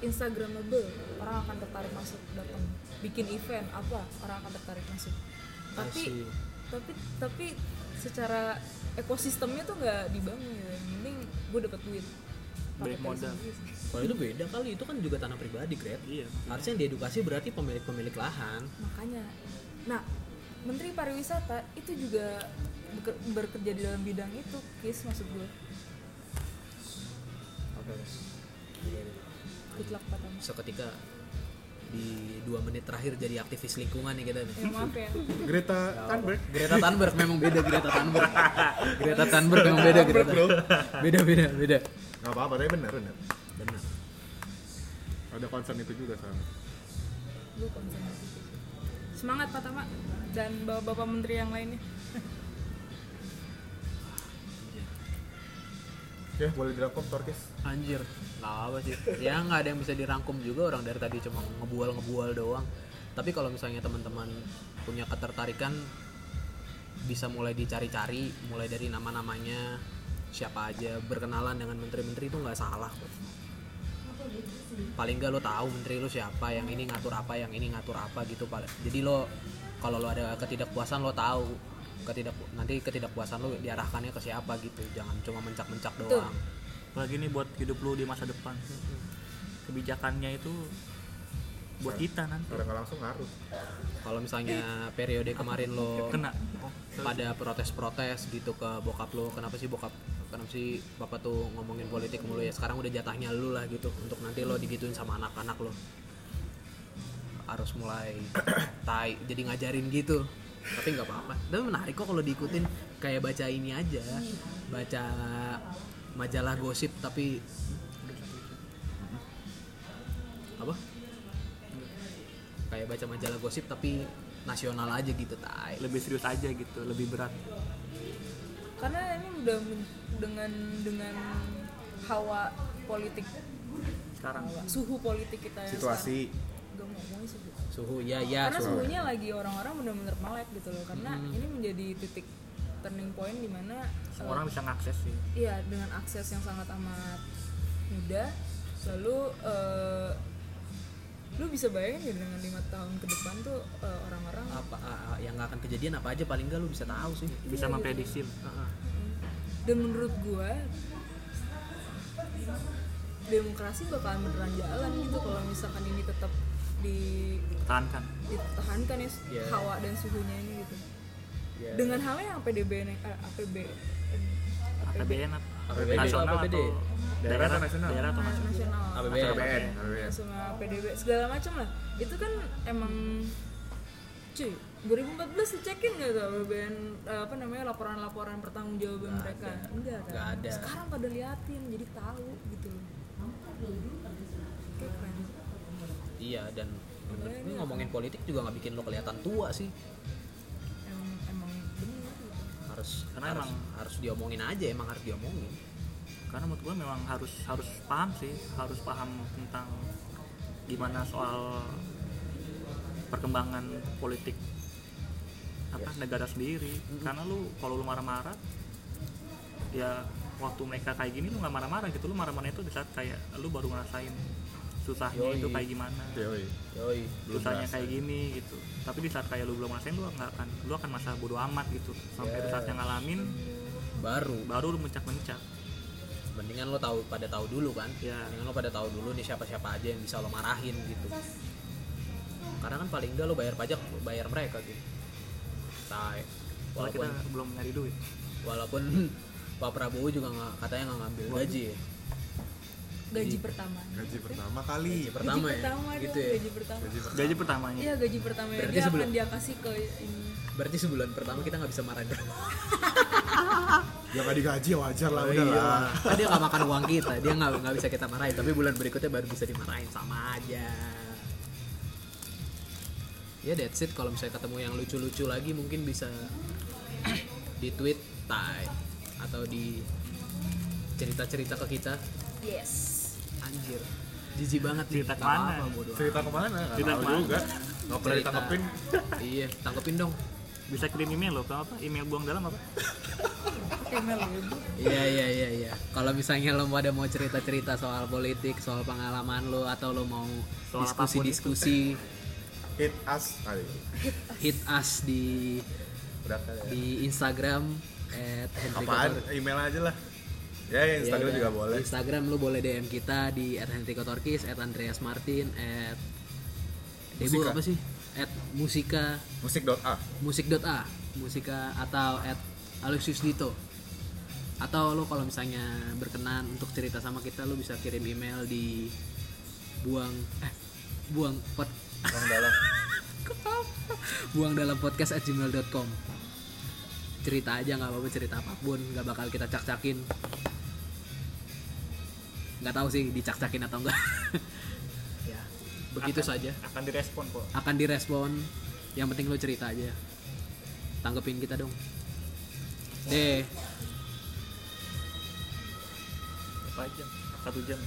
[SPEAKER 4] instagramable orang akan tertarik masuk datang bikin event apa orang akan tertarik masuk
[SPEAKER 3] Iya
[SPEAKER 4] tapi
[SPEAKER 2] Asik.
[SPEAKER 4] tapi tapi secara ekosistemnya tuh nggak dibangun gitu yang penting gue dapet duit
[SPEAKER 3] Balik
[SPEAKER 4] Pakai gitu.
[SPEAKER 3] modal.
[SPEAKER 4] dari sendiri.
[SPEAKER 2] kalau itu beda kali itu kan juga tanah pribadi Greg
[SPEAKER 3] Iya.
[SPEAKER 2] harusnya yang diedukasi berarti pemilik-pemilik lahan
[SPEAKER 4] makanya nah menteri pariwisata itu juga beker- bekerja di dalam bidang itu kis maksud gue
[SPEAKER 1] oke
[SPEAKER 4] good luck Pak Tama.
[SPEAKER 2] seketika di dua menit terakhir jadi aktivis lingkungan nih kita nih.
[SPEAKER 4] ya maaf ya
[SPEAKER 1] Greta Thunberg
[SPEAKER 2] Greta Thunberg memang beda Greta Thunberg. Greta Thunberg memang beda Greta. Beda beda beda.
[SPEAKER 1] nggak apa-apa tapi bener bener
[SPEAKER 2] Benar.
[SPEAKER 1] ada concern itu juga sama
[SPEAKER 4] Lu konsen aja sih. Semangat Pak Tama dan bapak-bapak menteri yang lainnya.
[SPEAKER 1] ya boleh dirangkum Torkis
[SPEAKER 2] Anjir. Nggak apa sih. Ya nggak ada yang bisa dirangkum juga orang dari tadi cuma ngebual ngebual doang. Tapi kalau misalnya teman-teman punya ketertarikan bisa mulai dicari-cari, mulai dari nama-namanya siapa aja berkenalan dengan menteri-menteri itu nggak salah kok. paling nggak lo tahu menteri lo siapa yang ini ngatur apa yang ini ngatur apa gitu paling jadi lo kalau lo ada ketidakpuasan lo tahu ketidak nanti ketidakpuasan lo diarahkannya ke siapa gitu jangan cuma mencak-mencak doang
[SPEAKER 3] Apalagi nih buat hidup lu di masa depan. Kebijakannya itu buat kita nanti.
[SPEAKER 1] Orang nggak langsung ngaruh
[SPEAKER 2] kalau misalnya periode kemarin lo
[SPEAKER 3] Kena. Oh,
[SPEAKER 2] pada protes-protes gitu ke bokap lo kenapa sih bokap kenapa sih bapak tuh ngomongin politik mulu ya sekarang udah jatahnya lu lah gitu untuk nanti lo digituin sama anak-anak lo harus mulai tai jadi ngajarin gitu tapi nggak apa-apa tapi menarik kok kalau diikutin kayak baca ini aja baca majalah gosip tapi apa kayak baca majalah gosip tapi nasional aja gitu tai
[SPEAKER 3] lebih serius aja gitu lebih berat
[SPEAKER 4] karena ini udah men- dengan dengan hawa politik
[SPEAKER 3] sekarang
[SPEAKER 4] hawa- suhu politik kita yang
[SPEAKER 1] situasi
[SPEAKER 4] sekarang. Gak mau ngomongin suhu
[SPEAKER 2] suhu ya ya
[SPEAKER 4] karena
[SPEAKER 2] suhu
[SPEAKER 4] suhunya lagi orang-orang bener-bener melek gitu loh karena ini menjadi titik turning point dimana
[SPEAKER 3] Hmm. semua orang bisa ngakses sih
[SPEAKER 4] Iya, dengan akses yang sangat amat mudah. Lalu eh, lu bisa bayangin gak dengan lima tahun ke depan tuh eh, orang-orang
[SPEAKER 2] apa a- a- yang nggak akan kejadian apa aja paling nggak lu bisa tahu sih
[SPEAKER 3] bisa memprediksi
[SPEAKER 2] Heeh.
[SPEAKER 4] dan menurut gua demokrasi bakalan beneran jalan gitu kalau misalkan ini tetap di
[SPEAKER 3] pertahankan
[SPEAKER 4] ditahankan ya
[SPEAKER 2] Iya.
[SPEAKER 4] hawa dan suhunya ini gitu.
[SPEAKER 2] Ya.
[SPEAKER 4] Dengan hal yang APBN eh, APB
[SPEAKER 3] APBN apa?
[SPEAKER 2] APBD.
[SPEAKER 3] nasional
[SPEAKER 2] APBD.
[SPEAKER 3] atau
[SPEAKER 1] Daerah atau nasional?
[SPEAKER 3] daerah atau nasional
[SPEAKER 4] nasional.
[SPEAKER 2] APBN.
[SPEAKER 1] APBN, APBN.
[SPEAKER 4] sama PDB segala macam lah itu kan emang cuy 2014 dicekin nggak tuh BBN eh, apa namanya laporan-laporan pertanggungjawaban mereka enggak kan
[SPEAKER 2] Nggak ada.
[SPEAKER 4] sekarang pada liatin jadi tahu gitu loh Kayak keren.
[SPEAKER 2] iya dan menurut gue ngomongin politik juga nggak bikin lo kelihatan tua sih
[SPEAKER 4] emang emang bener gitu.
[SPEAKER 2] harus
[SPEAKER 3] Karena
[SPEAKER 2] harus,
[SPEAKER 3] emang-
[SPEAKER 2] harus diomongin aja emang harus diomongin
[SPEAKER 3] karena menurut gue memang harus harus paham sih harus paham tentang gimana soal perkembangan politik apa negara sendiri karena lu kalau lu marah-marah ya waktu mereka kayak gini lu nggak marah-marah gitu lu marah-marah itu di saat kayak lu baru ngerasain susahnya
[SPEAKER 2] Yoi.
[SPEAKER 3] itu kayak gimana
[SPEAKER 1] Yoi.
[SPEAKER 2] yoi
[SPEAKER 1] Belum
[SPEAKER 3] susahnya
[SPEAKER 1] ngerasain.
[SPEAKER 3] kayak gini gitu tapi di saat kayak lu belum ngerasain lu nggak akan lu akan masa bodo amat gitu sampai di saat yang ngalamin
[SPEAKER 2] baru
[SPEAKER 3] baru lu mencak-mencak
[SPEAKER 2] mendingan lo tahu pada tahu dulu kan
[SPEAKER 3] Iya.
[SPEAKER 2] mendingan lo pada tahu dulu nih siapa siapa aja yang bisa lo marahin gitu karena kan paling enggak lo bayar pajak bayar mereka gitu tai
[SPEAKER 3] Soalnya
[SPEAKER 2] walaupun
[SPEAKER 3] kita belum nyari duit
[SPEAKER 2] walaupun <laughs> Pak Prabowo juga nggak katanya nggak ngambil gaji ya.
[SPEAKER 4] gaji pertama
[SPEAKER 1] gaji pertama kali
[SPEAKER 2] Gaji pertama
[SPEAKER 4] gaji
[SPEAKER 2] ya
[SPEAKER 4] pertama dong,
[SPEAKER 2] gitu ya
[SPEAKER 4] gaji pertama
[SPEAKER 1] gaji pertama
[SPEAKER 3] gaji pertamanya
[SPEAKER 4] iya gaji pertama ya.
[SPEAKER 2] Berarti
[SPEAKER 4] dia akan
[SPEAKER 2] sebelum-
[SPEAKER 4] dia kasih ke ini
[SPEAKER 2] berarti sebulan pertama kita nggak bisa marahin dia
[SPEAKER 1] ya nggak digaji ya wajar lah udah lah
[SPEAKER 2] Kan dia nggak makan uang kita dia nggak nggak bisa kita marahin tapi bulan berikutnya baru bisa dimarahin sama aja ya that's it kalau misalnya ketemu yang lucu-lucu lagi mungkin bisa <coughs> di tweet tai atau di cerita-cerita ke kita
[SPEAKER 4] yes
[SPEAKER 2] anjir jijik banget nih.
[SPEAKER 3] Cerita
[SPEAKER 2] Nggak apa-apa,
[SPEAKER 3] kemana?
[SPEAKER 2] bodo amat.
[SPEAKER 1] cerita kemana nggak
[SPEAKER 3] Cerita
[SPEAKER 1] tahu
[SPEAKER 3] kemana?
[SPEAKER 1] juga nggak pernah
[SPEAKER 2] Cerita.
[SPEAKER 1] ditangkepin
[SPEAKER 2] iya tangkepin dong
[SPEAKER 3] bisa kirim email loh ke apa email buang dalam apa
[SPEAKER 4] email ya.
[SPEAKER 2] Iya iya iya iya. Kalau misalnya lo pada mau cerita-cerita soal politik, soal pengalaman lo atau lo mau
[SPEAKER 3] Soal
[SPEAKER 2] diskusi-diskusi,
[SPEAKER 1] hit us kali
[SPEAKER 2] hit us di
[SPEAKER 1] udah kali ya.
[SPEAKER 2] di Instagram at Henry
[SPEAKER 1] apaan
[SPEAKER 2] Kotor-
[SPEAKER 1] email aja lah ya Instagram
[SPEAKER 2] Iya,
[SPEAKER 1] juga
[SPEAKER 2] iya.
[SPEAKER 1] boleh
[SPEAKER 2] Instagram lo boleh DM kita di at Henry Kotorkis, at Andreas Martin, at Debo
[SPEAKER 1] Musika.
[SPEAKER 2] apa sih? At Musika
[SPEAKER 1] musik dot a
[SPEAKER 2] musik.a musika atau at Aloysius Dito atau lo kalau misalnya berkenan untuk cerita sama kita lo bisa kirim email di buang eh buang pot
[SPEAKER 1] yang
[SPEAKER 2] <laughs>
[SPEAKER 1] dalam
[SPEAKER 2] buang dalam podcast at gmail.com cerita aja nggak apa-apa cerita apapun nggak bakal kita cak-cakin nggak tahu sih dicak-cakin atau enggak ya <laughs> begitu
[SPEAKER 3] Akan-
[SPEAKER 2] saja
[SPEAKER 3] Iya. Eh, akan direspon kok
[SPEAKER 2] akan direspon yang penting lu cerita aja tanggepin kita dong deh
[SPEAKER 3] apa aja satu jam